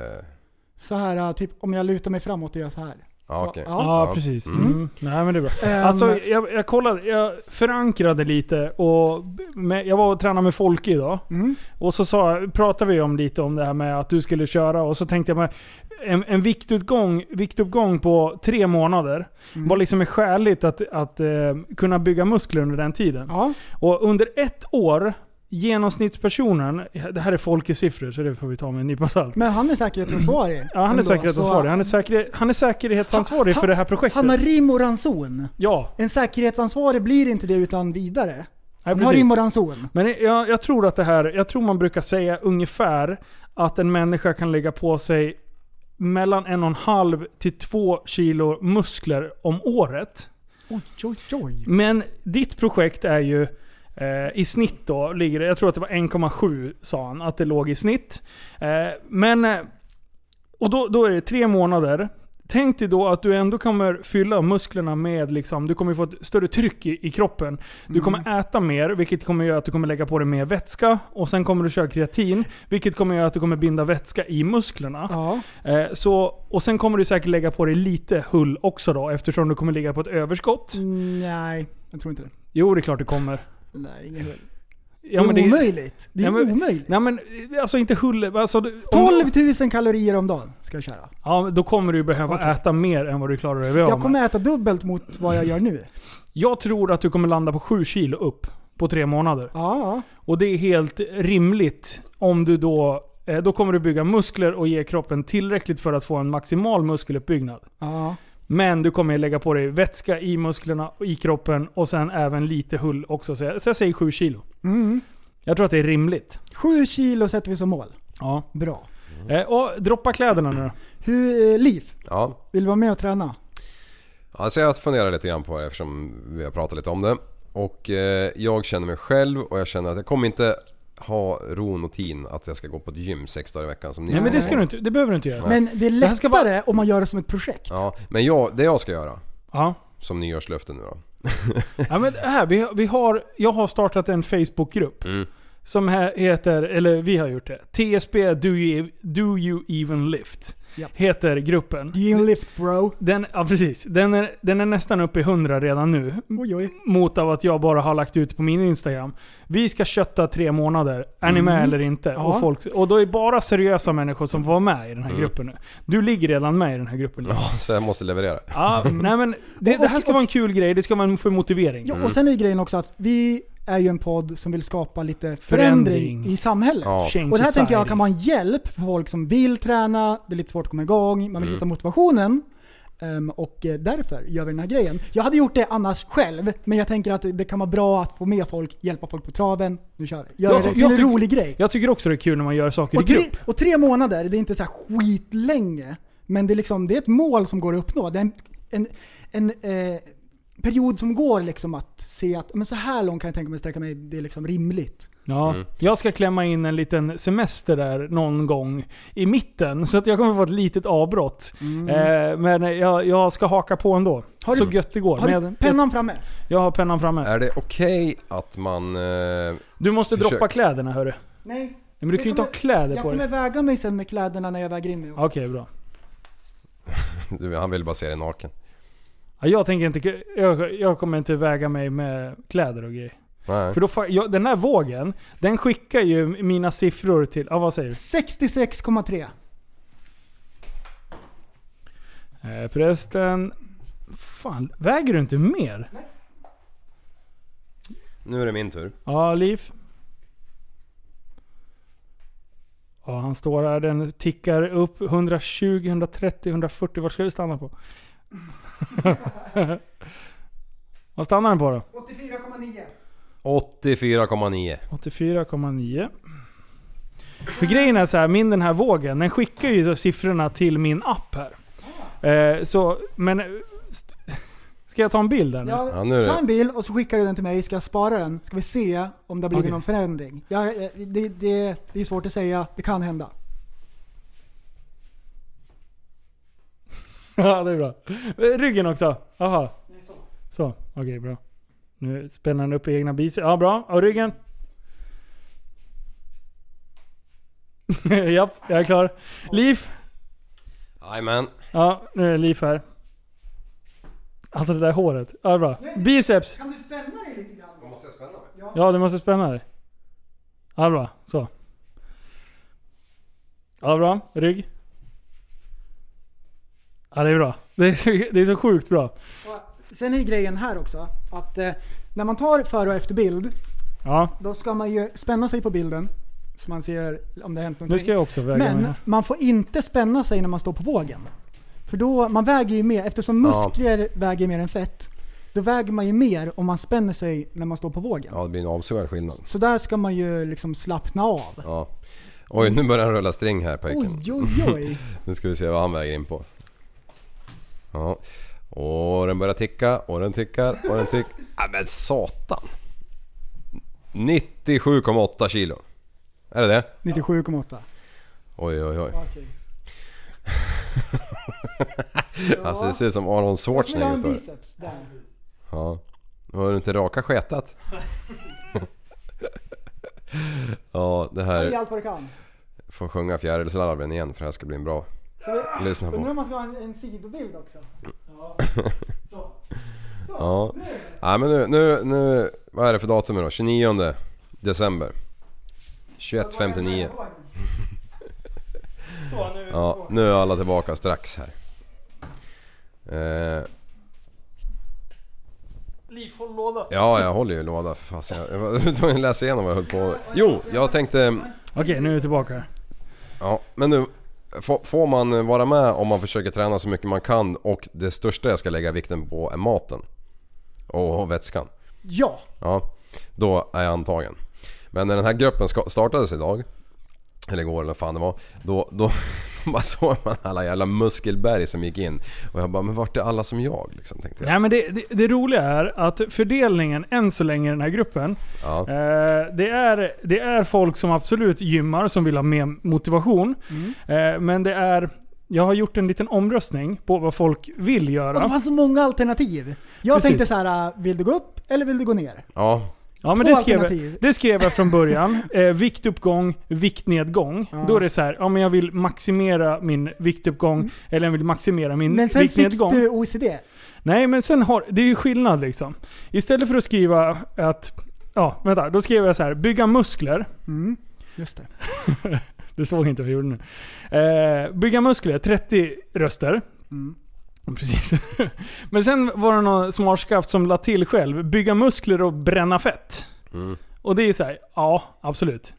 [SPEAKER 7] Så här, eh, typ om jag lutar mig framåt och gör så här.
[SPEAKER 6] ja,
[SPEAKER 7] Så,
[SPEAKER 6] okej.
[SPEAKER 7] ja.
[SPEAKER 5] Ja, precis. Mm. Nej men det är bra.
[SPEAKER 7] Ehm,
[SPEAKER 5] Alltså jag, jag kollade, jag förankrade lite och med, jag var och tränade med Folke idag.
[SPEAKER 7] Mm.
[SPEAKER 5] Och så sa, pratade vi om lite om det här med att du skulle köra och så tänkte jag mig en, en viktutgång, viktuppgång på tre månader
[SPEAKER 7] Mm.
[SPEAKER 5] var liksom skäligt att, att eh, kunna bygga muskler under den tiden.
[SPEAKER 7] Ja.
[SPEAKER 5] Och under ett år, genomsnittspersonen, det här är Folkes siffror så det får vi ta med en nypa salt.
[SPEAKER 7] Men han är säkerhetsansvarig.
[SPEAKER 5] Ja, han är
[SPEAKER 7] ändå,
[SPEAKER 5] säkerhetsansvarig.
[SPEAKER 7] så-
[SPEAKER 5] Han är, säker, han är säkerhetsansvarig
[SPEAKER 7] Ha-
[SPEAKER 5] för det här projektet.
[SPEAKER 7] Han har rim och ranson.
[SPEAKER 5] Ja,
[SPEAKER 7] En säkerhetsansvarig blir inte det utan vidare.
[SPEAKER 5] nej,
[SPEAKER 7] Han har rim
[SPEAKER 5] precis.
[SPEAKER 7] och ranson.
[SPEAKER 5] Men jag, jag tror att det här, jag tror man brukar säga ungefär att en människa kan lägga på sig mellan en och en halv till två kilo muskler om året.
[SPEAKER 7] Oj, oj, oj.
[SPEAKER 5] Men ditt projekt är ju eh, i snitt då, ligger det, jag tror att det var 1,7 sa han, att det låg i snitt. Eh, men, eh, och då, då är det tre månader. Tänk dig då att du ändå kommer fylla musklerna med, liksom, du kommer få ett större tryck i, i kroppen. Du kommer äta mer, vilket kommer göra att du kommer lägga på dig mer vätska. Och sen kommer du köra kreatin, vilket kommer göra att du kommer binda vätska i musklerna.
[SPEAKER 7] Ja.
[SPEAKER 5] Eh, så, och sen kommer du säkert lägga på dig lite hull också då, eftersom du kommer ligga på ett överskott.
[SPEAKER 7] Nej, jag tror inte det.
[SPEAKER 5] Jo, det är klart det kommer.
[SPEAKER 7] Nej, inga hull.
[SPEAKER 5] Ja, men
[SPEAKER 7] det är
[SPEAKER 5] det,
[SPEAKER 7] omöjligt. Det är
[SPEAKER 5] Ja, men-
[SPEAKER 7] omöjligt.
[SPEAKER 5] nej men eh, alltså inte hull... Alltså, du- om,
[SPEAKER 7] 12 000 kalorier om dagen ska jag köra.
[SPEAKER 5] Ja, då kommer du ju behöva
[SPEAKER 7] Okej.
[SPEAKER 5] äta mer än vad du klarar dig av
[SPEAKER 7] Jag
[SPEAKER 5] med.
[SPEAKER 7] kommer äta dubbelt mot vad jag gör nu.
[SPEAKER 5] Jag tror att du kommer landa på 7 kilo upp på tre månader.
[SPEAKER 7] Ja,
[SPEAKER 5] Och det är helt rimligt om du då... eh, Då kommer du bygga muskler och ge kroppen tillräckligt för att få en maximal muskeluppbyggnad.
[SPEAKER 7] ja.
[SPEAKER 5] Men du kommer lägga på dig vätska i musklerna och i kroppen och sen även lite hull också. Så jag, så jag säger 7 kilo.
[SPEAKER 7] Mm.
[SPEAKER 5] Jag tror att det är rimligt.
[SPEAKER 7] 7 kilo sätter vi som mål.
[SPEAKER 5] Ja.
[SPEAKER 7] Bra.
[SPEAKER 5] Eh, och droppa kläderna nu då.
[SPEAKER 7] Hur, eh, Liv,
[SPEAKER 6] Ja.
[SPEAKER 7] vill du vara med och träna?
[SPEAKER 6] Alltså jag funderar lite grann på det eftersom vi har pratat lite om det. Och eh, jag känner mig själv och jag känner att jag kommer inte ha ron och tin att jag ska gå på ett gym sex dagar i veckan som ni
[SPEAKER 5] Nej men
[SPEAKER 6] ska
[SPEAKER 5] det ska
[SPEAKER 6] ha.
[SPEAKER 5] du inte, det behöver du inte göra.
[SPEAKER 7] Men det är
[SPEAKER 5] Det här ska
[SPEAKER 7] lättare om man gör det som ett projekt.
[SPEAKER 6] Ja, men jag, det jag ska göra
[SPEAKER 5] Ja.
[SPEAKER 6] som nyårslöfte nu då. *laughs*
[SPEAKER 5] Ja, men det här, vi, vi har, jag har startat en Facebookgrupp.
[SPEAKER 6] Mm.
[SPEAKER 5] Som här heter, eller vi har gjort det. TSB Do You, Do you Even Lift.
[SPEAKER 7] Ja.
[SPEAKER 5] Heter gruppen.
[SPEAKER 7] You can lift bro.
[SPEAKER 5] Den, ja, precis. Den, är, den är nästan uppe i 100 redan nu.
[SPEAKER 7] Oj oj.
[SPEAKER 5] Mot av att jag bara har lagt ut på min Instagram. Vi ska kötta tre månader. Är ni med eller inte?
[SPEAKER 7] Mm. Ja.
[SPEAKER 5] Och, folk, och då är det bara seriösa människor som var med i den här gruppen nu. Du ligger redan med i den här gruppen.
[SPEAKER 6] Mm. Ja, så jag måste leverera.
[SPEAKER 5] Ja, nej men det, det här ska vara en kul grej. Det ska vara en för motivering.
[SPEAKER 6] Mm.
[SPEAKER 7] Ja, och sen är ju grejen också att vi är ju en podd som vill skapa lite förändring,
[SPEAKER 5] Förändring.
[SPEAKER 7] i samhället.
[SPEAKER 6] Ja.
[SPEAKER 5] Change
[SPEAKER 7] Och det här tänker jag
[SPEAKER 5] society.
[SPEAKER 7] kan vara en hjälp för folk som vill träna, det är lite svårt att komma igång, man vill
[SPEAKER 6] Mm.
[SPEAKER 7] hitta motivationen. Ehm, och eh, därför gör vi den här grejen. Jag hade gjort det annars själv, men jag tänker att det- det kan vara bra att få med folk, hjälpa folk på traven. Nu kör vi. Gör
[SPEAKER 5] Jag-
[SPEAKER 7] det
[SPEAKER 5] jag
[SPEAKER 7] till en
[SPEAKER 5] tycker-
[SPEAKER 7] rolig grej.
[SPEAKER 5] Jag tycker också det är kul när man gör saker i
[SPEAKER 7] Och tre,
[SPEAKER 5] grupp.
[SPEAKER 7] och tre månader, det är inte så här skitlänge. Men det är, liksom, det är ett mål som går att uppnå. Det är en, en, en eh, period som går liksom att se att men så här långt kan jag tänka mig sträcka mig. Det är liksom rimligt.
[SPEAKER 5] Ja. Jag ska klämma in en liten semester där någon gång i mitten. Så att jag kommer få ett litet avbrott. Eh, men jag, jag ska haka på ändå.
[SPEAKER 7] Mm. Har
[SPEAKER 5] så
[SPEAKER 7] du-
[SPEAKER 5] gött det går.
[SPEAKER 7] Har
[SPEAKER 5] Men
[SPEAKER 7] du
[SPEAKER 5] jag,
[SPEAKER 7] pennan framme?
[SPEAKER 5] jag har pennan framme.
[SPEAKER 6] Är det okej att man... Eh,
[SPEAKER 5] Du måste
[SPEAKER 6] Äh, Försök.
[SPEAKER 5] droppa kläderna hörru. Nej,
[SPEAKER 7] Nej.
[SPEAKER 5] Men du kan ju inte ha kläder
[SPEAKER 7] Jag
[SPEAKER 5] på dig.
[SPEAKER 7] kommer väga mig sen med kläderna när jag väger in mig också.
[SPEAKER 5] Okej, bra.
[SPEAKER 6] du, han vill bara se dig naken.
[SPEAKER 5] Ja, jag, tänker inte, jag, jag kommer inte väga mig med kläder och grejer.
[SPEAKER 6] Nej.
[SPEAKER 5] För då, fa- jag, den här vågen, den skickar ju mina siffror till... Ja, vad säger du?
[SPEAKER 7] 66,3.
[SPEAKER 5] Eh, prästen... Fan, väger du inte mer?
[SPEAKER 6] Nu är det min tur.
[SPEAKER 5] Ja, Liv. Ja, han står här. Den tickar upp. 120, 130, 140. Var ska du stanna på? *laughs* Vad stannar den på då?
[SPEAKER 7] 84,9.
[SPEAKER 6] 84,9.
[SPEAKER 5] 84,9. För grejen är så här, min den här vågen, den skickar ju så siffrorna till min app här. Eh, så, men... eh, st- *laughs* Ska jag ta en bild här nu?
[SPEAKER 7] Ja,
[SPEAKER 6] Ja, nu är
[SPEAKER 7] ta
[SPEAKER 6] det.
[SPEAKER 7] en bild och så skickar du den till mig. Ska jag spara den? Ska vi se om det har blivit
[SPEAKER 5] Okej.
[SPEAKER 7] någon förändring? Ja, eh, det, det, det är svårt att säga. Det kan hända.
[SPEAKER 5] *laughs* Ja, det är bra. Ryggen också. Jaha. Så, okej bra. Nu spänner han upp egna biceps. Ja, bra. Och ryggen? *laughs* Japp, jag är klar. Liv?
[SPEAKER 6] Jajamän.
[SPEAKER 5] Ja, nu är Liv här. Alltså det där håret. Ja, bra. Biceps?
[SPEAKER 7] Kan du spänna dig lite grann?
[SPEAKER 6] Måste jag spänna mig?
[SPEAKER 5] Ja, du måste spänna dig. Ja, bra. Så. Ja, bra. Rygg. Ja, det är bra. Det är så, det är så sjukt bra.
[SPEAKER 7] Och sen är ju grejen här också att eh, när man tar före och efterbild,
[SPEAKER 5] Ja,
[SPEAKER 7] då ska man ju spänna sig på bilden. Så man ser om det har hänt någonting.
[SPEAKER 5] nu ska jag också väga mig
[SPEAKER 7] Men
[SPEAKER 5] här.
[SPEAKER 7] man får inte spänna sig när man står på vågen. För då, man väger ju mer, eftersom muskler väger mer än fett, då väger man ju mer om man spänner sig när man står på vågen.
[SPEAKER 6] Ja, det blir en avsevärd skillnad.
[SPEAKER 7] Så där ska man ju liksom slappna av.
[SPEAKER 6] Ja. Oj, nu börjar han rulla string här pojken.
[SPEAKER 7] Oj, oj,
[SPEAKER 6] *laughs*
[SPEAKER 7] oj.
[SPEAKER 6] Nu ska vi se vad han väger in på. Ja. Och den börjar ticka och den tickar och den tickar. Nej men satan! 97,8 kilo. Är det det?
[SPEAKER 7] 97,8.
[SPEAKER 6] Oj oj oj. Alltså det ser ut som Aron Schwarzenegger står här.
[SPEAKER 7] biceps. Där.
[SPEAKER 6] Ja. Har du inte raka *laughs* sketat? ja, det
[SPEAKER 7] Ge
[SPEAKER 6] här
[SPEAKER 7] allt vad du kan.
[SPEAKER 6] får sjunga fjärilslarven igen för det här ska bli en bra... Lyssna
[SPEAKER 7] Undrar om
[SPEAKER 6] på.
[SPEAKER 7] man ska ha en, en sidobild också. *laughs*
[SPEAKER 6] Ja. ja men nu, nu, nu... Vad är det för datum idag? 29 december. 21.59. Ja, nu är alla tillbaka strax här. Eh,
[SPEAKER 5] Liv, håll låda.
[SPEAKER 6] ja, jag håller ju låda för fasen. Jag- Jag var *laughs* tvungen att läsa igenom vad jag höll på med. Jo, jag tänkte...
[SPEAKER 5] Okej, nu är vi tillbaka.
[SPEAKER 6] Ja, men nu... få- Får man vara med om man försöker träna så mycket man kan och det största jag ska lägga vikten på är maten? Och vätskan.
[SPEAKER 7] Ja,
[SPEAKER 6] Ja, då är jag antagen. Men när den här gruppen ska- startades idag, eller igår eller vad fan det var, då, då *laughs* bara såg man alla jävla muskelberg som gick in. Och jag bara, men vart är alla som jag? Liksom, tänkte jag.
[SPEAKER 5] Nej, men det, det, det roliga är att fördelningen än så länge i den här gruppen
[SPEAKER 6] Ja.
[SPEAKER 5] Eh, det, är, det är folk som absolut gymmar, som vill ha mer motivation.
[SPEAKER 7] Mm.
[SPEAKER 5] Eh, men det är... Jag har gjort en liten omröstning på vad folk vill
[SPEAKER 7] och det
[SPEAKER 5] göra.
[SPEAKER 7] fanns så många alternativ. Jag
[SPEAKER 5] Precis.
[SPEAKER 7] tänkte så här, äh, vill du gå upp eller vill du gå ner?
[SPEAKER 6] ja,
[SPEAKER 5] Ja, men
[SPEAKER 7] två
[SPEAKER 5] det, skrev,
[SPEAKER 7] alternativ.
[SPEAKER 5] det skrev jag från
[SPEAKER 7] *laughs*
[SPEAKER 5] början. Eh, viktuppgång, viktnedgång.
[SPEAKER 7] Ja.
[SPEAKER 5] Då är det så här, ja men jag vill maximera min viktuppgång, eller jag vill maximera min
[SPEAKER 7] Mm. Men sen fick
[SPEAKER 5] viktnedgång.
[SPEAKER 7] du E OECD.
[SPEAKER 5] Nej, men sen har... Det är ju skillnad liksom. Istället för att skriva att... Ja, vänta. Då skrev jag så här, bygga muskler.
[SPEAKER 7] Mm. Just det.
[SPEAKER 5] Du såg inte vad jag gjorde nu. Eh, bygga muskler, 30 röster.
[SPEAKER 7] Mm.
[SPEAKER 5] Precis. *laughs* Men sen var det någon smartskaft som la till själv. Bygga muskler och bränna fett.
[SPEAKER 6] Mm.
[SPEAKER 5] Och det är så här, ja absolut.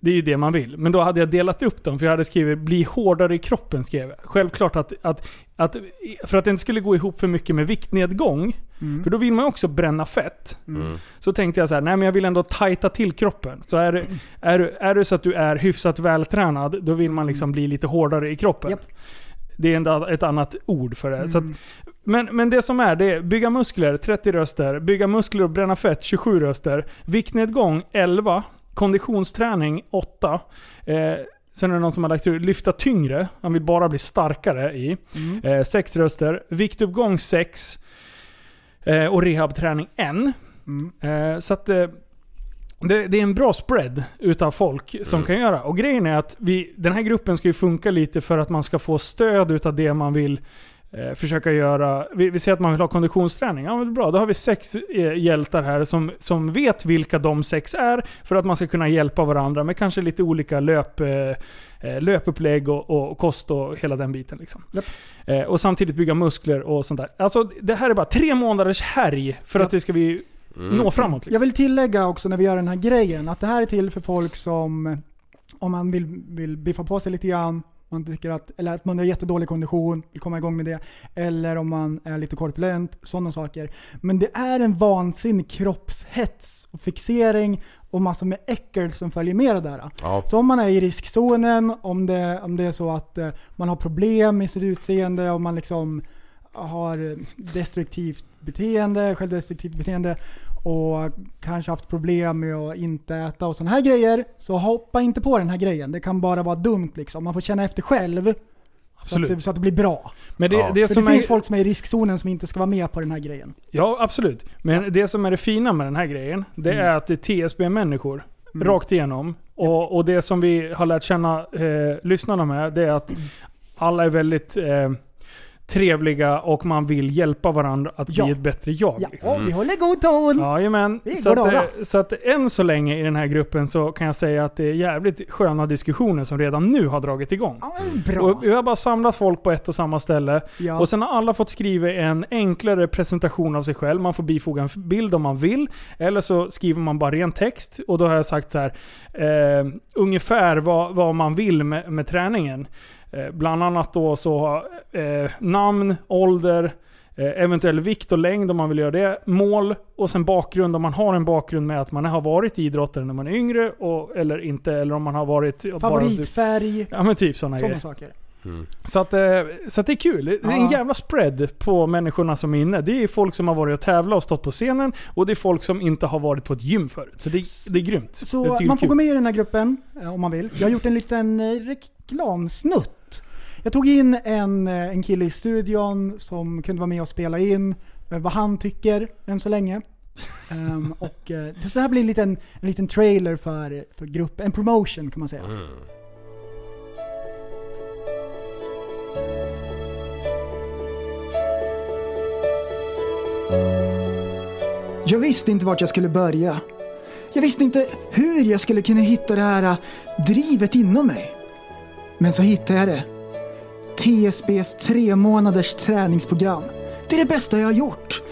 [SPEAKER 5] Det är ju det man vill. Men då hade jag delat upp dem för jag hade skrivit bli hårdare i kroppen skrev jag. Självklart att, att, att för att det inte skulle gå ihop för mycket med viktnedgång. För då vill man ju också bränna fett.
[SPEAKER 7] Mm.
[SPEAKER 6] Mm.
[SPEAKER 5] Så tänkte jag så här, nej men jag vill ändå tajta till kroppen. Så är, du- är, du- är det så att du är hyfsat vältränad, då vill man liksom bli lite hårdare i kroppen.
[SPEAKER 7] Japp.
[SPEAKER 5] Det är en, ett annat ord för det. Så att, men, men det som är, det är bygga muskler, 30 röster. Bygga muskler och bränna fett, 27 röster. Viktnedgång, 11. Konditionsträning, 8. Eh, sen är det någon som har lagt ut lyfta tyngre. Han vill bara bli starkare i. Eh, 6 röster. Viktuppgång, 6. Eh, och rehabträning, 1. Eh, så att... Eh, det, det är en bra spread utav folk som
[SPEAKER 7] Mm.
[SPEAKER 5] kan göra. Och grejen är att vi, den här gruppen ska ju funka lite för att man ska få stöd utav det man vill eh, försöka göra. Vi, vi säger att man vill ha konditionsträning. Ja, men det är bra. Då har vi sex eh, hjältar här som, som vet vilka de sex är för att man ska kunna hjälpa varandra med kanske lite olika löp, eh, eh, löpupplägg och, och kost och hela den biten. Liksom.
[SPEAKER 7] Japp.
[SPEAKER 5] Eh, och samtidigt bygga muskler och sånt där. Alltså, det här är bara tre månaders härj för
[SPEAKER 7] Japp.
[SPEAKER 5] att vi ska vi nå framåt.
[SPEAKER 7] Jag
[SPEAKER 5] Liksom.
[SPEAKER 7] vill tillägga också när vi gör den här grejen att det här är till för folk som, om man vill, vill biffa på sig lite grann, man tycker att, eller att man har jättedålig kondition, vill komma igång med det, eller om man är lite korpulent, sådana saker. Men det är en vansinnig kroppshets och fixering och massor med äckel som följer med det där.
[SPEAKER 6] ja.
[SPEAKER 7] Så om man är i riskzonen, om det, om det är så att eh, man har problem med sitt utseende, om man liksom har eh, destruktivt beteende, självdestruktivt beteende och kanske haft problem med att inte äta och sådana här grejer. Så hoppa inte på den här grejen. Det kan bara vara dumt liksom. Man får känna efter själv Så att,
[SPEAKER 5] Absolut.
[SPEAKER 7] det, så att det blir bra.
[SPEAKER 5] Men det,
[SPEAKER 6] Ja.
[SPEAKER 5] det
[SPEAKER 7] För det
[SPEAKER 5] som
[SPEAKER 7] finns
[SPEAKER 5] är...
[SPEAKER 7] folk som är i riskzonen som inte ska vara med på den här grejen.
[SPEAKER 5] Ja, absolut. Men det som är det fina med den här grejen, det är att det är TSB-människor.
[SPEAKER 7] Mm.
[SPEAKER 5] Rakt igenom. Och, och det som vi har lärt känna eh, lyssnarna med, det är att alla är väldigt eh, trevliga och man vill hjälpa varandra att
[SPEAKER 7] Ja.
[SPEAKER 5] bli ett bättre jag.
[SPEAKER 7] Ja,
[SPEAKER 5] Liksom.
[SPEAKER 7] vi håller god ton!
[SPEAKER 5] Jajamän.
[SPEAKER 7] Vi
[SPEAKER 5] Så,
[SPEAKER 7] går
[SPEAKER 5] att, eh,
[SPEAKER 7] glada.
[SPEAKER 5] så att än så länge i den här gruppen så kan jag säga att det är jävligt sköna diskussioner som redan nu har dragit igång.
[SPEAKER 7] Ja, men bra.
[SPEAKER 5] Och vi har bara samlat folk på ett och samma ställe.
[SPEAKER 7] ja.
[SPEAKER 5] Och sen har alla fått skriva en enklare presentation av sig själv. Man får bifoga en f- bild om man vill. Eller så skriver man bara ren text. Och då har jag sagt så här. Eh, ungefär vad, vad man vill med, med träningen. Eh, bland annat då så har, eh, namn, ålder, eh, eventuell vikt och längd om man vill göra det. Mål och sen bakgrund om man har en bakgrund med att man har varit idrottare när man är yngre och, eller inte. Eller om man har varit... Bara,
[SPEAKER 7] Favoritfärg,
[SPEAKER 5] ja men typ sådana grejer.
[SPEAKER 7] sådana saker.
[SPEAKER 5] Så att, eh, så att det är kul. Det är en
[SPEAKER 7] Ja.
[SPEAKER 5] jävla spread på människorna som är inne. Det är folk som har varit och tävlat och stått på scenen och det är folk som inte har varit på ett gym förut. Så det, det är grymt.
[SPEAKER 7] Så
[SPEAKER 5] jag tycker det är
[SPEAKER 7] man får
[SPEAKER 5] kul.
[SPEAKER 7] gå med i den här gruppen eh, om man vill. Jag har gjort en liten eh, reklamsnutt. Jag tog in en, eh, en kille i studion som kunde vara med och spela in eh, vad han tycker än så länge. Ehm, *laughs* och, eh, så det här blir en liten, en liten trailer för, för gruppen, en promotion kan man säga.
[SPEAKER 5] Mm.
[SPEAKER 7] Jag visste inte vart jag skulle börja. Jag visste inte hur jag skulle kunna hitta det här äh, drivet inom mig. Men så hittade jag det. TSBs tre månaders träningsprogram. Det är det bästa jag har gjort.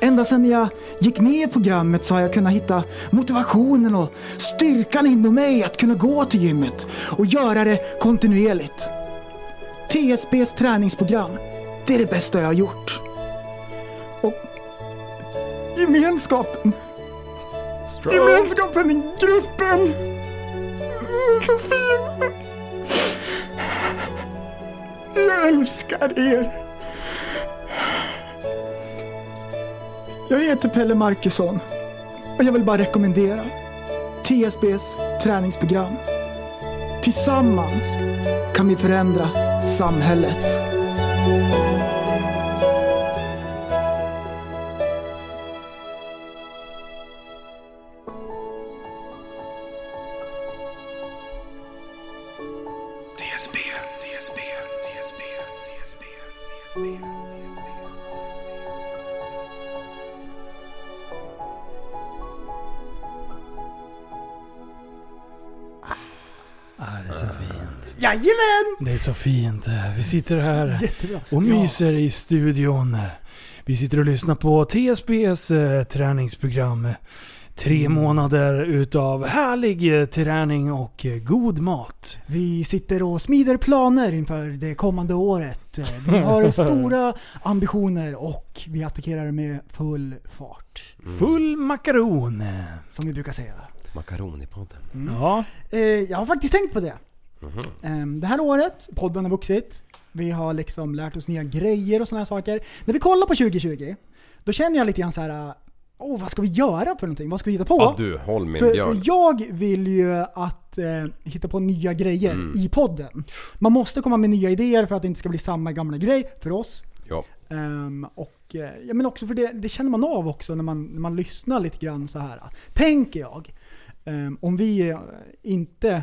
[SPEAKER 7] Ända sedan jag gick med i programmet så har jag kunnat hitta motivationen och styrkan inom mig att kunna gå till gymmet och göra det kontinuerligt. TSBs träningsprogram. Det är det bästa jag har gjort. Och gemenskapen. Gemenskapen i gruppen! Mm, Så fin! Jag älskar er! Jag heter Pelle Markusson och jag vill bara rekommendera TSBs träningsprogram. Tillsammans kan vi förändra samhället. Jajamän!
[SPEAKER 5] Det är så fint. Vi sitter här och myser i studion. Vi sitter och lyssnar på TSBs eh, träningsprogram. Tre månader utav härlig eh, träning och eh, god mat.
[SPEAKER 7] Vi sitter och smider planer inför det kommande året. Eh, Vi har stora ambitioner och vi attackerar med full fart.
[SPEAKER 6] Mm.
[SPEAKER 5] Full makaron.
[SPEAKER 7] Som vi brukar säga.
[SPEAKER 6] Makaronipodden.
[SPEAKER 5] Ja.
[SPEAKER 7] Eh, Jag har faktiskt tänkt på det.
[SPEAKER 6] Mhm.
[SPEAKER 7] Ehm, Det här året, podden har vuxit. Vi har liksom lärt oss nya grejer och sådana här saker. När vi kollar på 2020, då känner jag lite grann så här. Åh, vad ska vi göra för någonting? Vad ska vi hitta på?
[SPEAKER 6] Ja du, håll min
[SPEAKER 7] För,
[SPEAKER 6] björn.
[SPEAKER 7] för jag vill ju att eh, hitta på nya grejer i podden. Man måste komma med nya idéer för att det inte ska bli samma gamla grej för oss.
[SPEAKER 6] Ja.
[SPEAKER 7] Ehm, och, eh, ja, men också för det, det känner man av också när man, när man lyssnar lite grann så här. Tänker jag, ehm, om vi eh, inte...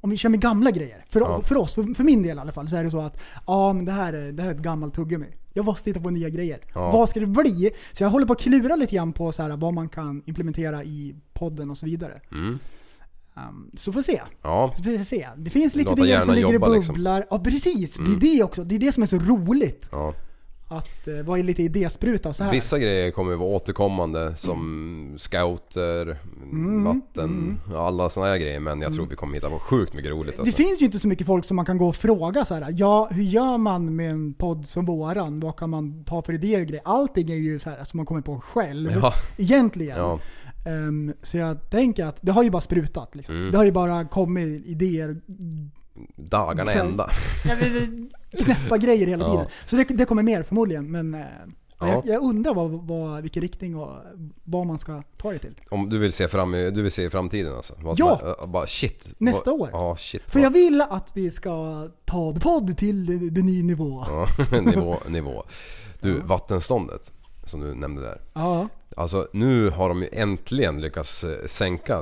[SPEAKER 7] Om vi kör med gamla grejer. För,
[SPEAKER 6] Ja.
[SPEAKER 7] för oss, för, för min del i alla fall, så är det så att ja, men det, här är, det här är ett gammalt tuggummi. Jag måste hitta på nya grejer.
[SPEAKER 6] Ja.
[SPEAKER 7] Vad ska det bli? Så jag håller på att klura lite grann på så här, vad man kan implementera i podden och så vidare.
[SPEAKER 6] Mm.
[SPEAKER 7] Ehm, så får se.
[SPEAKER 6] Ja.
[SPEAKER 7] Så får vi se. Det finns lite
[SPEAKER 6] Låta
[SPEAKER 7] idéer som
[SPEAKER 6] hjärnan
[SPEAKER 7] ligger i
[SPEAKER 6] jobba, liksom. Mm.
[SPEAKER 7] bubblar. Ja precis, det är det också. Det är det som är så roligt
[SPEAKER 6] ja.
[SPEAKER 7] att eh, vara lite idéspruta och så här.
[SPEAKER 6] Vissa grejer kommer ju vara återkommande som scouter,
[SPEAKER 7] Mm.
[SPEAKER 6] vatten, alla såna här grejer. Men jag tror vi kommer hitta på sjukt mycket roligt
[SPEAKER 7] det
[SPEAKER 6] alltså.
[SPEAKER 7] finns ju inte så mycket folk som man kan gå och fråga så här. Ja, hur gör man med en podd som våran? Vad kan man ta för idéer och grejer? Allting är ju så här som man kommer på själv.
[SPEAKER 6] Ja,
[SPEAKER 7] Egentligen.
[SPEAKER 6] ja.
[SPEAKER 7] Ehm, så jag tänker att det har ju bara sprutat. Liksom.
[SPEAKER 6] Mm.
[SPEAKER 7] Det har ju bara kommit idéer,
[SPEAKER 6] Dagarna
[SPEAKER 7] Sen-
[SPEAKER 6] ända.
[SPEAKER 7] knäppa grejer hela
[SPEAKER 6] Ja.
[SPEAKER 7] tiden. Så det, det kommer mer förmodligen. Men eh,
[SPEAKER 6] Ja.
[SPEAKER 7] Jag, jag undrar vad, vad, vilken riktning och vad man ska ta det till.
[SPEAKER 6] Om du vill se fram i, du vill se i framtiden alltså? Vad
[SPEAKER 7] Ja!
[SPEAKER 6] som är- äh, Bara shit.
[SPEAKER 7] Nästa
[SPEAKER 6] Vad-
[SPEAKER 7] år.
[SPEAKER 6] Ja, shit.
[SPEAKER 7] För jag vill att vi ska ta The Podd till en- en ny nivå. Ja.
[SPEAKER 6] Ja, *laughs* nivå, nivå. Du, vattenståndet som du nämnde där. Alltså nu har de ju äntligen lyckats eh, sänka... eh,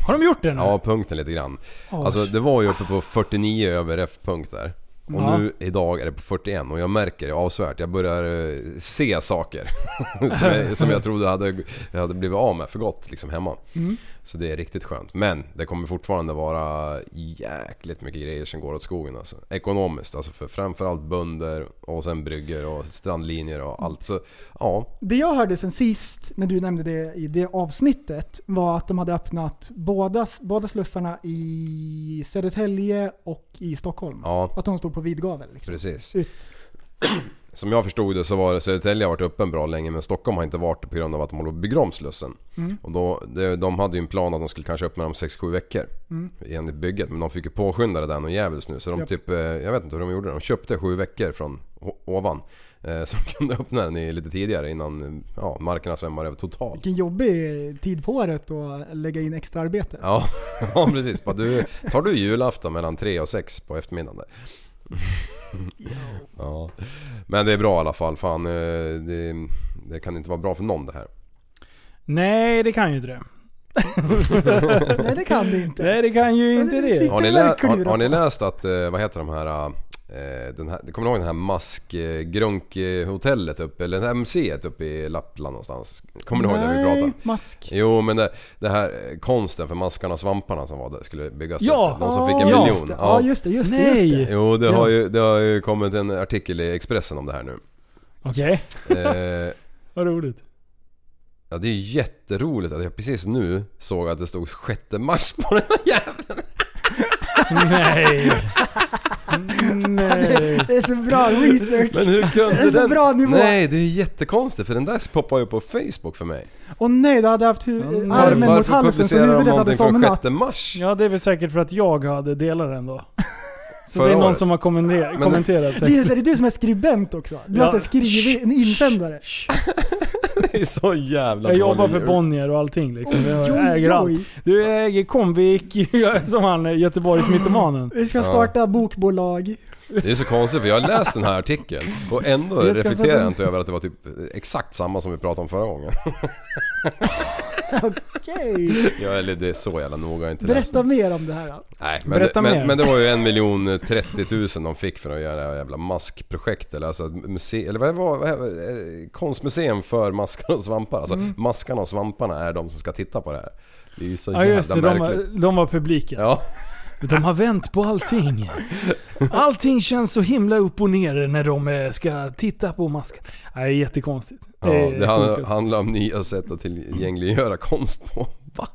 [SPEAKER 5] Har de gjort det nu?
[SPEAKER 6] Ja, punkten lite grann.
[SPEAKER 5] Oj.
[SPEAKER 6] Alltså det var ju uppe på 49 över F-punkt där. Och
[SPEAKER 5] Ja.
[SPEAKER 6] nu idag är det på 41 och jag märker det avsevärt. Jag börjar eh, se saker *laughs* som, jag, som jag trodde hade, jag hade blivit av med för gott liksom hemma.
[SPEAKER 5] Mm.
[SPEAKER 6] Så det är riktigt skönt. Men det kommer fortfarande vara jäkligt mycket grejer som går åt skogen alltså. Ekonomiskt alltså för framförallt bönder och sen brygger och strandlinjer och allt. Så ja,
[SPEAKER 7] Det jag hörde sen sist, när du nämnde det i det avsnittet, var att de hade öppnat båda, båda slussarna i Södertälje och i Stockholm.
[SPEAKER 6] ja
[SPEAKER 7] Att de stod på vid gavel. Liksom.
[SPEAKER 6] precis.
[SPEAKER 7] Ut.
[SPEAKER 6] Som jag förstod det så var det Södertälje har varit öppen bra länge men Stockholm har inte varit det på grund av att de håller på att bygga om Slussen. Och då, de, de hade ju en plan att de skulle kanske öppna om 6-7 veckor enligt bygget. Men de fick ju påskynda det där något djävulskt nu. Så de
[SPEAKER 7] Japp.
[SPEAKER 6] typ, eh, jag vet inte hur de gjorde det. De köpte 7 veckor från o- ovan. eh, Så de kunde *laughs* öppna den i- lite tidigare innan eh, ja, markerna svämmar över totalt.
[SPEAKER 7] Vilken jobbig tid på året att lägga in extra arbete.
[SPEAKER 6] Ja, *laughs* ja precis. Bara, du, tar du julafton mellan 3 och 6 på eftermiddagen där? Ja. Men det är bra i alla fall. Fan, eh, det, det kan inte vara bra för någon det här.
[SPEAKER 5] Nej, det kan ju inte det.
[SPEAKER 7] Nej, det kan det inte.
[SPEAKER 5] Nej, det kan ju inte
[SPEAKER 7] det
[SPEAKER 5] det.
[SPEAKER 7] sitter-
[SPEAKER 6] Har ni,
[SPEAKER 7] Det är
[SPEAKER 6] lä-
[SPEAKER 7] väl
[SPEAKER 6] har,
[SPEAKER 7] klura
[SPEAKER 6] har ni
[SPEAKER 7] på.
[SPEAKER 6] läst att, eh, vad heter de här, eh, den här kommer ni ihåg den här mask eh, grunk eh, hotellet uppe, eller det här museet uppe i Lappland någonstans? Kommer ni ihåg det vi
[SPEAKER 7] Nej,
[SPEAKER 6] pratade?
[SPEAKER 7] mask.
[SPEAKER 6] Jo men det, det här eh, konsten för maskarna och svamparna som var där skulle byggas
[SPEAKER 5] Ja!
[SPEAKER 6] upp. De som fick en
[SPEAKER 5] Ja,
[SPEAKER 7] Just
[SPEAKER 6] miljon.
[SPEAKER 7] det. Ja,
[SPEAKER 6] Ja.
[SPEAKER 7] just det. Just det,
[SPEAKER 5] Nej.
[SPEAKER 7] Just det.
[SPEAKER 6] Jo det har, ju, det har ju kommit en artikel i Expressen om det här nu.
[SPEAKER 5] Okej,
[SPEAKER 6] Eh, *laughs*
[SPEAKER 5] vad roligt.
[SPEAKER 6] ja det är ju jätteroligt att jag precis nu såg att det stod 6 mars på den här jäveln. *laughs*
[SPEAKER 5] Nej. Mm,
[SPEAKER 7] *laughs*
[SPEAKER 5] Nej.
[SPEAKER 7] Det är så bra research.
[SPEAKER 6] Men hur kunde
[SPEAKER 7] Det är så
[SPEAKER 6] den...
[SPEAKER 7] bra nivå.
[SPEAKER 6] Nej det är ju jättekonstigt för den där poppar ju på Facebook för mig.
[SPEAKER 7] Och nej, du hade haft
[SPEAKER 5] Mm.
[SPEAKER 7] hu- armen mot
[SPEAKER 6] Varför
[SPEAKER 7] halsen så
[SPEAKER 6] publicerar de
[SPEAKER 7] huvudet hade
[SPEAKER 6] någonting från
[SPEAKER 7] somnat.
[SPEAKER 6] 6 mars?
[SPEAKER 5] Ja, det är väl säkert för att jag hade delat den då. Så
[SPEAKER 6] Förra
[SPEAKER 5] det är någon
[SPEAKER 6] året.
[SPEAKER 5] som har kommenter-
[SPEAKER 6] Men-
[SPEAKER 5] kommenterat
[SPEAKER 7] Det
[SPEAKER 5] säkert.
[SPEAKER 7] är, det är du som är skribent också. Du har
[SPEAKER 5] Ja.
[SPEAKER 7] så här skrivit en insändare.
[SPEAKER 6] Det är så jävla
[SPEAKER 5] Jag
[SPEAKER 6] bra
[SPEAKER 5] jobbar för
[SPEAKER 6] lurar.
[SPEAKER 5] Bonnier och allting liksom. Jag äger
[SPEAKER 7] Oj,
[SPEAKER 5] allt.
[SPEAKER 7] oj.
[SPEAKER 5] Du jag äger Comvik, *laughs* jag är som han eh, Göteborgs mytomanen.
[SPEAKER 7] Vi ska
[SPEAKER 6] *laughs*
[SPEAKER 7] starta bokbolag.
[SPEAKER 6] Det är så konstigt för jag har läst den här artikeln och ändå
[SPEAKER 7] Jag ska
[SPEAKER 6] reflekterar
[SPEAKER 7] sätta-
[SPEAKER 6] jag inte över att det var typ exakt samma som vi pratade om förra gången. *laughs*
[SPEAKER 7] Okej.
[SPEAKER 6] Jag, eller det är så jävla noga, jag har inte läst
[SPEAKER 7] Berätta
[SPEAKER 6] den.
[SPEAKER 7] mer om det här då.
[SPEAKER 6] Nej, men,
[SPEAKER 5] Berätta
[SPEAKER 6] det,
[SPEAKER 5] mer.
[SPEAKER 6] men, men det var ju en miljon 30 tusen de fick för att göra det här jävla maskprojekt eller alltså ett muse- eller vad var vad, vad, konstmuseum för maskar och svampar. Alltså
[SPEAKER 5] Mm.
[SPEAKER 6] maskarna och svamparna är de som ska titta på det här. Det är ju så
[SPEAKER 5] Ja just det,
[SPEAKER 6] jävla
[SPEAKER 5] de,
[SPEAKER 6] märkligt.
[SPEAKER 5] var- de var publiken.
[SPEAKER 6] Ja.
[SPEAKER 5] De har vänt på allting. Allting känns så himla upp och ner när de eh, ska titta på masken. Nej, det är jättekonstigt.
[SPEAKER 6] Ja,
[SPEAKER 5] är
[SPEAKER 6] det handlar,
[SPEAKER 5] sjukaste.
[SPEAKER 6] handlar om nya sätt att tillgängliggöra konst på. Va?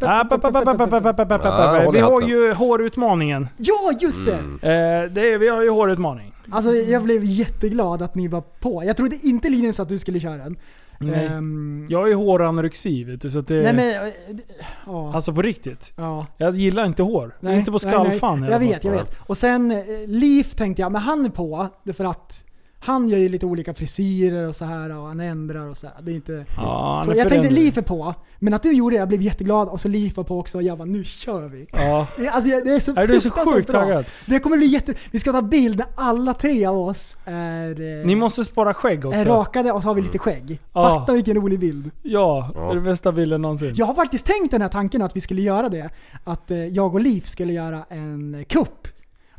[SPEAKER 5] Ah, pa, pa, pa, pa, pa, pa, pa, pa, pa,
[SPEAKER 6] Ah,
[SPEAKER 5] pa.
[SPEAKER 6] håll i
[SPEAKER 5] Vi har
[SPEAKER 6] hatten.
[SPEAKER 5] ju hårutmaningen.
[SPEAKER 7] Ja, just det!
[SPEAKER 6] Mm.
[SPEAKER 5] Eh, det, är- vi har ju hårutmaning.
[SPEAKER 7] Alltså jag blev jätteglad att ni var på. Jag trodde inte Linus att du skulle köra den.
[SPEAKER 5] Nej.
[SPEAKER 7] Ehm,
[SPEAKER 5] Eh, Jag har ju håranorexi vet du, så att det...
[SPEAKER 7] nej men... eh, Ja.
[SPEAKER 5] Alltså på riktigt.
[SPEAKER 7] ja.
[SPEAKER 5] Jag gillar inte hår. inte på skallfan
[SPEAKER 7] nej.
[SPEAKER 5] i
[SPEAKER 7] Jag
[SPEAKER 5] alla fall.
[SPEAKER 7] vet, jag vet. Och sen eh, Leaf tänkte jag, men han är på. För att han gör ju lite olika frisyrer och så här och han ändrar och så här. Det är inte...
[SPEAKER 5] Ja, han
[SPEAKER 7] Så
[SPEAKER 5] är
[SPEAKER 7] jag tänkte
[SPEAKER 5] förändrad.
[SPEAKER 7] Leaf är på, men att du gjorde det, jag blev jätteglad och så Leaf var på också och jag bara nu kör vi.
[SPEAKER 5] Ja.
[SPEAKER 7] Alltså jag- det är så
[SPEAKER 5] Är du så
[SPEAKER 7] fruktansvärt
[SPEAKER 5] sjukt
[SPEAKER 7] bra.
[SPEAKER 5] taggad?
[SPEAKER 7] Det kommer bli jätte... Vi ska ta bild när alla tre av oss är, eh,
[SPEAKER 5] Ni måste spara skägg också. Mm.
[SPEAKER 7] är rakade och så har vi lite skägg.
[SPEAKER 5] Ja.
[SPEAKER 7] Fatta vilken rolig bild.
[SPEAKER 5] Ja, det är
[SPEAKER 6] Ja.
[SPEAKER 5] den bästa bilden någonsin.
[SPEAKER 7] Jag har faktiskt tänkt den här tanken att vi skulle göra det. Att eh, jag och Liv skulle göra en kupp.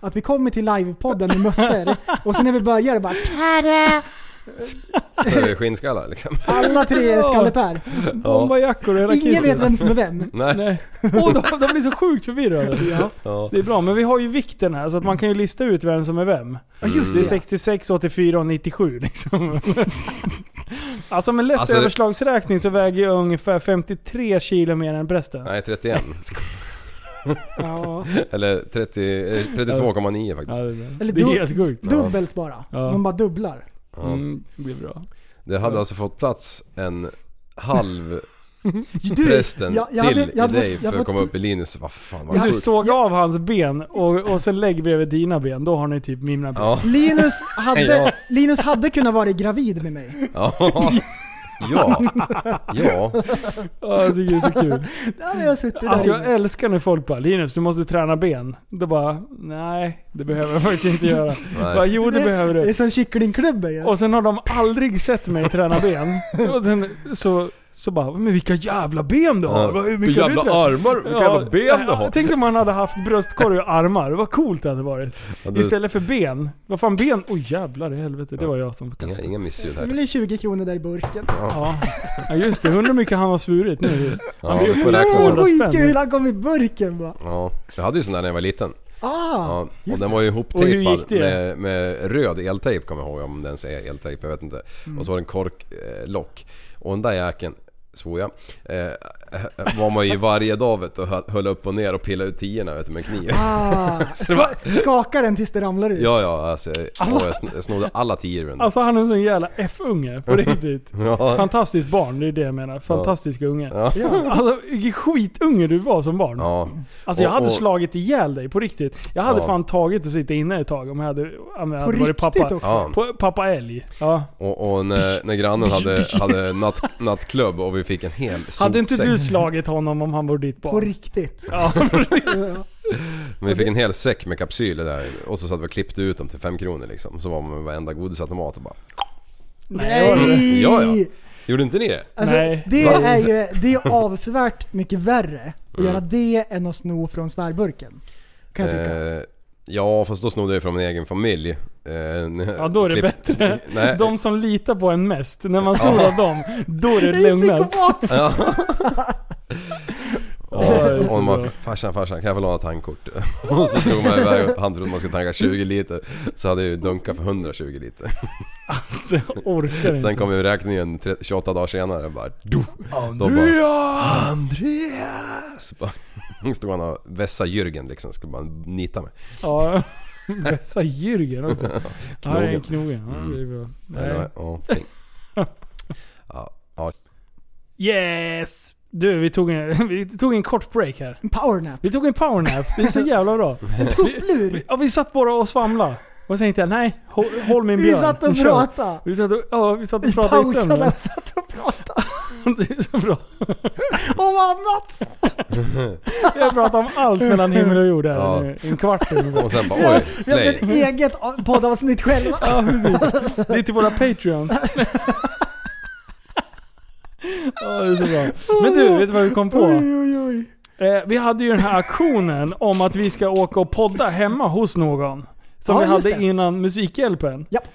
[SPEAKER 7] Att vi kommer till livepodden
[SPEAKER 5] *laughs*
[SPEAKER 7] med mössor och sen när vi börjar bara tada!
[SPEAKER 6] Så är det skinnskallar
[SPEAKER 5] *laughs*
[SPEAKER 6] liksom.
[SPEAKER 7] Alla tre är skallepär.
[SPEAKER 5] Bombarjackor och hela
[SPEAKER 7] Ingen
[SPEAKER 5] kittet.
[SPEAKER 7] vet
[SPEAKER 5] *laughs*
[SPEAKER 7] vem som är vem.
[SPEAKER 6] Nej.
[SPEAKER 5] Nej. Åh, de, de blir så sjukt förvirrade.
[SPEAKER 6] Ja.
[SPEAKER 5] Det är bra, men vi har ju vikten här så att man kan ju lista ut vem som är vem.
[SPEAKER 7] Ja just
[SPEAKER 5] Det är
[SPEAKER 7] det.
[SPEAKER 5] 66, 84 och 97 liksom. Alltså med lätt
[SPEAKER 6] Alltså, det-
[SPEAKER 5] överslagsräkning så väger jag ungefär 53 kilo mer än prästen.
[SPEAKER 6] Nej, 31.
[SPEAKER 7] Ja.
[SPEAKER 6] Eller 30, eh, 32,9
[SPEAKER 5] Ja,
[SPEAKER 6] faktiskt.
[SPEAKER 5] det, är bra.
[SPEAKER 7] Eller
[SPEAKER 5] det är
[SPEAKER 7] du-
[SPEAKER 5] helt sjukt.
[SPEAKER 7] Dubbelt bara.
[SPEAKER 5] Ja.
[SPEAKER 7] Man bara dubblar.
[SPEAKER 6] Ja.
[SPEAKER 5] Mm, det blir bra.
[SPEAKER 6] Det hade alltså fått plats en halv
[SPEAKER 7] Du,
[SPEAKER 6] Prästen
[SPEAKER 7] jag- jag
[SPEAKER 6] till
[SPEAKER 7] hade- jag hade
[SPEAKER 6] dig
[SPEAKER 7] fått-
[SPEAKER 6] för
[SPEAKER 7] jag
[SPEAKER 6] att
[SPEAKER 7] fått-
[SPEAKER 6] komma upp i Linus. Vad fan vad
[SPEAKER 7] Jag-
[SPEAKER 5] Du
[SPEAKER 6] sjukt.
[SPEAKER 5] såg av hans ben och, och sen lägg bredvid dina ben, då har ni typ mina ben.
[SPEAKER 6] Ja, *laughs*
[SPEAKER 7] Linus hade,
[SPEAKER 6] Ja.
[SPEAKER 7] Linus hade kunnat vara gravid med mig.
[SPEAKER 6] ja, ja, ja.
[SPEAKER 5] Ja, jag tycker det är så kul.
[SPEAKER 7] Där hade jag suttit där
[SPEAKER 5] Alltså jag
[SPEAKER 7] inne.
[SPEAKER 5] älskar när folk bara Linus, du måste träna ben. Då bara, nej det behöver jag faktiskt inte göra. Bara, jo det behöver
[SPEAKER 7] Det är
[SPEAKER 5] du.
[SPEAKER 7] som kycklingklubbor ju.
[SPEAKER 5] *laughs* Och sen har de aldrig sett mig träna ben. Och sen så, så bara, men vilka jävla ben du har! Vad- hur mycket
[SPEAKER 6] Vilka
[SPEAKER 5] har du
[SPEAKER 6] jävla
[SPEAKER 5] tränat?"
[SPEAKER 6] armar, vilka jävla ben du
[SPEAKER 5] ja,
[SPEAKER 6] har.
[SPEAKER 5] Tänk om man hade haft bröstkorg och armar, vad coolt det hade varit.
[SPEAKER 6] Ja, det-
[SPEAKER 5] Istället för ben. Vad fan ben? Oj jävlar i helvete, det var jag som
[SPEAKER 6] Inga,
[SPEAKER 5] kastade.
[SPEAKER 6] inga missljud
[SPEAKER 7] Det
[SPEAKER 6] här.
[SPEAKER 7] blir 20 kronor där i burken.
[SPEAKER 5] Ja. ja just det, undrar hur mycket han har svurit nu.
[SPEAKER 6] Ja, det får
[SPEAKER 7] Det
[SPEAKER 6] räknas
[SPEAKER 5] Åh,
[SPEAKER 7] är
[SPEAKER 6] som.
[SPEAKER 5] vad-
[SPEAKER 7] skitkul, han kom i burken bara.
[SPEAKER 6] Ja, jag hade ju sån där när jag var liten.
[SPEAKER 7] Ah!
[SPEAKER 6] Ja, och den var ju
[SPEAKER 5] Och hur gick
[SPEAKER 6] ihoptejpad
[SPEAKER 5] det?
[SPEAKER 6] med, med röd eltejp kommer jag ihåg om den ens är eltejp, jag vet inte. Och så var det en korklock. och den där jäkeln, svor jag, eh, *laughs* var man ju varje dag vet, du, och hö- höll upp och ner och pillade ut tiorna vet, du, med en kniv.
[SPEAKER 7] Ah,
[SPEAKER 6] det
[SPEAKER 7] ska,
[SPEAKER 6] var-
[SPEAKER 7] skaka den tills det ramlar ut.
[SPEAKER 6] Ja, ja, alltså, jag- åh, jag sn- jag snodde alla tior under.
[SPEAKER 5] Alltså han är en sån jävla F-unge, på riktigt.
[SPEAKER 6] ja,
[SPEAKER 5] Fantastiskt barn, det är det jag menar. Fantastisk unge.
[SPEAKER 6] Ja.
[SPEAKER 5] Alltså vilken skitunge du var som barn.
[SPEAKER 6] ja.
[SPEAKER 5] Alltså jag
[SPEAKER 6] Och-
[SPEAKER 5] hade
[SPEAKER 6] och-
[SPEAKER 5] slagit ihjäl dig på riktigt. Jag hade
[SPEAKER 6] Ja.
[SPEAKER 5] fan tagit och sitta inne ett tag om jag hade, om jag hade
[SPEAKER 7] På
[SPEAKER 5] varit
[SPEAKER 7] riktigt
[SPEAKER 5] pappa.
[SPEAKER 7] också.
[SPEAKER 6] Ja.
[SPEAKER 5] På, pappa älg. Ja.
[SPEAKER 6] Och, och när, när grannen hade, hade natt, nattklubb och vi fick en hel sopsäck.
[SPEAKER 5] Hade inte du slagit honom om han var ditt
[SPEAKER 7] På
[SPEAKER 5] barn?
[SPEAKER 7] riktigt.
[SPEAKER 5] Ja, *laughs* på riktigt.
[SPEAKER 6] Men vi fick en hel säck med kapsyler där och så satt vi och klippte ut dem till fem kronor liksom. Så var man med varenda godisautomat och bara...
[SPEAKER 7] Nej!
[SPEAKER 6] Ja, ja. Gjorde inte ni det?
[SPEAKER 7] Alltså,
[SPEAKER 5] Nej.
[SPEAKER 7] Det
[SPEAKER 6] Va?
[SPEAKER 7] är ju det är avsevärt mycket värre att göra det än att sno från svärburken. Kan jag tycka.
[SPEAKER 6] Mm. Eh, ja fast då snodde jag från min egen familj. Eh,
[SPEAKER 5] ja då är det bättre.
[SPEAKER 6] Nej.
[SPEAKER 5] De som litar på en mest, när man snor av dem, då är
[SPEAKER 7] *laughs*
[SPEAKER 5] det
[SPEAKER 7] det är
[SPEAKER 5] lugnast. *laughs*
[SPEAKER 7] psykopat!
[SPEAKER 6] Ja.
[SPEAKER 5] Ja, det är
[SPEAKER 6] Och,
[SPEAKER 5] så
[SPEAKER 6] och man,
[SPEAKER 5] bra.
[SPEAKER 6] farsan, farsan kan jag få låna tankkort? *laughs* Och så drog man iväg och han trodde man skulle tanka 20 liter. Så hade jag ju dunkat för 120 liter.
[SPEAKER 5] Alltså, jag orkar
[SPEAKER 6] Sen
[SPEAKER 5] inte.
[SPEAKER 6] kom ju räkningen tre- 28 dagar senare bara... Do. Då bara...
[SPEAKER 5] Andrea!
[SPEAKER 6] Andreas! Bara, *laughs* Stod han och vässa Jürgen liksom, skulle bara nita mig.
[SPEAKER 5] Ja, *laughs* vässa Jürgen också.
[SPEAKER 6] *laughs*
[SPEAKER 5] Ja, det är
[SPEAKER 6] Knogen.
[SPEAKER 5] knogen. Ja, det är bra.
[SPEAKER 6] Eller
[SPEAKER 5] Nej.
[SPEAKER 6] vad-
[SPEAKER 5] *laughs*
[SPEAKER 6] ja, ting. Ja, ja.
[SPEAKER 5] Yes! Du, vi tog, en, *laughs* vi tog en kort break här.
[SPEAKER 6] *laughs*
[SPEAKER 7] En powernap.
[SPEAKER 5] Vi tog en powernap. Det är så jävla bra.
[SPEAKER 7] En tupplur!
[SPEAKER 5] Ja, vi satt bara och svamla Och tänkte jag, nej, håll, håll min
[SPEAKER 7] Vi
[SPEAKER 5] björn.
[SPEAKER 7] satt och
[SPEAKER 5] Nu kör vi.
[SPEAKER 7] pratade.
[SPEAKER 5] Vi satt och, ja, vi satt och
[SPEAKER 7] Vi
[SPEAKER 5] pratade i
[SPEAKER 7] pausade
[SPEAKER 5] sömnen.
[SPEAKER 7] och satt och pratade
[SPEAKER 5] *laughs* Det är så bra.
[SPEAKER 7] om annat.
[SPEAKER 5] Jag pratar om allt mellan himmel och jord här
[SPEAKER 6] Ja.
[SPEAKER 5] nu. En kvart ungefär.
[SPEAKER 6] Och sen bara oj,
[SPEAKER 7] Vi hade ett
[SPEAKER 6] play.
[SPEAKER 7] eget poddavsnitt *laughs* själva.
[SPEAKER 5] Det är till våra patreons.
[SPEAKER 7] *laughs*
[SPEAKER 5] Ja, det är så bra. Men du, vet du vad vi kom på?
[SPEAKER 7] Oj, oj, oj.
[SPEAKER 5] Eh, vi hade ju den här aktionen om att vi ska åka och podda hemma hos någon. Som
[SPEAKER 7] Ja,
[SPEAKER 5] vi
[SPEAKER 7] just
[SPEAKER 5] hade
[SPEAKER 7] det.
[SPEAKER 5] innan Musikhjälpen.
[SPEAKER 7] Japp.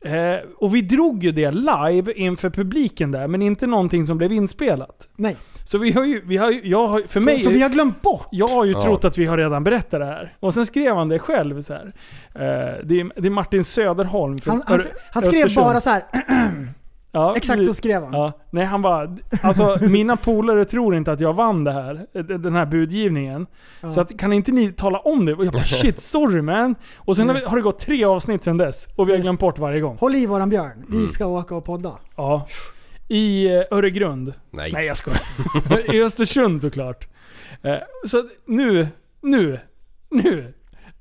[SPEAKER 5] Eh, och vi drog ju det live inför publiken där, men inte någonting som blev inspelat.
[SPEAKER 7] Nej.
[SPEAKER 5] Så vi har ju, vi har ju jag har, för mig...
[SPEAKER 7] så, så vi har glömt bort.
[SPEAKER 5] Jag har ju
[SPEAKER 6] Ja.
[SPEAKER 5] trott att vi har redan berättat det här. Och sen skrev han det själv så här. Eh, det, är, det är Martin Söderholm från
[SPEAKER 7] Han, han,
[SPEAKER 5] Ör-
[SPEAKER 7] han skrev
[SPEAKER 5] Östersund.
[SPEAKER 7] bara så här.
[SPEAKER 5] Ja,
[SPEAKER 7] Exakt så skrev han.
[SPEAKER 5] Ja, nej han bara, alltså mina polare tror inte att jag vann det här, den här budgivningen. Så att, kan inte ni tala om det? Och jag bara shit, sorry man. Och sen har, vi, har det gått tre avsnitt sedan dess och vi har glömt bort varje gång.
[SPEAKER 7] Håll i våran björn.
[SPEAKER 6] Mm.
[SPEAKER 7] Vi ska åka och podda.
[SPEAKER 5] Ja. I eh, Öregrund.
[SPEAKER 6] Nej.
[SPEAKER 5] Nej jag skojar. *laughs* I Östersund såklart. Eh, Så att nu, nu, nu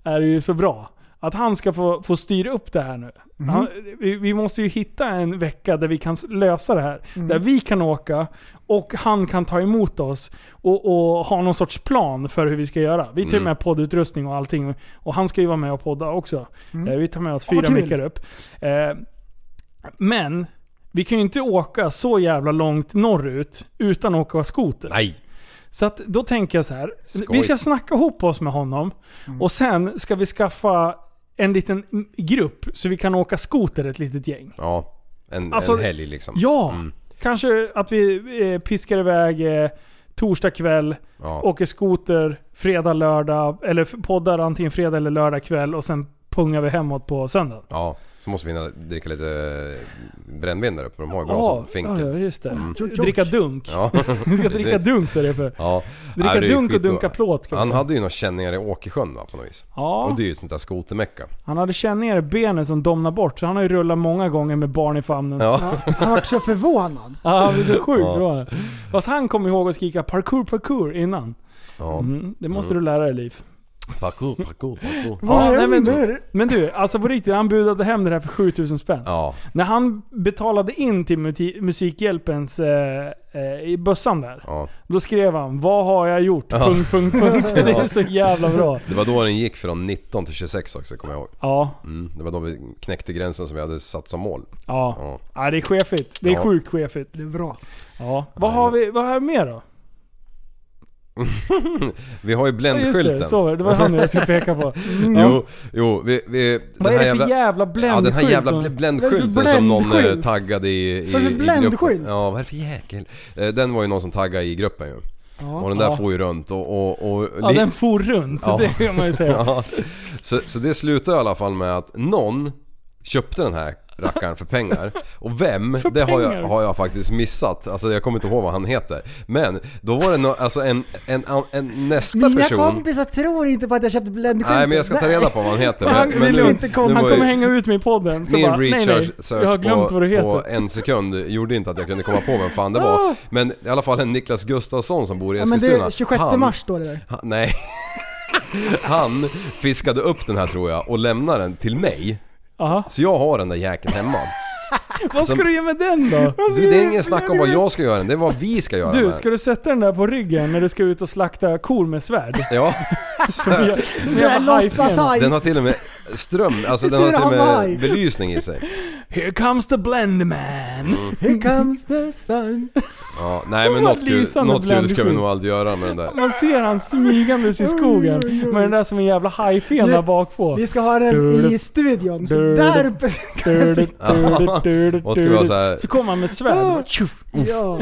[SPEAKER 5] är det ju så bra. Att han ska få, få styra upp det här nu. Han, vi, vi måste ju hitta en vecka där vi kan s- lösa det här. Där vi kan åka och han kan ta emot oss och, och ha någon sorts plan för hur vi ska göra. Vi tar
[SPEAKER 6] Mm.
[SPEAKER 5] med poddutrustning och allting. Och han ska ju vara med och podda också. Eh, Vi tar med oss
[SPEAKER 7] Åh, vad
[SPEAKER 5] fyra
[SPEAKER 7] kul.
[SPEAKER 5] mickar upp. Eh, Men vi kan ju inte åka så jävla långt norrut utan att åka skoter.
[SPEAKER 6] Nej.
[SPEAKER 5] Så att då tänker jag så här.
[SPEAKER 6] Skoj. Mm.
[SPEAKER 5] Vi ska snacka ihop oss med honom och sen ska vi skaffa en liten mm, grupp så vi kan åka skoter ett litet gäng.
[SPEAKER 6] Ja. En,
[SPEAKER 5] Alltså,
[SPEAKER 6] en helg liksom.
[SPEAKER 5] Ja!
[SPEAKER 6] Mm.
[SPEAKER 5] Kanske att vi eh, piskar iväg eh, torsdag kväll,
[SPEAKER 6] Ja.
[SPEAKER 5] åker skoter fredag, lördag, eller poddar antingen fredag eller lördag kväll och sen pungar vi hemåt på söndag.
[SPEAKER 6] ja. Så måste vi hinna dricka lite eh, brännvin där uppe. De har ju bra
[SPEAKER 5] Ja,
[SPEAKER 6] som
[SPEAKER 5] ja,
[SPEAKER 6] finkel.
[SPEAKER 5] ja, just det.
[SPEAKER 6] Mm.
[SPEAKER 5] Dricka dunk.
[SPEAKER 6] Ja,
[SPEAKER 5] *laughs* Vi ska dricka
[SPEAKER 6] precis.
[SPEAKER 5] dunk där det är för. *laughs*
[SPEAKER 6] Ja.
[SPEAKER 5] Dricka
[SPEAKER 6] Nej, det är
[SPEAKER 5] dunk och
[SPEAKER 6] skitbra.
[SPEAKER 5] dunka plåt. ska vi
[SPEAKER 6] Han
[SPEAKER 5] säga.
[SPEAKER 6] hade ju några känningar i Åkersjön va, på något vis.
[SPEAKER 5] ja,
[SPEAKER 6] Och det är ju ett sånt där skotermecka.
[SPEAKER 5] han hade känningar i benen som domnar bort. Så han har ju rullat många gånger med barn i famnen. Ja,
[SPEAKER 6] Ja.
[SPEAKER 7] Han var så förvånad.
[SPEAKER 5] han blev
[SPEAKER 6] *laughs*
[SPEAKER 5] så sjukt
[SPEAKER 6] Ja.
[SPEAKER 5] bra. Fast han kom ihåg att skrika parkour, parkour innan.
[SPEAKER 6] ja.
[SPEAKER 5] Mm, det måste du lära dig Liv.
[SPEAKER 6] Parkour, parkour, parkour.
[SPEAKER 7] Vad
[SPEAKER 5] Ja, nej,
[SPEAKER 7] händer?
[SPEAKER 5] men- Men du, alltså på riktigt, han budade hem det här för 7000 spänn.
[SPEAKER 6] Ja,
[SPEAKER 5] När han betalade in till muti- Musikhjälpens eh, eh, i bössan där.
[SPEAKER 6] ja.
[SPEAKER 5] Då skrev han 'Vad har jag gjort?'
[SPEAKER 6] Ja.
[SPEAKER 5] Punkt, punkt,
[SPEAKER 6] *laughs*
[SPEAKER 5] punkt. Det är så jävla bra.
[SPEAKER 6] Det var då den gick från 19 till 26 också, kommer jag ihåg.
[SPEAKER 5] Ja,
[SPEAKER 6] Mm. Det var då vi knäckte gränsen som vi hade satt som mål.
[SPEAKER 5] ja.
[SPEAKER 6] Ja.
[SPEAKER 5] ja det är chefigt. Det är
[SPEAKER 6] Ja.
[SPEAKER 5] sjukt chefigt.
[SPEAKER 7] Det är bra.
[SPEAKER 5] Ja. Vad har vi vad har vi mer då?
[SPEAKER 6] Vi
[SPEAKER 5] Ja,
[SPEAKER 6] har ju
[SPEAKER 5] just
[SPEAKER 6] bländskylten.
[SPEAKER 5] det, så var det. Det var han jag skulle peka på.
[SPEAKER 6] *laughs*
[SPEAKER 5] Mm.
[SPEAKER 6] Jo, jo, vi... vi den
[SPEAKER 5] Vad är
[SPEAKER 6] här
[SPEAKER 5] det för jävla
[SPEAKER 6] Ja
[SPEAKER 5] bländskylt?
[SPEAKER 6] den här jävla
[SPEAKER 5] som-
[SPEAKER 6] bl-
[SPEAKER 7] Vad
[SPEAKER 6] bländskylten
[SPEAKER 7] är det för
[SPEAKER 6] som någon eh,
[SPEAKER 7] bländskylt?
[SPEAKER 6] taggade i... i
[SPEAKER 7] Vad är det för
[SPEAKER 6] i gruppen.
[SPEAKER 7] bländskylt?
[SPEAKER 6] Ja vad är det för jäkel? Eh, Den var ju någon som taggade i gruppen ju. Och
[SPEAKER 7] Ja.
[SPEAKER 6] den där
[SPEAKER 5] Ja.
[SPEAKER 6] får ju runt och... och, och
[SPEAKER 5] Ja, den for runt.
[SPEAKER 6] Ja.
[SPEAKER 5] Det kan man ju säga.
[SPEAKER 6] *laughs* Ja. Så, så det slutade i alla fall med att någon köpte den här rackaren för pengar. Och vem, det har jag,
[SPEAKER 5] pengar?
[SPEAKER 6] har jag faktiskt missat. Alltså jag kommer inte ihåg vad han heter. Men då var det no, alltså en, en, en, en nästa
[SPEAKER 7] Mina
[SPEAKER 6] person...
[SPEAKER 7] kompisar tror inte på att jag köpte bländskylten.
[SPEAKER 6] Nej men jag ska ta reda på vad han heter.
[SPEAKER 5] Han,
[SPEAKER 6] Men, men
[SPEAKER 5] det är
[SPEAKER 6] nu-
[SPEAKER 5] lugnt.
[SPEAKER 6] nu
[SPEAKER 5] han
[SPEAKER 6] var ju-
[SPEAKER 5] kommer hänga ut mig i podden. Så
[SPEAKER 6] min
[SPEAKER 5] bara, nej, nej,
[SPEAKER 6] research
[SPEAKER 5] jag har glömt
[SPEAKER 6] på,
[SPEAKER 5] vad du heter. Ah.
[SPEAKER 6] på en sekund gjorde inte att jag kunde komma på vem fan det var. Men i alla fall en Niklas Gustafsson som bor i
[SPEAKER 7] Ja, men
[SPEAKER 6] Eskilstuna.
[SPEAKER 7] det är 26
[SPEAKER 6] han,
[SPEAKER 7] mars då det där.
[SPEAKER 6] Han, nej. *laughs* Han fiskade upp den här tror jag och lämnade den till mig.
[SPEAKER 5] Aha.
[SPEAKER 6] Så jag har den där jäkeln hemma.
[SPEAKER 5] Vad ska
[SPEAKER 6] Som-
[SPEAKER 5] du göra med den då?
[SPEAKER 6] Du, det är ingen snack om vad jag ska göra den, det är vad vi ska göra
[SPEAKER 5] Du,
[SPEAKER 6] med
[SPEAKER 5] ska du sätta den där på ryggen när du ska ut och slakta kor med
[SPEAKER 6] *laughs*
[SPEAKER 5] svärd?
[SPEAKER 6] den.
[SPEAKER 5] *laughs*
[SPEAKER 6] Ja.
[SPEAKER 5] Jag,
[SPEAKER 7] Det där
[SPEAKER 6] *laughs*
[SPEAKER 7] låtsashaj.
[SPEAKER 6] Den har till och med ström, alltså
[SPEAKER 7] Vi
[SPEAKER 6] den har
[SPEAKER 7] ser
[SPEAKER 6] till och
[SPEAKER 7] Hawaii.
[SPEAKER 6] med belysning i sig.
[SPEAKER 5] Here comes the blend man.
[SPEAKER 6] Mm.
[SPEAKER 7] Here comes the sun.
[SPEAKER 6] Ja, nej men
[SPEAKER 5] Det var
[SPEAKER 6] något kul,
[SPEAKER 5] lysande
[SPEAKER 6] något kul ska vi
[SPEAKER 5] blandskydd.
[SPEAKER 6] nog aldrig göra med den där.
[SPEAKER 5] Man ser han smygandes i skogen
[SPEAKER 7] Oj, oj, oj.
[SPEAKER 5] med den där som en jävla hajfen där bak på.
[SPEAKER 7] Vi ska ha den i studion. Så
[SPEAKER 5] Dörr.
[SPEAKER 7] där uppe *laughs* ska
[SPEAKER 6] *laughs*
[SPEAKER 7] jag sitta.
[SPEAKER 6] Och ska vi ha så här- Ah!
[SPEAKER 5] Så kommer han med svärd. Tjoff.
[SPEAKER 7] Ja.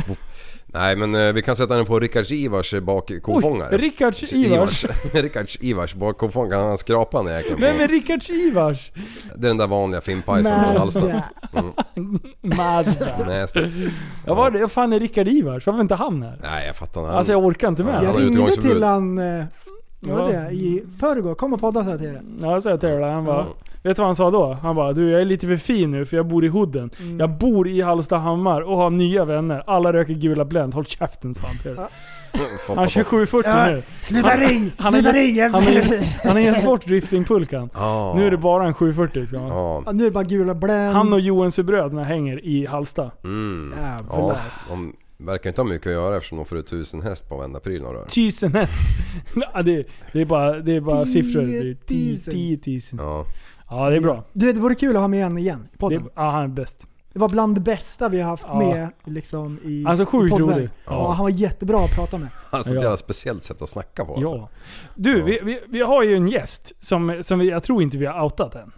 [SPEAKER 6] Nej men eh, vi kan sätta den på Rickards Ivars eh, bakkofångare.
[SPEAKER 5] Oj, Rickards Ivars.
[SPEAKER 6] *laughs* Rickards Ivars bakkofångare. Han skrapar den jäkeln
[SPEAKER 5] Vem
[SPEAKER 6] på.
[SPEAKER 5] är Rickards Ivars?
[SPEAKER 6] Det är den där vanliga finnpajsen från Hallsta.
[SPEAKER 7] Mazda.
[SPEAKER 5] Mazda.
[SPEAKER 6] Nästa.
[SPEAKER 5] Ja, vad är det? Vad fan är Rickard Ivars? Varför är inte han här?
[SPEAKER 6] Nej jag fattar inte.
[SPEAKER 5] Alltså jag orkar inte med.
[SPEAKER 6] Ja,
[SPEAKER 5] Ja,
[SPEAKER 6] har
[SPEAKER 7] Jag ringde
[SPEAKER 6] utgångsförbud.
[SPEAKER 7] till han, eh, vad var
[SPEAKER 5] Ja.
[SPEAKER 7] det? I förrgår. Kom och podda så här till er.
[SPEAKER 5] jag säger till dig, han bara,
[SPEAKER 6] Ja.
[SPEAKER 5] Vet du vad han sa då? Han bara du jag är lite för fin nu för jag bor i Hooden. Jag bor i Hallstahammar och har nya vänner. Alla röker gula Blend. Håll käften sa han till dig.
[SPEAKER 6] *laughs* Fan,
[SPEAKER 5] Han kör
[SPEAKER 6] pappa.
[SPEAKER 5] 740
[SPEAKER 7] Ja,
[SPEAKER 5] nu.
[SPEAKER 7] Sluta
[SPEAKER 5] Han-
[SPEAKER 7] ring!
[SPEAKER 5] han har
[SPEAKER 7] Sluta
[SPEAKER 5] gett-
[SPEAKER 7] ring! Jag-
[SPEAKER 5] Han har gett- han har gett bort driftingpulkan.
[SPEAKER 6] Ja.
[SPEAKER 5] Nu är det bara en 740 ska han. ha.
[SPEAKER 6] Ah. Ja.
[SPEAKER 7] Ja, nu är det bara gula Blend.
[SPEAKER 5] Han och Joensbröderna hänger i Halsta.
[SPEAKER 6] Mm. Ja.
[SPEAKER 5] Jävlar.
[SPEAKER 6] De verkar inte ha mycket att göra eftersom de får ut tusen häst på varenda pryl de rör.
[SPEAKER 5] Tusen häst. *laughs* Ja, det, det är bara, det är bara
[SPEAKER 7] Tio
[SPEAKER 5] siffror. Det är tio-
[SPEAKER 7] tusen.
[SPEAKER 5] tio tusen.
[SPEAKER 6] Ja.
[SPEAKER 5] Ja det är bra.
[SPEAKER 7] Du vet, det vore kul att ha med en igen i
[SPEAKER 5] Det,
[SPEAKER 7] podden.
[SPEAKER 5] är-
[SPEAKER 7] Det,
[SPEAKER 5] ja, han är bäst.
[SPEAKER 7] var bland det bästa vi har haft
[SPEAKER 5] Ja.
[SPEAKER 7] med liksom i
[SPEAKER 5] Alltså, sjukt
[SPEAKER 7] i poddväg.
[SPEAKER 5] rolig.
[SPEAKER 7] Ja. han var jättebra att prata med.
[SPEAKER 6] Alltså
[SPEAKER 5] Ja.
[SPEAKER 6] ett jävla speciellt sätt att snacka på alltså.
[SPEAKER 5] Ja. Du,
[SPEAKER 6] Ja.
[SPEAKER 5] vi, vi, vi har ju en gäst som, som vi, jag tror inte vi har outat än.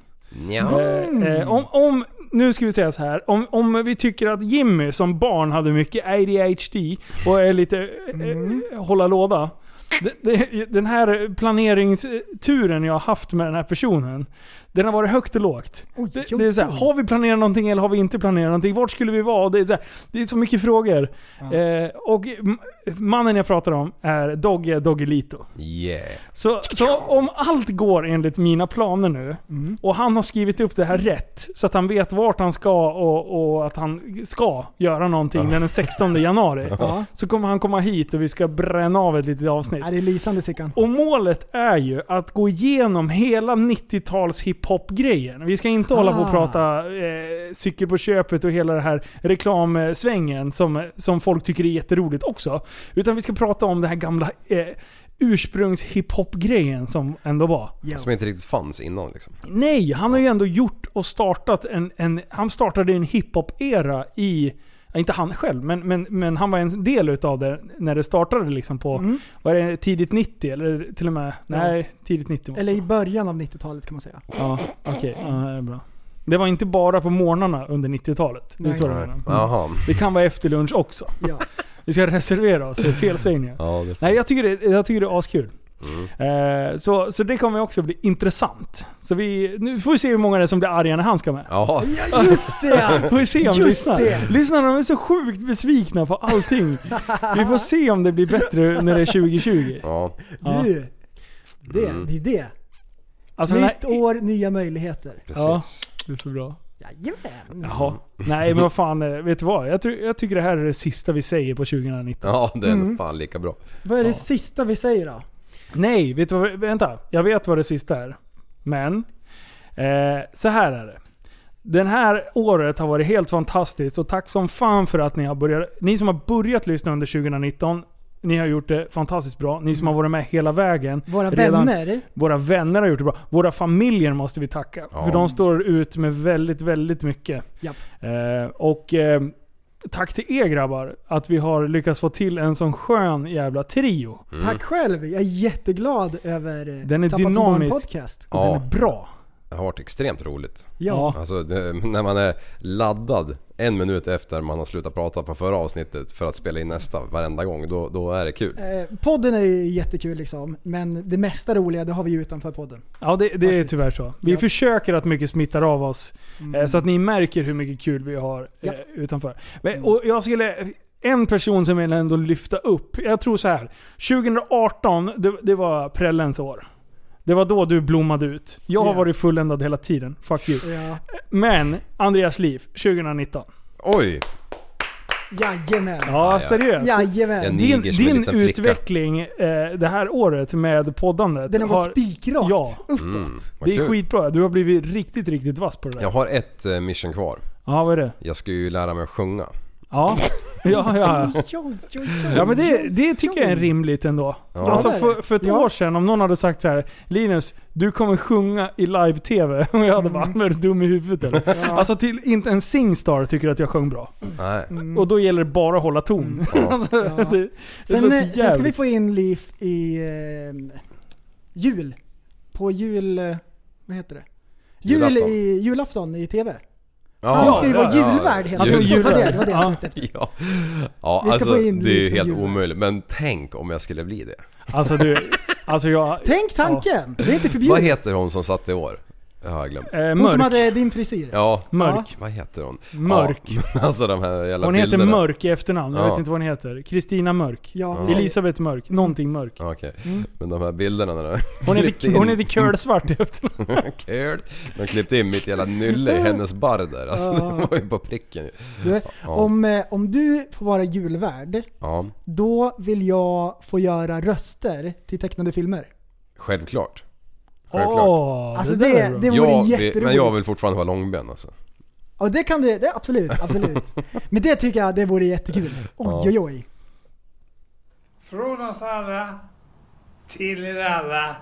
[SPEAKER 6] Ja.
[SPEAKER 5] Eh, eh, om, om, nu ska vi säga så här. Om, om vi tycker att Jimmy som barn hade mycket ADHD och är lite
[SPEAKER 6] Mm.
[SPEAKER 5] eh, hålla låda. Det- det- Den här planeringsturen jag har haft med den här personen, den har varit högt och lågt.
[SPEAKER 7] Oj,
[SPEAKER 5] Det,
[SPEAKER 7] oj,
[SPEAKER 5] det är så här,
[SPEAKER 7] oj.
[SPEAKER 5] har vi planerat någonting eller har vi inte planerat någonting? Vart skulle vi vara? Och Det är så, här, det är så mycket frågor.
[SPEAKER 7] Ja.
[SPEAKER 5] Eh, och m- mannen jag pratar om är Dogge Doggelito.
[SPEAKER 6] Yeah.
[SPEAKER 5] Så, så om allt går enligt mina planer nu,
[SPEAKER 7] Mm.
[SPEAKER 5] och han har skrivit upp det här rätt, så att han vet vart han ska och, och att han ska göra någonting den 16 januari.
[SPEAKER 7] *laughs* Ja.
[SPEAKER 5] Så kommer han komma hit och vi ska bränna av ett litet avsnitt.
[SPEAKER 7] Ja, det är lysande Sickan.
[SPEAKER 5] Och målet är ju att gå igenom hela 90-tals hiphop-grejen. Vi ska inte hålla på och
[SPEAKER 7] Ah.
[SPEAKER 5] prata eh, cykel på köpet och hela den här reklamsvängen som, som folk tycker är jätteroligt också. Utan vi ska prata om den här gamla eh, ursprungs-hiphop-grejen som ändå var.
[SPEAKER 7] Ja.
[SPEAKER 6] Som inte riktigt fanns innan liksom.
[SPEAKER 5] Nej, han har ju ändå gjort och startat en... en han startade en hiphop-era i... ja, Inte han själv, men, men, men han var en del utav det när det startade liksom på...
[SPEAKER 7] Mm.
[SPEAKER 5] Var det tidigt 90 eller till och med... Nej, tidigt 90 måste
[SPEAKER 7] Eller
[SPEAKER 5] det
[SPEAKER 7] i början av 90-talet kan man säga.
[SPEAKER 5] vara. Ja, okej. Ja, det är bra. Det var inte bara på morgnarna under 90-talet. Det är
[SPEAKER 7] Nej.
[SPEAKER 5] så det
[SPEAKER 6] Nej.
[SPEAKER 5] menar.
[SPEAKER 6] Jaha.
[SPEAKER 5] Det kan vara efter lunch också.
[SPEAKER 7] Ja.
[SPEAKER 5] *laughs* Vi ska reservera oss för felsägningar.
[SPEAKER 6] Ja, det...
[SPEAKER 5] Nej, jag tycker det, jag tycker det är askul.
[SPEAKER 7] Mm.
[SPEAKER 5] Eh, så, så det kommer också bli intressant. Så vi, nu får vi se hur många det är som blir arga när han ska med.
[SPEAKER 6] Ja,
[SPEAKER 7] Just det!
[SPEAKER 5] Får *laughs* vi se om
[SPEAKER 7] Just
[SPEAKER 5] lyssnar.
[SPEAKER 7] det.
[SPEAKER 5] lyssnarna de är så sjukt besvikna på allting. Vi får se om det blir bättre när det är 2020.
[SPEAKER 6] ja.
[SPEAKER 7] Du! Det, det är det.
[SPEAKER 5] Alltså,
[SPEAKER 7] Nytt
[SPEAKER 5] nej,
[SPEAKER 7] år, nya möjligheter.
[SPEAKER 5] Ja,
[SPEAKER 6] precis.
[SPEAKER 5] det är så bra.
[SPEAKER 7] Jajamän!
[SPEAKER 5] Jaha. Nej men vad fan, eh, vet du vad? Jag, tror- jag tycker det här är det sista vi säger på 2019.
[SPEAKER 6] Ja, det är
[SPEAKER 5] Mm.
[SPEAKER 6] nog fan lika bra.
[SPEAKER 7] Vad är det
[SPEAKER 5] Ja.
[SPEAKER 7] sista vi säger då?
[SPEAKER 5] Nej, vet du vad, vänta. Jag vet vad det sista är. Men, eh, så här är det. Den här året har varit helt fantastiskt och tack som fan för att ni har börjat. Ni som har börjat lyssna under 2019, ni har gjort det fantastiskt bra. Ni som har varit med hela vägen.
[SPEAKER 7] Våra
[SPEAKER 5] Redan- Mm.
[SPEAKER 7] vänner?
[SPEAKER 5] Våra vänner har gjort det bra. Våra familjer måste vi tacka.
[SPEAKER 6] Ja.
[SPEAKER 5] För de står ut med väldigt, väldigt mycket.
[SPEAKER 7] Japp.
[SPEAKER 5] Eh, och eh, tack till er grabbar att vi har lyckats få till en sån skön jävla trio.
[SPEAKER 7] Tack själv! Jag är jätteglad över eh,
[SPEAKER 5] Den är
[SPEAKER 7] Tappat som barn
[SPEAKER 5] dynamisk.
[SPEAKER 7] podcast.
[SPEAKER 5] Och
[SPEAKER 6] Ja.
[SPEAKER 5] Den är bra.
[SPEAKER 6] Det har varit extremt roligt.
[SPEAKER 7] Ja.
[SPEAKER 6] Alltså det, när man är laddad en minut efter man har slutat prata på förra avsnittet för att spela in nästa varenda gång, då, då är det kul.
[SPEAKER 7] Eh, podden är ju jättekul liksom, men det mesta roliga det har vi ju utanför podden.
[SPEAKER 5] Ja, det, det är
[SPEAKER 7] Faktiskt.
[SPEAKER 5] tyvärr så. Vi
[SPEAKER 7] Ja. Mm.
[SPEAKER 5] försöker att mycket smittar av oss. Eh, så att ni märker hur mycket kul vi har eh,
[SPEAKER 7] Ja. Mm.
[SPEAKER 5] utanför. Men, och jag skulle... En person som jag vill ändå lyfta upp. Jag tror så här. 2018, det, det var prällens år. Det var då du blommade ut. Jag har
[SPEAKER 7] Ja.
[SPEAKER 5] varit fulländad hela tiden. Fuck you.
[SPEAKER 7] Ja.
[SPEAKER 5] Men, Andreas liv 2019.
[SPEAKER 6] Oj!
[SPEAKER 7] Jajamän!
[SPEAKER 5] Ja, seriöst.
[SPEAKER 7] Jajamän!
[SPEAKER 6] En
[SPEAKER 5] Din,
[SPEAKER 6] niger som en
[SPEAKER 5] din
[SPEAKER 6] liten flicka.
[SPEAKER 5] utveckling eh, det här året med poddandet
[SPEAKER 7] Den har gått spikrakt
[SPEAKER 5] Ja. Mm.
[SPEAKER 7] uppåt.
[SPEAKER 6] Vad
[SPEAKER 5] Det är
[SPEAKER 6] kul.
[SPEAKER 5] skitbra. Du har blivit riktigt, riktigt vass på det där.
[SPEAKER 6] Jag har ett eh, mission kvar.
[SPEAKER 5] Ja, vad är det?
[SPEAKER 6] Jag ska ju lära mig att sjunga.
[SPEAKER 5] Ja, *laughs* ja, ja.
[SPEAKER 7] Jo, jo, jo.
[SPEAKER 5] ja men det, det tycker jag är rimligt ändå.
[SPEAKER 6] Ja.
[SPEAKER 5] Alltså
[SPEAKER 7] Ja, det är det.
[SPEAKER 5] för, för ett
[SPEAKER 7] Ja.
[SPEAKER 5] år sedan, om någon hade sagt så här: Linus, du kommer sjunga i live-tv. *laughs* Och jag hade bara, är du dum i huvudet eller? Alltså till, inte en Singstar tycker att jag sjöng bra.
[SPEAKER 6] Nej.
[SPEAKER 5] Och då gäller det bara att hålla ton. Alltså,
[SPEAKER 7] Mm. Ja.
[SPEAKER 5] *laughs* det, det
[SPEAKER 7] Sen,
[SPEAKER 5] låter
[SPEAKER 7] eh, sen ska vi
[SPEAKER 5] jävligt.
[SPEAKER 7] få in Liv i eh, jul. På jul... eh, Vad heter det? Jul
[SPEAKER 6] Julafton.
[SPEAKER 7] i julafton i TV.
[SPEAKER 6] Ja,
[SPEAKER 7] Han ska ju
[SPEAKER 5] ja,
[SPEAKER 7] vara julvärd hela
[SPEAKER 5] Han ska
[SPEAKER 7] tiden.
[SPEAKER 5] vara
[SPEAKER 7] Det var
[SPEAKER 5] julvärd.
[SPEAKER 7] det- det var det
[SPEAKER 5] Ja.
[SPEAKER 7] jag sökte efter.
[SPEAKER 6] Ja, ja
[SPEAKER 7] Vi ska
[SPEAKER 6] alltså
[SPEAKER 7] få in
[SPEAKER 6] det är ju
[SPEAKER 7] liksom
[SPEAKER 6] helt
[SPEAKER 7] ljud.
[SPEAKER 6] omöjligt. Men tänk om jag skulle bli det.
[SPEAKER 5] Alltså du, alltså jag...
[SPEAKER 7] Tänk tanken! Det är inte
[SPEAKER 6] Vad
[SPEAKER 7] förbjudet.
[SPEAKER 6] heter hon som satt i år? Det har jag glömt.
[SPEAKER 5] Eh,
[SPEAKER 7] Hon som
[SPEAKER 5] mörk.
[SPEAKER 7] hade din frisyr.
[SPEAKER 6] Ja,
[SPEAKER 5] Mörk.
[SPEAKER 6] vad heter hon?
[SPEAKER 5] Mörk.
[SPEAKER 6] Ja, men *laughs* alltså de här jävla
[SPEAKER 5] Hon heter
[SPEAKER 6] bilderna.
[SPEAKER 5] Mörk i efternamn. Jag
[SPEAKER 6] Ja.
[SPEAKER 5] vet inte vad hon heter. Kristina Mörk.
[SPEAKER 7] Ja.
[SPEAKER 5] Elisabeth Mörk. Någonting Mörk.
[SPEAKER 6] Ja, Okej, men de här bilderna när de
[SPEAKER 5] Hon
[SPEAKER 6] klippte
[SPEAKER 5] heter,
[SPEAKER 6] in-
[SPEAKER 5] hon heter Curl-Svart i efternamn.
[SPEAKER 6] *laughs* Kul. De klippte in mitt jävla nylle i hennes bar där. Alltså det var ju på pricken ju.
[SPEAKER 7] Du,
[SPEAKER 6] Ja.
[SPEAKER 7] om, eh, om du får vara julvärd,
[SPEAKER 6] Ja,
[SPEAKER 7] då vill jag få göra röster till tecknade filmer.
[SPEAKER 6] självklart. Självklart.
[SPEAKER 5] Åh,
[SPEAKER 7] Alltså
[SPEAKER 5] där
[SPEAKER 7] det-
[SPEAKER 5] är bra.
[SPEAKER 7] det- vore
[SPEAKER 6] jag vill,
[SPEAKER 7] jätteroligt.
[SPEAKER 6] men jag vill fortfarande vara långben alltså.
[SPEAKER 7] Ja det kan du, det, absolut, absolut.
[SPEAKER 6] *laughs*
[SPEAKER 7] Men det tycker jag, det vore jättekul. Oj oj oj.
[SPEAKER 11] Från oss alla till er alla.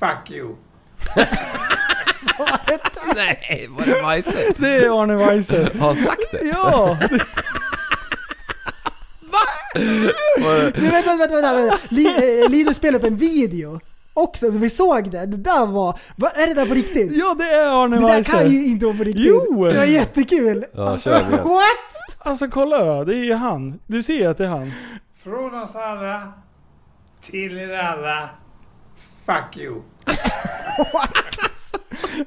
[SPEAKER 11] Fuck you.
[SPEAKER 6] Nej, var det Weise?
[SPEAKER 5] Det är Arne Weise.
[SPEAKER 6] Har han sagt det?
[SPEAKER 5] *laughs* Ja!
[SPEAKER 7] Du, vänta, vänta, vänta. vänta. Li- eh, Linus spelade upp en video också, så vi såg det. Det där var, vad är det där på riktigt?
[SPEAKER 5] Ja det är Arne
[SPEAKER 7] Det där kan
[SPEAKER 5] Weise.
[SPEAKER 7] ju inte vara på riktigt.
[SPEAKER 5] Jo.
[SPEAKER 7] Det var jättekul.
[SPEAKER 6] Ja, kör igen.
[SPEAKER 7] *laughs* What?
[SPEAKER 5] Alltså kolla då, det är ju han. Du ser ju att det är han.
[SPEAKER 11] Från oss alla till er alla. Fuck you.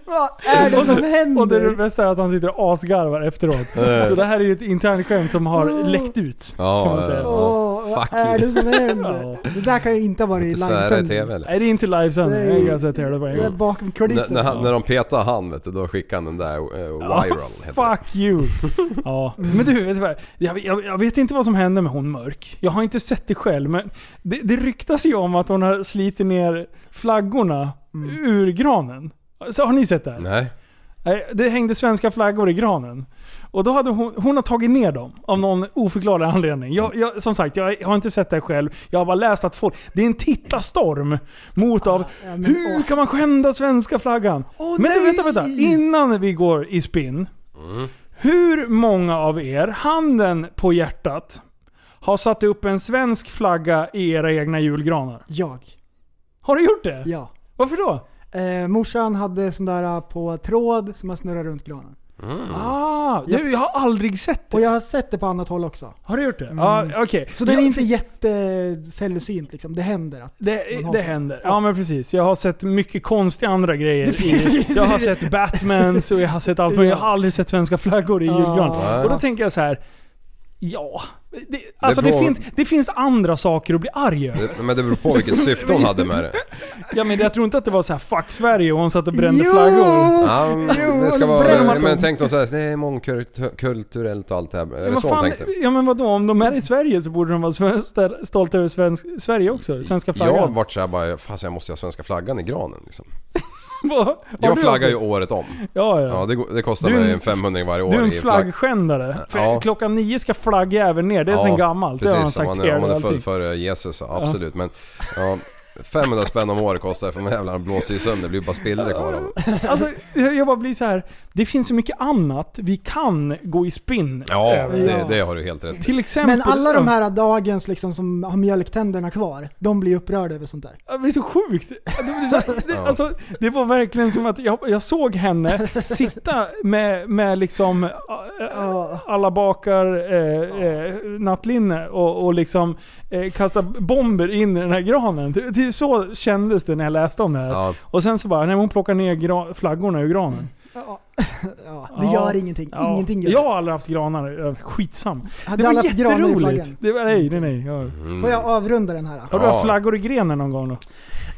[SPEAKER 7] Vad är det som händer?
[SPEAKER 5] Och det, är det bästa är att han sitter och asgarvar efteråt. Så det här är ju ett internt skämt som har läckt ut.
[SPEAKER 6] Eh. Ja,
[SPEAKER 5] Kan man
[SPEAKER 6] ja,
[SPEAKER 5] säga.
[SPEAKER 6] ja.
[SPEAKER 7] Åh,
[SPEAKER 6] Fuck
[SPEAKER 7] vad är
[SPEAKER 6] you.
[SPEAKER 7] det som händer?
[SPEAKER 5] Ja.
[SPEAKER 7] Det där kan ju inte ha varit
[SPEAKER 6] Svära i
[SPEAKER 7] livesändning.
[SPEAKER 6] TV eller?
[SPEAKER 5] Nej det är inte livesänd.
[SPEAKER 7] Nej.
[SPEAKER 5] Jag kan säga till det på en
[SPEAKER 7] Det är
[SPEAKER 5] gång.
[SPEAKER 7] bakom
[SPEAKER 6] När, när,
[SPEAKER 7] kulisserna.
[SPEAKER 6] han- när de petar han vet du, då skickar han den där uh, viral. heter det.
[SPEAKER 5] Fuck
[SPEAKER 7] *laughs*
[SPEAKER 5] you! Ja. Men du, vet du vad? Jag, jag, jag vet inte vad som hände med hon Mörk. Jag har inte sett det själv, men det, det ryktas ju om att hon har slitit ner flaggorna
[SPEAKER 7] Mm.
[SPEAKER 5] ur granen. Så har ni sett det här?
[SPEAKER 6] Nej.
[SPEAKER 5] Nej, Det hängde svenska flaggor i granen. Och då hade hon, hon har tagit ner dem av någon oförklarlig anledning. Jag, jag, som sagt, jag har inte sett det själv. Jag har bara läst att folk... Det är en tittarstorm mot av
[SPEAKER 7] Ah, ja, men,
[SPEAKER 5] Hur
[SPEAKER 7] åh.
[SPEAKER 5] kan man skända svenska flaggan?
[SPEAKER 7] Åh,
[SPEAKER 5] men du,
[SPEAKER 7] nej!
[SPEAKER 5] vänta, vänta. Innan vi går i spinn. Hur många av er, handen på hjärtat, har satt upp en svensk flagga i era egna julgranar?
[SPEAKER 7] Jag.
[SPEAKER 5] Har du gjort det?
[SPEAKER 7] Ja.
[SPEAKER 5] Varför då?
[SPEAKER 7] Eh, morsan hade sån där eh, på tråd som man snurrar runt granen.
[SPEAKER 5] Ah, jag, jag har aldrig sett det.
[SPEAKER 7] Och jag har sett det på annat håll också.
[SPEAKER 5] Har du gjort det? Ja, okej.
[SPEAKER 7] Mm. Så den är
[SPEAKER 5] Jag-
[SPEAKER 7] inte jättesällsynt liksom. Det händer att
[SPEAKER 5] Det,
[SPEAKER 7] man har
[SPEAKER 5] det
[SPEAKER 7] så.
[SPEAKER 5] händer. Ja men precis. Jag har sett mycket konstiga andra grejer. I,
[SPEAKER 7] finns-
[SPEAKER 5] jag har sett Batmans och jag har sett allt men jag har aldrig sett svenska flaggor i
[SPEAKER 7] Ja.
[SPEAKER 5] julgran.
[SPEAKER 6] Nej.
[SPEAKER 5] Och då tänker jag så här. Ja. Det, alltså det,
[SPEAKER 6] beror-
[SPEAKER 5] finns, det finns andra saker att bli arg över.
[SPEAKER 6] Det- Men det beror på vilket syfte hon hade med det.
[SPEAKER 5] Ja, men jag tror inte att det var så här 'fuck Sverige' och hon satt och brände
[SPEAKER 7] Jo!
[SPEAKER 5] flaggor. *laughs*
[SPEAKER 6] Ja, det
[SPEAKER 5] bränner
[SPEAKER 6] ska vara,
[SPEAKER 5] man
[SPEAKER 6] men
[SPEAKER 5] på-
[SPEAKER 6] tänkte hon såhär, det är mångkulturellt och allt det här. Är
[SPEAKER 5] Ja,
[SPEAKER 6] det
[SPEAKER 5] men,
[SPEAKER 6] så hon
[SPEAKER 5] fan,
[SPEAKER 6] tänkte?
[SPEAKER 5] ja men vadå, om de är i Sverige så borde de vara sven- stolta över svensk, Sverige också. Svenska
[SPEAKER 6] Jag har
[SPEAKER 5] flaggan.
[SPEAKER 6] varit såhär bara, fan så jag måste ju ha svenska flaggan i granen liksom.
[SPEAKER 5] Vad- har
[SPEAKER 6] Jag
[SPEAKER 5] du
[SPEAKER 6] flaggar ju
[SPEAKER 5] gjort?
[SPEAKER 6] året om.
[SPEAKER 5] Ja, ja.
[SPEAKER 6] Ja, det, går- det kostar
[SPEAKER 5] Du är en-
[SPEAKER 6] mig en 500 varje år
[SPEAKER 5] Du är en
[SPEAKER 6] i flagg.
[SPEAKER 5] flaggskändare. För
[SPEAKER 6] Ja.
[SPEAKER 5] Klockan nio ska flaggjäveln ner, det är
[SPEAKER 6] Ja,
[SPEAKER 5] sen gammalt. det har han
[SPEAKER 6] precis.
[SPEAKER 5] sagt
[SPEAKER 6] om
[SPEAKER 5] er
[SPEAKER 6] man, om man
[SPEAKER 5] och
[SPEAKER 6] är född
[SPEAKER 5] allting.
[SPEAKER 6] före Jesus, ja, absolut. Men ja, 500 spänn om året kostar det för de jävlarna blåser ju sönder, det blir bara spillror kvar av dem.
[SPEAKER 5] Alltså, jag jag bara blir så här. det finns så mycket annat vi kan gå i spinn
[SPEAKER 6] Ja,
[SPEAKER 5] över.
[SPEAKER 6] det, det har du helt rätt i.
[SPEAKER 5] Till exempel...
[SPEAKER 7] Men alla de här dagens liksom som har mjölktänderna kvar, de blir upprörda över sånt där.
[SPEAKER 5] Det blir så sjukt. Det, blir- det, alltså, det var verkligen som att jag, jag såg henne sitta med, med liksom äh, äh, alla bakar äh, äh, nattlinne och, och liksom äh, kasta bomber in i den här granen. Det, det, så kändes det när jag läste om det här.
[SPEAKER 6] Ja,
[SPEAKER 5] Och sen så bara, nej hon plockar ner gra- flaggorna ur granen.
[SPEAKER 7] Ja, Mm. *laughs* ja, det gör ingenting.
[SPEAKER 5] Ja.
[SPEAKER 7] Ingenting gör
[SPEAKER 5] Jag har aldrig haft granar. Eh, Skitsam.
[SPEAKER 7] Hade
[SPEAKER 5] Det var
[SPEAKER 7] alla haft granar i
[SPEAKER 5] jätteroligt.
[SPEAKER 7] flaggan?
[SPEAKER 5] Det var, nej, nej, nej. Ja.
[SPEAKER 7] Får jag avrunda den här?
[SPEAKER 5] Har du haft
[SPEAKER 6] Ja.
[SPEAKER 5] flaggor i grenen någon gång då?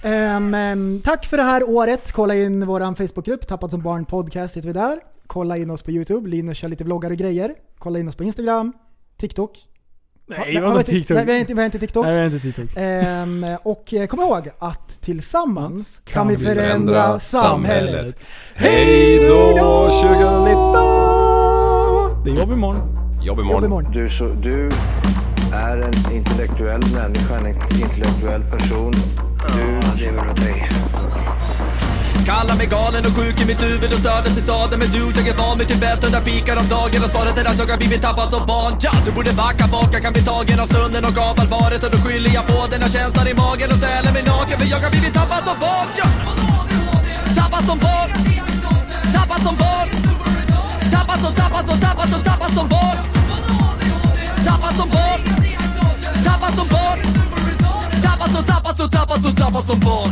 [SPEAKER 7] Ehm, ehm, tack för det här året. Kolla in vår Facebookgrupp, Tappat som barn podcast heter vi där. Kolla in oss på YouTube, Linus kör lite vloggar och grejer. Kolla in oss på Instagram, TikTok. Ha-
[SPEAKER 5] Nej, vadå
[SPEAKER 7] har vi-
[SPEAKER 5] TikTok?
[SPEAKER 7] Nej, vi har inte, vi har inte TikTok.
[SPEAKER 5] Nej, jag är inte TikTok.
[SPEAKER 7] Ehm, och eh, kom ihåg att tillsammans kan, vi förändra, samhället.
[SPEAKER 6] Hej då 2019!
[SPEAKER 5] Det är jobb imorgon.
[SPEAKER 6] Jobb
[SPEAKER 7] Jobb
[SPEAKER 6] imorgon.
[SPEAKER 7] imorgon.
[SPEAKER 3] Du, så, du är en intellektuell människa, en intellektuell person. Du lever åt dig.
[SPEAKER 1] Kallar mig galen och sjuk i mitt huvud och stördes i staden Men du, jag är van vid Tibet och där fikar om dagen Och svaret är att jag har blivit tappad som barn ja, Du borde backa bak, jag kan bli tagen av stunden och av allvaret Och då skyller jag på den här känslan i magen och ställer mig naken För jag har blivit tappad som barn ja. Tappad som barn Tappad som barn Tappad som, tappad som, tappad som, tappad som barn Tappad som barn Tappad som barn Tappad som, tappad som, tappad som, tappad som barn